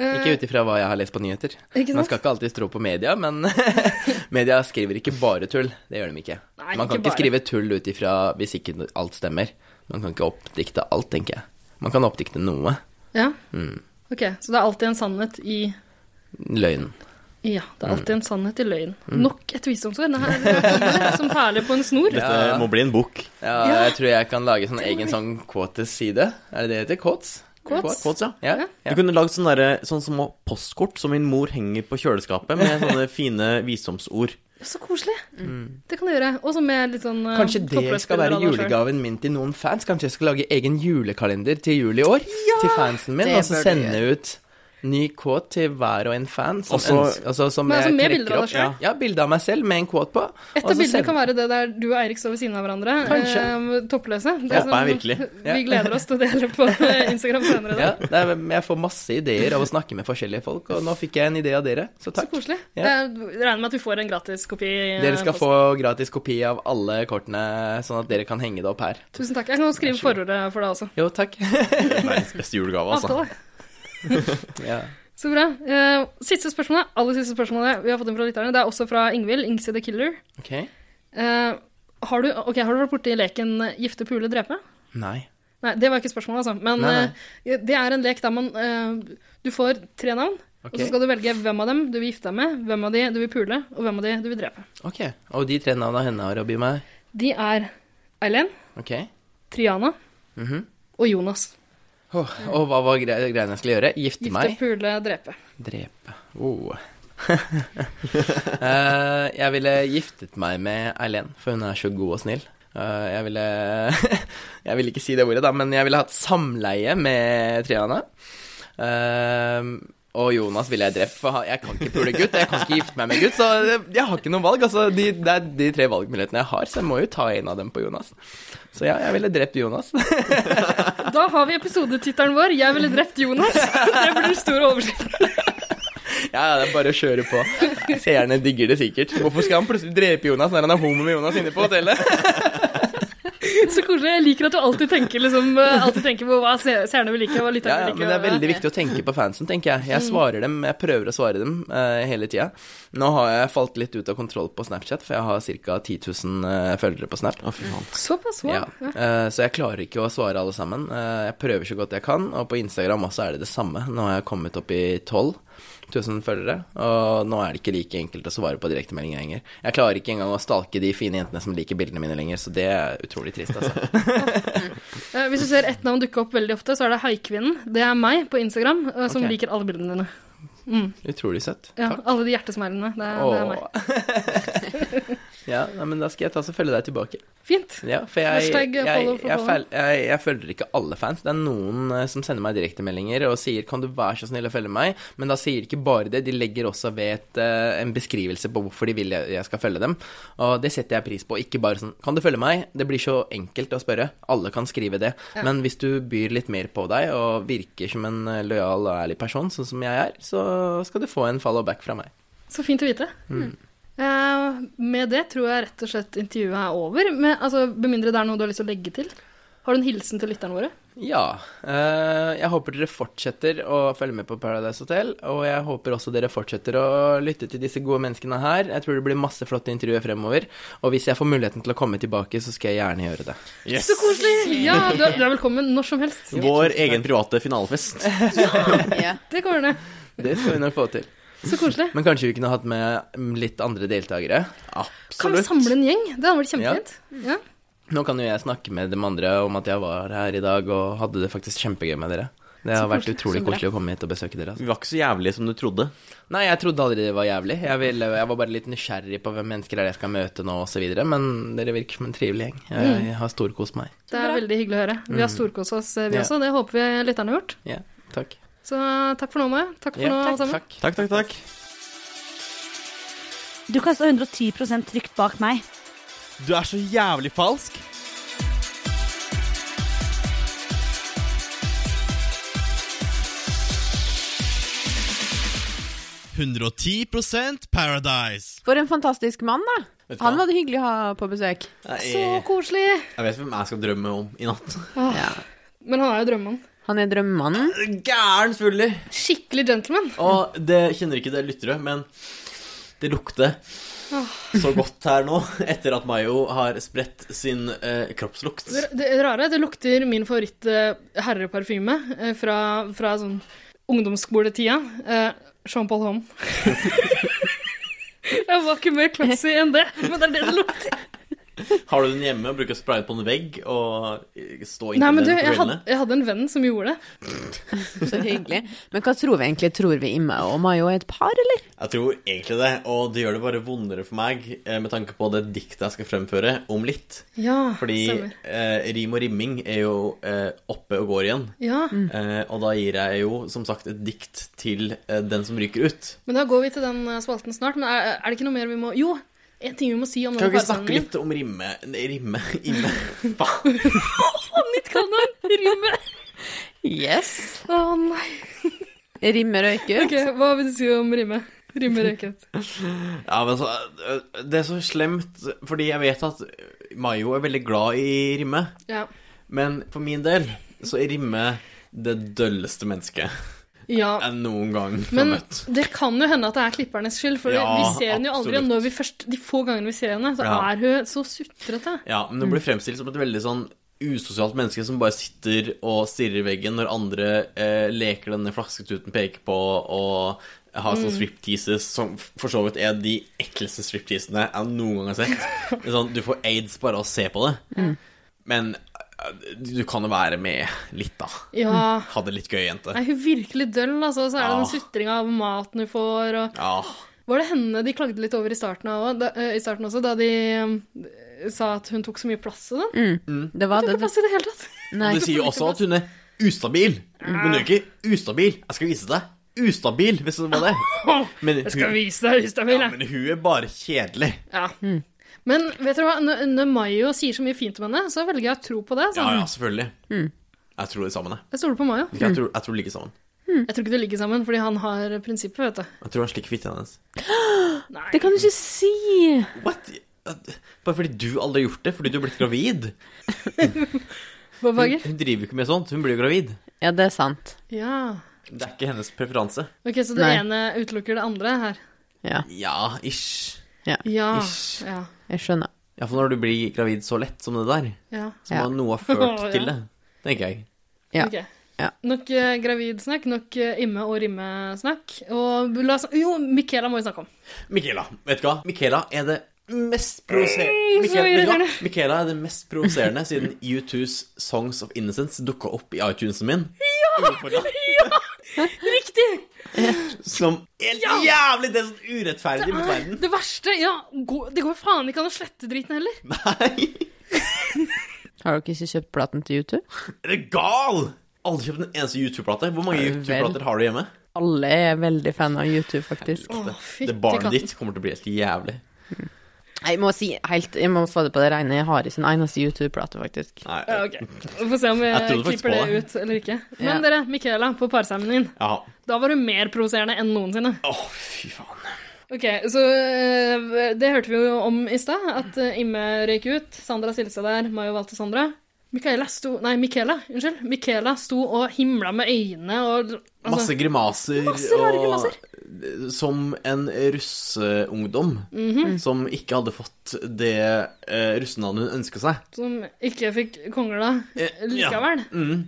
Ikke ut ifra hva jeg har lest på nyheter.
Ikke
Man
sant?
skal ikke alltid tro på media, men media skriver ikke bare tull. Det gjør de ikke.
Nei,
Man kan
ikke
ikke,
bare.
skrive tull ut ifra hvis ikke alt stemmer. Man kan ikke oppdikte alt, tenker jeg. Man kan oppdikte noe.
Ja.
Mm.
Ok, så det er alltid en sannhet i
Løgn.
Ja, det er
Mm.
alltid en sannhet i løgn. Nok et visdomsord. Det her kommer som perler på en snor.
Dette må bli en bok.
Ja,
Ja.
jeg tror jeg kan lage sånn egen sånn quotes-side. Er det det det heter? Quotes?
Quotes.
Quotes, ja.
Ja.
Du kunne lagd sånn derre- sånn små postkort som min mor henger på kjøleskapet, med sånne fine visdomsord.
Så koselig. Det kan du gjøre. Og så med litt sånn eh,
Mm. Kanskje det skal
toppløpsbilder
være
av deg selv.
julegaven min til noen fans? Kanskje jeg skal lage egen julekalender til jul i år? til fansen min,
Det
og så
bør du
sende ut ny quote til hver og en fan som,
Også-
ønsker, altså, som
Men
jeg
altså med
trekker
bilder av deg
opp.
selv?
Ja, ja, bilde av meg selv med en quote på.
Et
og
av
så
bildene
send-
kan være det der du og Eirik står ved siden av hverandre.
Altså, Kanskje.
eh, toppløse. Det
Håper
som-
jeg virkelig.
Ja.
Vi gleder oss til å dele på Instagram senere. i
ja,
dag.
det er, men jeg får masse ideer av å snakke med forskjellige folk, og nå fikk jeg en idé av dere, så
Så
takk.
koselig.
Ja.
Jeg regner med at vi får en gratis kopi. eh,
Dere skal
post.
få gratis kopi av alle kortene, sånn at dere kan henge det opp her.
Tusen takk. Jeg kan også skrive forordet for deg også.
Jo, takk.
Verdens beste julegave, altså.
Avtale.
ja.
Så bra. Eh, Siste spørsmålet, aller siste spørsmålet vi har fått inn fra lytterne, det er også fra Ingvild, Ingsi the Killer.
Ok.
Eh, har, du, ok, har du vært borti leken eh, gifte, pule, drepe?
Nei.
Nei, det var ikke spørsmålet, altså. Men
Nei,
eh, det er en lek der man eh, Du får tre navn, og
Ok.
så skal du velge hvem av dem du vil gifte deg med, hvem av de du vil pule, og hvem av de du vil drepe.
Ok. Og de tre navnene henne har å by meg.
De er Eileen,
Ok.
Triana
Mhm.
og Jonas.
Åh, og hva var gre greiene jeg skulle gjøre? Gifte
Gifte,
meg?
pule, drepe.
Drepe. Oh. Eh, jeg ville giftet meg med Eileen, for hun er så god og snill. Eh, jeg ville Jeg ville ikke si det ordet, da, men jeg ville hatt samleie med Triana. Eh, og Jonas ville jeg drept, for han- jeg kan ikke pule gutt. Jeg kan ikke gifte meg med gutt, så jeg- jeg har ikke noe valg. Altså, de, det er de tre valgmulighetene jeg har, så jeg må jo ta en av dem på Jonas. Så ja, jeg ville drept Jonas.
Da har vi episodetittelen vår 'Jeg ville drept Jonas'. Det blir den store overskriften.
Ja, ja, det er bare å kjøre på. Nei, Seerne digger det sikkert. Hvorfor skal han plutselig drepe Jonas når han er homo med Jonas inne på hotellet?
Så koselig. Jeg liker at du alltid tenker, liksom, eh, alltid tenker på hva se- seerne vil like. og Hva
Ja,
lytterne vil
ja,
like.
men det er
og-
veldig viktig å tenke på fansen, tenker jeg. Jeg svarer dem, jeg prøver å svare dem eh, hele tida. Nå har jeg falt litt ut av kontroll på Snapchat, for jeg har ca. 10 000 eh, følgere på Snap.
Å, fy faen.
Såpass, wow.
Ja. eh, så jeg klarer ikke å svare alle sammen. Eh, jeg prøver så godt jeg kan, og på Instagram også er det det samme. Nå har jeg kommet opp i 12 000 følgere, og nå er det ikke like enkelt å svare på direktemeldinger lenger. Jeg klarer ikke engang å stalke de fine jentene som liker bildene mine lenger, så det er utrolig trist, altså.
Eh, Hvis du ser ett navn dukke opp veldig ofte, så er det Haikvinnen. Det er meg på Instagram, eh, som
Ok.
liker alle bildene dine.
Utrolig søtt.
Ja,
Takk.
alle de hjertesmilene. Det, er- det er meg.
Åh. ja, nei, men da skal jeg ta så følge deg tilbake.
Fint.
Ja, for jeg, jeg,
Hashtag
jeg,
follow
jeg,
for follow.
fel- jeg, jeg følger ikke alle fans. Det er noen eh, som sender meg direktemeldinger og sier 'kan du være så snill å følge meg', men da sier de ikke bare det, de legger også ved et, eh, en beskrivelse på hvorfor de vil jeg, jeg skal følge dem. Og det setter jeg pris på. Ikke bare sånn 'kan du følge meg'? Det blir så enkelt å spørre. Alle kan skrive det. Men hvis du byr litt mer på deg og virker som en eh, lojal og ærlig person, sånn som jeg er, så skal du få en follow back fra meg.
Så fint å vite.
Mm.
Eh, med det tror jeg rett og slett intervjuet er over. Men, altså, med mindre det er noe du har lyst til å legge til. Har du en hilsen til lytterne våre?
Ja. eh, jeg håper dere fortsetter å følge med på Paradise Hotel. Og jeg håper også dere fortsetter å lytte til disse gode menneskene her. Jeg tror det blir masse flotte intervjuer fremover. Og hvis jeg får muligheten til å komme tilbake, så skal jeg gjerne gjøre det.
Yes.
Så koselig! Ja, du er, du er velkommen når som helst.
Vår egen private finalefest.
Ja.
Det går ned.
Det skal vi nok få til.
Så koselig.
Men kanskje vi kunne hatt med mm, litt andre deltakere.
Kan vi samle en gjeng? Det hadde vært kjempefint. Ja.
Nå kan jo jeg snakke med dem andre om at jeg var her i dag og hadde det faktisk kjempegøy med dere. Det har vært utrolig koselig å komme hit og besøke dere. Altså.
Vi var ikke så jævlige som du trodde.
Nei, jeg trodde aldri det var jævlig. Jeg, ville, jeg var bare litt nysgjerrig på hvem mennesker er det jeg skal møte nå, osv. Men dere virker som en trivelig gjeng. Jeg,
Mm.
jeg har storkost meg.
Det er veldig hyggelig å høre. Vi har storkost oss, eh, vi
Mm. Ja.
også. Det håper vi lytterne har gjort.
Ja, takk.
Så eh, takk for nå, Maja. Takk for
Ja,
nå,
takk,
alle sammen.
takk.
Takk, takk, takk.
Du kan stå 110 trygt bak meg.
Du er så jævlig falsk.
Paradise.
For en fantastisk mann, da.
Vet du
Han
hva?
var det hyggelig å ha på besøk.
Så
Jeg,
koselig!
jeg vet hvem jeg skal drømme om i natt.
Men han er jo drømmemannen.
Han er drømmemannen.
Gæren fuller.
Skikkelig gentleman.
Og det kjenner ikke dere lyttere, men det lukter så godt her nå etter at Mayo har spredt sin eh, kroppslukt.
Det, det rare, det lukter min favoritt-herreparfyme eh, fra, fra sånn ungdomsskoletida. Eh, Jean-Paul Homme. Jeg var ikke mer classy enn det, men det er det det lukter.
Har du den hjemme og bruker sprayen på en vegg og eh,
Nei,
stå inntil
men du,
den på
jeg hadde,
kveldene?
jeg hadde en venn som gjorde det.
Så hyggelig. Men hva tror vi egentlig? Tror vi Imma og Mayo er et par, eller?
Jeg tror egentlig det, og det gjør det bare vondere for meg eh, med tanke på det diktet jeg skal fremføre om litt.
Ja,
Fordi
stemmer.
eh, rim og rimming er jo eh, oppe og går igjen.
Ja,
Eh, og da gir jeg jo som sagt et dikt til eh, den som ryker ut.
Men da går vi til den eh, spalten snart. Men er, er det ikke noe mer vi må Jo, en ting vi må si om
Kan
den
vi ikke
parsenden
snakke
min.
litt om rimme... Nei, rimme inne? Faen.
Nytt kanon! Rimme!
Yes.
Å nei.
Rimmer og ikke
Ok, Hva vil du si om rimme? Rimme røyket.
Ja, men så, øh, det er så slemt, fordi jeg vet at Mayo er veldig glad i rimme,
Ja.
men for min del så er rimme det dølleste mennesket
ja.
jeg noen gang har
Men
møtt.
det kan jo hende at det er klipperen hennes skyld, for
Ja,
vi ser henne jo aldri.
absolutt.
Og når vi først, de få gangene vi ser henne, så
Ja.
er hun så sutrete.
Ja, men
Mm.
hun blir fremstilt som et veldig sånn usosialt menneske som bare sitter og stirrer i veggen når andre eh, leker denne flasketuten peker på og har
Mm.
sånne stripteases som f- for så vidt er de ekleste stripteasene jeg noen gang har sett. Det er sånn, du får aids bare av å se på det.
Mm.
Men eh, du kan jo være med litt, da.
Ja.
Ha det litt gøy, jente.
Er hun virkelig døll, altså? Så er det
Ja.
den sutringa av maten hun får, og
Ja.
Var det henne de klagde litt over i starten, av, også, da, eh, i starten også, da de eh, sa at hun tok så mye plass og sånn?
Det var
Hun tok
det.
ikke plass i det hele tatt.
Nei.
Du sier jo også at hun er ustabil. Men hun er ikke ustabil. Jeg skal vise deg. Ustabil, hvis det var det. Men
Jeg skal
hun,
vise deg ustabil,
ja,
jeg.
men hun er bare kjedelig.
Ja. Men vet dere hva, når, når Mayo sier så mye fint om henne, så velger jeg å tro på det.
Ja,
sånn.
ja, selvfølgelig. Jeg tror det sammen, jeg.
Jeg stoler på Mayo.
Jeg tror, jeg tror det ligger sammen.
Jeg tror ikke det ligger sammen, fordi han har prinsippet, vet du.
Jeg tror han slikker fitta hennes.
Nei.
Det kan du ikke si!
What? Bare fordi du aldri har gjort det, fordi du er blitt gravid.
Bob
Hun,
Hager?
hun driver jo ikke med sånt, hun blir jo gravid.
Ja, det er sant.
Ja.
Det er ikke hennes preferanse.
Ok, så det
Nei.
ene utelukker det andre her.
Ja,
Ja, ish.
Ja.
Ish.
Ja.
jeg skjønner.
Ja, for når du blir gravid så lett som det der,
ja.
så
Ja.
må noe ha
Å,
ført
ja.
til det, tenker jeg.
Ja.
Ok.
Ja.
Nok eh, gravidsnakk, nok eh, imme- og rimmesnakk. Og la oss Jo, Michaela må vi snakke om.
Michaela, vet du hva? Michaela er det mest provoserende
så
Michaela, vet du hva?
irriterende.
Michaela er det mest provoserende siden U2s Songs of Innocence dukka opp i iTunesen min. Ja!
Riktig!
Som helt jævlig det er sånn urettferdig mot verden.
Det verste Ja, gå, det går faen ikke an å slette driten heller.
Nei!
Har dere ikke kjøpt platen til YouTube?
Er du gal? Aldri kjøpt en eneste YouTube-plate. Hvor mange
Ja,
YouTube-plater
vel.
har du hjemme?
Alle er veldig fan av YouTube, faktisk.
Å,
Det
fytti
barnet
katten.
ditt kommer til å bli helt jævlig.
Jeg må si helt, jeg må få det på det rene, jeg har ikke en eneste YouTube-plate, faktisk.
Nei,
Ja, ok. Vi får se om
Jeg
vi
trodde faktisk
klipper
på
det
det.
ut eller ikke. Men
Ja.
dere, Michaela på parseremonien.
ja.
Da var hun mer provoserende enn noensinne.
Å, fy faen.
Ok, så øh, Det hørte vi jo om i stad, at øh, Imme røyk ut. Sandra stilte seg der. Mayo valgte Sandra. Michaela sto Nei, Michaela, unnskyld. Michaela sto og himla med øynene og altså,
Masse grimaser
Masse rare grimaser. Mhm.
Som en russeungdom som ikke hadde fått det eh, russenavnet hun ønska seg.
Som ikke fikk kongla
Eh,
likevel.
Ja. Mm.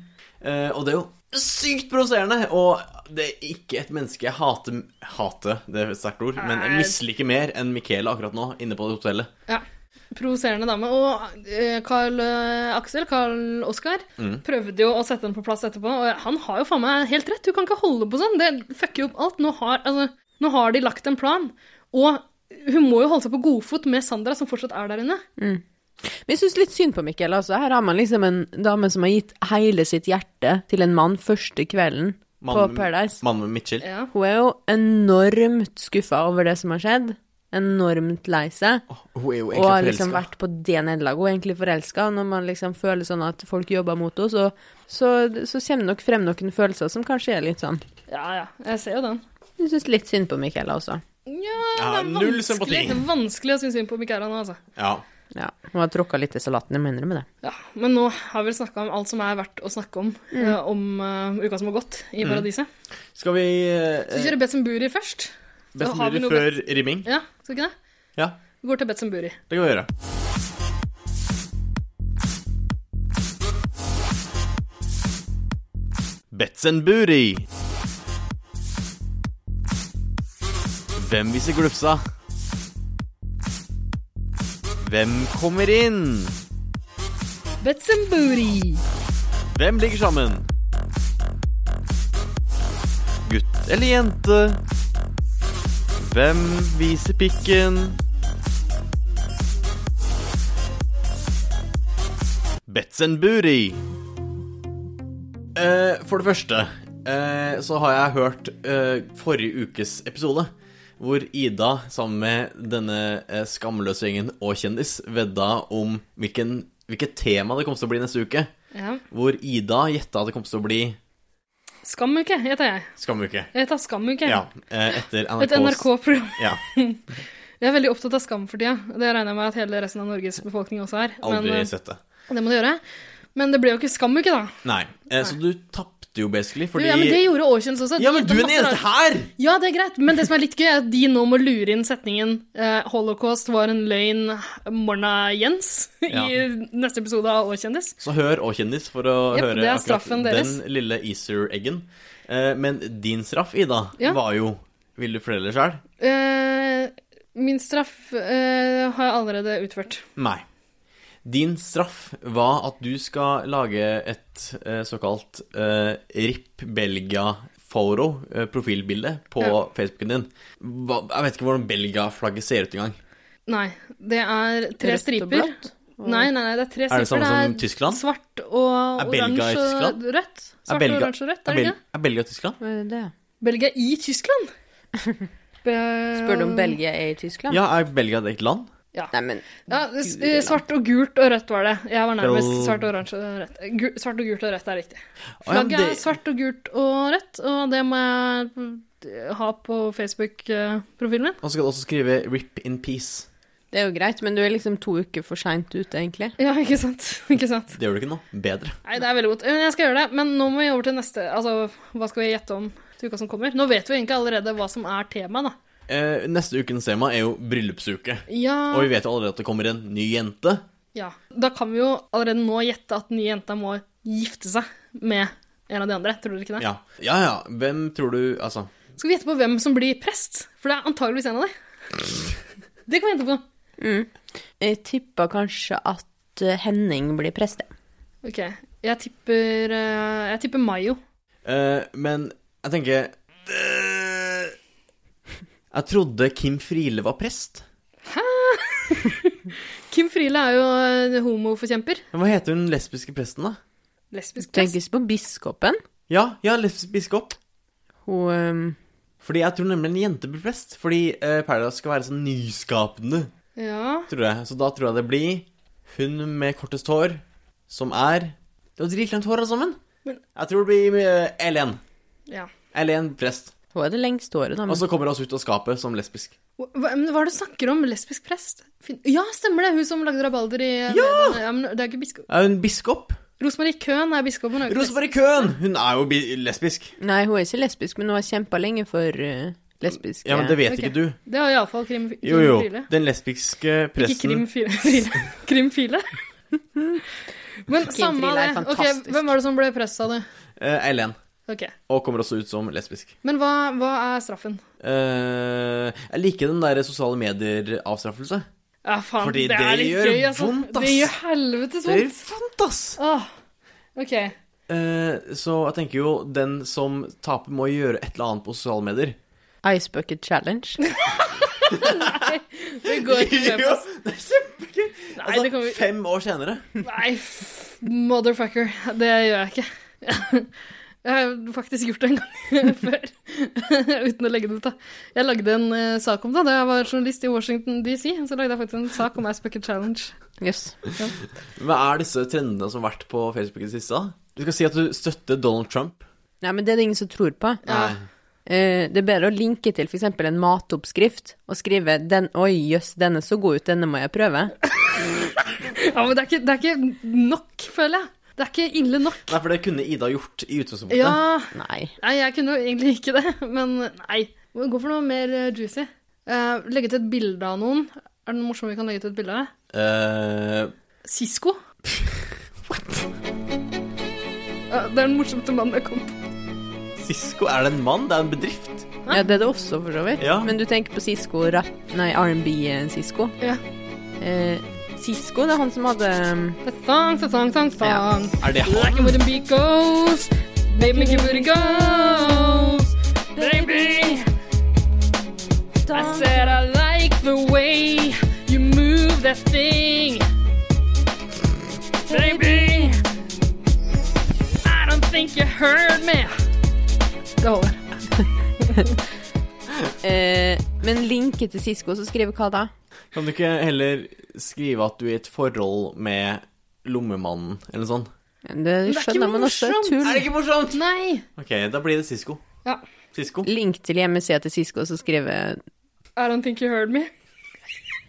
Eh, og det er jo sykt provoserende! Og det er ikke et menneske jeg hater Hater, det er et sterkt ord, men jeg
Nei.
misliker mer enn Michaela akkurat nå, inne på det hotellet.
Ja. Provoserende dame. Og eh, Carl eh, Aksel, Carl Oskar,
Mm.
prøvde jo å sette henne på plass etterpå, og han har jo faen meg helt rett. Du kan ikke holde på sånn. Det fucker jo opp alt. Nå har, altså, nå har de lagt en plan. Og hun må jo holde seg på godfot med Sandra, som fortsatt er der inne.
Men jeg synes litt synd på Mikkel, altså. Her har man liksom en dame som har gitt hele sitt hjerte til en mann første kvelden på
Mann-
Paradise.
Mannen med midtskill.
Ja.
Hun er jo enormt skuffa over det som har skjedd. Enormt lei seg.
Hun er jo
Og har
egentlig
liksom
forelska.
vært på det nederlaget. Hun er egentlig forelska. Når man liksom føler sånn at folk jobber mot oss, og så, så kommer nok frem noen følelser som kanskje er litt sånn
ja, ja. Jeg ser jo den.
Jeg syns litt synd på altså. Michaela også.
Ja,
Ja,
det er
null
vanskelig-
sympati.
Det er vanskelig å synes synd på Michaela nå, altså.
Ja.
Ja, Hun har tråkka litt i salaten, jeg må innrømme det.
Ja, men nå har vi vel snakka om alt som er verdt å snakke om eh, om eh, uka som har gått
Mm.
i Paradiset.
Skal vi
Skal vi
eh,
kjøre Betzemburi først?
Best
har vi
mulig
noe
før rimming?
Ja, skal vi ikke det?
Ja,
Vi går til Betzemburi.
det kan vi gjøre. Betzenburi. Hvem viser glufsa? Hvem kommer inn?
Betzemburi!
Hvem ligger sammen? Gutt eller jente? Hvem viser pikken? Betzenburi. Eh, for det første eh, så har jeg hørt eh, forrige ukes episode. Hvor Ida sammen med denne eh, skamløse gjengen og kjendis vedda om hvilken, hvilket tema det kommer til å bli neste uke.
Ja.
Hvor Ida gjetta at det kom til å bli
Skamuke heter jeg.
Skamuke.
Jeg heter Skamuke.
Ja, eh, etter NRKs
Et NRK-program.
Ja,
Jeg er veldig opptatt av skam for tida. Det regner jeg med at hele resten av Norges befolkning også er. Men
aldri
eh,
sett det.
det må du gjøre. Men det ble jo ikke Skamuke, da.
Nei. Eh, så du tapte jo basically fordi
Jo, Ja, men det gjorde Åkjønns også. De
Ja, men
gjorde
du er den
masse
eneste
rare-
her!
Ja, det er greit. Men det som er litt gøy, er at de nå må lure inn setningen eh, 'Holocaust var en løgn, Morna Jens' i
Ja.
neste episode av Åkjendis.
Så hør og kjendis for å
Jep,
høre
det er
akkurat
straffen deres.
den lille easter-eggen. Eh, men din straff, Ida,
Ja.
var jo Vil du fortelle sjøl?
Eh, min straff eh, har jeg allerede utført.
Nei. Din straff var at du skal lage et eh, såkalt eh, RIP Belgia-foro, eh, profilbilde, på
Ja.
Facebooken din. Hva, jeg vet ikke hvordan Belgia-flagget ser ut engang.
Nei, det er tre
Rødt og
striper.
blått, og-
Nei, nei, nei, det er tre
Er
striper.
det samme som Tyskland?
Svart og
Er Belgia i
oransje og
Tyskland?
rødt.
Er
Svart og
Belgia-
oransje og rødt,
Er,
er det ikke?
Bel
det?
er Belgia Tyskland?
Hva er det?
Belgia i Tyskland? Be
Spør du om Belgia er i Tyskland?
Ja, er Belgia et eget land?
Nei, men
Ja, s- eh, svart og gult og rødt var det. Jeg var nærmest
Bel-
svart og oransje og rødt. Gu svart og gult og rødt er riktig.
Å, ja, men
Flagget er
det-
svart og gult og rødt, og det må jeg mm, ha på Facebook-profilen min.
Og så skal du også skrive 'Rip in peace'.
Det er jo greit, men du er liksom to uker for seint ute, egentlig.
Ja, ikke sant? Ikke sant?
Det gjør du ikke noe bedre.
Nei, det er veldig godt. Eh, Jeg skal gjøre det, men nå må vi over til neste Altså, hva skal vi gjette om til uka som kommer? Nå vet vi egentlig allerede hva som er temaet, da.
Eh, neste ukens tema er jo bryllupsuke.
Ja,
Og vi vet jo allerede at det kommer en ny jente.
ja. Da kan vi jo allerede nå gjette at den nye jenta må gifte seg med en av de andre. Tror dere ikke det?
Ja, ja. ja. Hvem tror du Altså.
Skal vi gjette på hvem som blir prest? For det er antageligvis en av dem. Det kan vi gjette på.
Jeg tippa kanskje at eh, Henning blir prest. jeg.
Ok, jeg tipper, eh, jeg tipper Mayo.
Eh, men jeg tenker det- Jeg trodde Kim Friele var prest.
Kim Friele er jo eh, homoforkjemper.
Men hva heter hun lesbiske presten, da?
Lesbisk prest.
Tenkes på biskopen.
Ja, ja, lesbisk biskop.
Hun ehm,
Fordi jeg tror nemlig en jente blir prest. Fordi eh, Paradise skal være sånn nyskapende,
Ja.
tror jeg. Så da tror jeg det blir hun med kortest hår, som er Det var dritlangt hår, alle sammen. Jeg tror det blir eh, Elen.
ja.
Elen prest.
Hun er det lengste håret, da.
Og
Men
så kommer hun oss ut av skapet som lesbisk.
Hva, men hva er det du snakker om? Lesbisk prest? Fin ja, stemmer det! Hun som lagde rabalder i eh,
Ja!
ja men det er ikke biskop.
Er hun biskop?
Rosemarie Köhn er biskop. Hun er jo ikke
Rosemarie Köhn! Hun er jo bi lesbisk.
Nei, hun er ikke lesbisk, men hun har kjempa lenge for eh, lesbiske
Ja, men det vet
Ok.
ikke du.
prest. Det har iallfall Krim, krim
Jo, jo.
Friele.
Den lesbiske
Ikke Krim
presten
File. Friele. Krim File. Men samme av
Friele er
det. Ok,
fantastisk.
hvem var det som ble prest, sa du?
eh, Eileen.
Ok.
Og kommer også ut som lesbisk.
Men hva, hva er straffen?
Eh, jeg liker den der sosiale medier-avstraffelse.
Ja, faen,
Fordi
det
det
er litt
gjør
gøy, altså.
vondt, ass.
Det gjør helvetes
Det er
vondt.
fant, ass!
Åh, ok.
Eh, så jeg tenker jo den som taper, må gjøre et eller annet på sosiale medier.
Ice Bucket Challenge.
Det går ikke med på oss.
det er kjempegøy!
Nei, det
Altså,
kan vi...
fem år senere.
Nei, f- motherfucker. Det gjør jeg ikke. Jeg har faktisk gjort det en gang før, uten å legge det ut. da. Jeg lagde en eh, sak om det da jeg var journalist i Washington DC. Så lagde jeg faktisk en sak om Ass Bucket Challenge.
Jøss.
Hva er disse trendene som har vært på Facebook i det siste? da? Du skal si at du støtter Donald Trump.
Nei, men det er det ingen som tror på.
Ja.
Eh, det er bedre å linke til f.eks. en matoppskrift og skrive den, 'Oi, jøss, den er så god ut, denne må jeg prøve'.
ja, men det er, ikke, det er ikke nok, føler jeg. Det er ikke ille nok.
Nei, for det kunne Ida gjort i utgangspunktet.
Ja,
Nei.
Nei, jeg kunne jo egentlig ikke det, men nei. Gå for noe mer eh, juicy. Eh, legge til et bilde av noen. Er det noe morsomt vi kan legge til et bilde av?
Eh,
Sisko. Eh, det er den morsomte mannen jeg kom på.
Cisco, er det en mann? Det er en bedrift.
Ja, det er det også, for så vidt.
Ja.
Men du tenker på Sisko rapp... Nei, R&B-Sisko.
Ja.
Eh, Sisko, det er han som hadde
Thong, thong, thong, thong.
Er det han?
Like it wouldn't be ghost. Baby, give it a go. Baby. I said I like the way you move that thing. Baby. I don't think you heard me. Det holder.
eh, Men linke til Sisko, så skriver hva da?
Kan du ikke heller skrive at du er i et forhold med lommemannen, eller noe sånt?
Det
det er ikke
skjønner man også.
morsomt.
Tull.
ikke morsomt?
Nei.
Ok, da blir det Sisko.
Ja.
Sisko.
Link til hjemmesida til Sisko, så skriver
I don't think you heard me.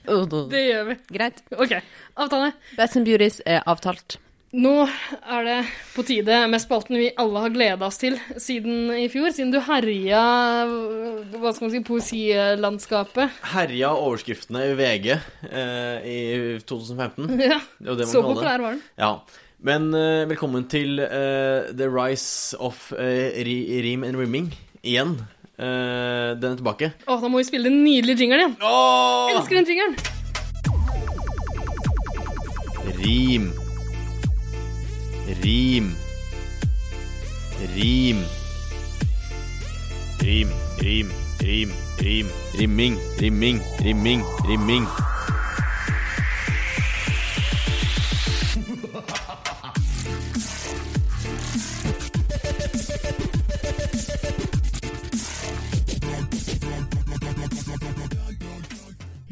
jeg
Det gjør vi.
Greit.
Ok, avtale.
Best and Beauties er avtalt.
Nå er det på tide med spalten vi alle har gleda oss til siden i fjor. Siden du herja hva skal man si, poesilandskapet.
Herja overskriftene i VG eh, i 2015.
Ja,
Det var det man
Så
kaller det.
populær var den.
Ja. Men eh, velkommen til eh, The Rise of eh, ri, Rim and Rimming igjen. Eh, den er tilbake.
Å, da må vi spille den nydelige jingeren igjen. Jeg elsker den jingeren.
Rim. Rim. Rim. Rim, rim, rim, rim. Rimming, rimming, rimming, rimming.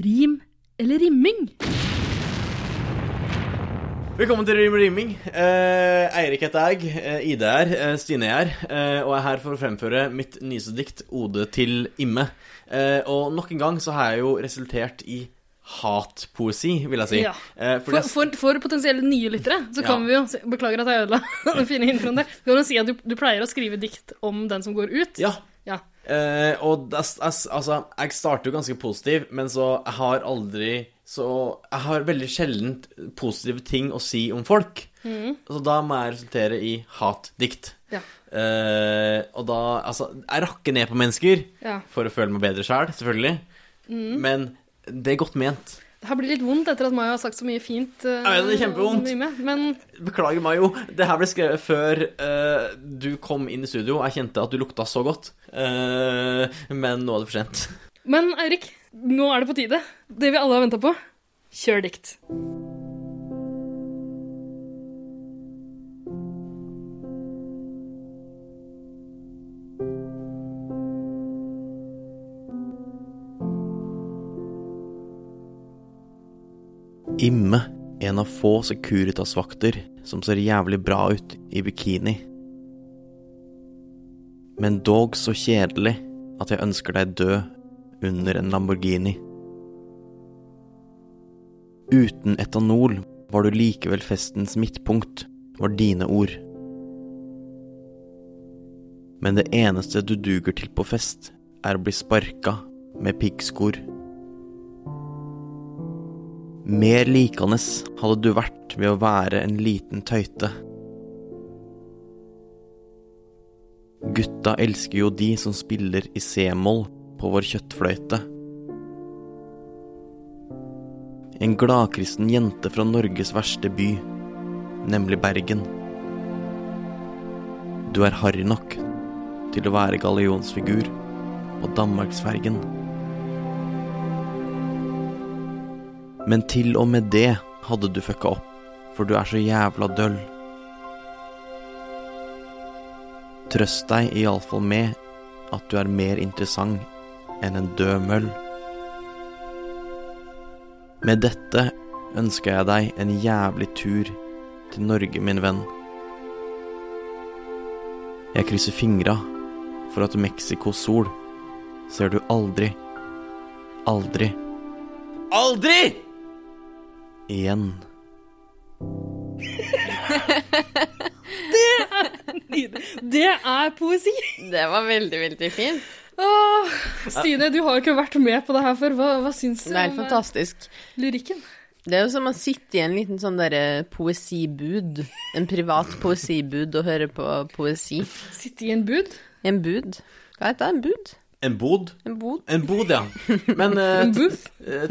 Rim eller rimming?
Velkommen til Rim og Rimming. Eh, Eirik heter jeg, eh, Ida er her, eh, Stine er her, eh, og jeg er her for å fremføre mitt nyeste dikt, Ode til Imme. Eh, og nok en gang så har jeg jo resultert i hatpoesi, vil jeg si.
Ja.
Eh, fordi
For,
jeg-
for, for potensielle nye lyttere så
Ja.
kan vi jo si- Beklager at jeg ødela den fine introen der. Så kan vi si at du, du pleier å skrive dikt om den som går ut.
ja,
Ja.
Eh, og det, altså, jeg starter jo ganske positiv, men så jeg har aldri Så jeg har veldig sjelden positive ting å si om folk. Så da må jeg resultere i hatdikt.
Ja.
Eh, og da Altså, jeg rakker ned på mennesker
Ja.
for å føle meg bedre sjæl, selvfølgelig. Men det er godt ment.
Det her blir litt vondt etter at Maya har sagt så mye fint. eh,
Ja, det er
om
kjempevondt.
Mime, Men
Beklager, Mayo. Det her ble skrevet før eh, du kom inn i studio. Jeg kjente at du lukta så godt. Eh, men nå er det for sent.
Men Eirik, nå er det på tide. Det vi alle har venta på. Kjør dikt.
Imme, en av få Securitas-vakter som ser jævlig bra ut i bikini. Men dog så kjedelig at jeg ønsker deg død under en Lamborghini. Uten etanol var du likevel festens midtpunkt, var dine ord. Men det eneste du duger til på fest, er å bli sparka med piggskor. Mer likende hadde du vært ved å være en liten tøyte. Gutta elsker jo de som spiller i c-moll på vår kjøttfløyte. En gladkristen jente fra Norges verste by, nemlig Bergen. Du er harry nok til å være gallionsfigur på Danmarksfergen. Men til og med det hadde du fucka opp, for du er så jævla døll. Trøst deg iallfall med at du er mer interessant enn en død møll. Med dette ønsker jeg deg en jævlig tur til Norge, min venn. Jeg krysser fingra for at Mexicos sol ser du aldri, aldri Aldri! Igjen.
Det er poesi.
Det var veldig, veldig fint.
Åh, Stine, du har jo ikke vært med på det her før. Hva, hva syns du
Det er helt
om, eh,
fantastisk.
lyrikken?
Det er jo som å sitte i en liten sånn derre poesibud. En privat poesibud og høre på poesi.
Sitte i en bud?
En bud. Hva heter det? En bud?
En bod?
En bod?
En bod, ja. Men eh,
En booth?
eh,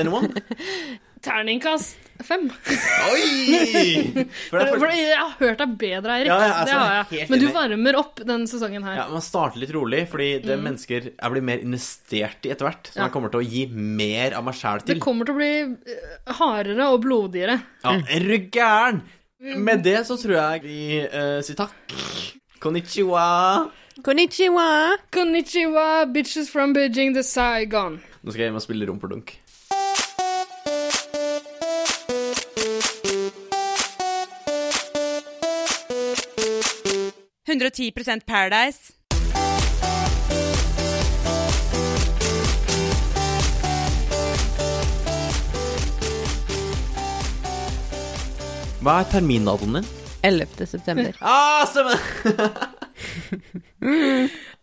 anyone?
Terningkast fem.
Oi! For det er
For
for...
jeg har hørt deg bedre, Eirik.
Ja, ja, altså,
det har jeg.
helt
Men du
enig.
varmer opp den sesongen her.
Ja, Man starter litt rolig, fordi det er mennesker jeg blir mer investert i etter hvert. Så
Mm. Ja.
jeg kommer til å gi mer av meg sjæl
Det Mm.
til.
kommer til å bli eh, hardere og blodigere.
Ja, er du gæren?
Mm.
Med det så tror jeg vi eh, sier takk. Konnichiwa.
Konnichiwa!
Konnichiwa, bitches from Beijing to Saigon.
Nå skal jeg hjem og spille rumpeldunk. Hva er termindatoen din?
11. september.
Ah, stemmer!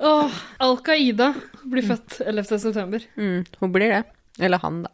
Åh, Al Qaida blir født 11. september.
Mm, hun blir det. Eller han, da.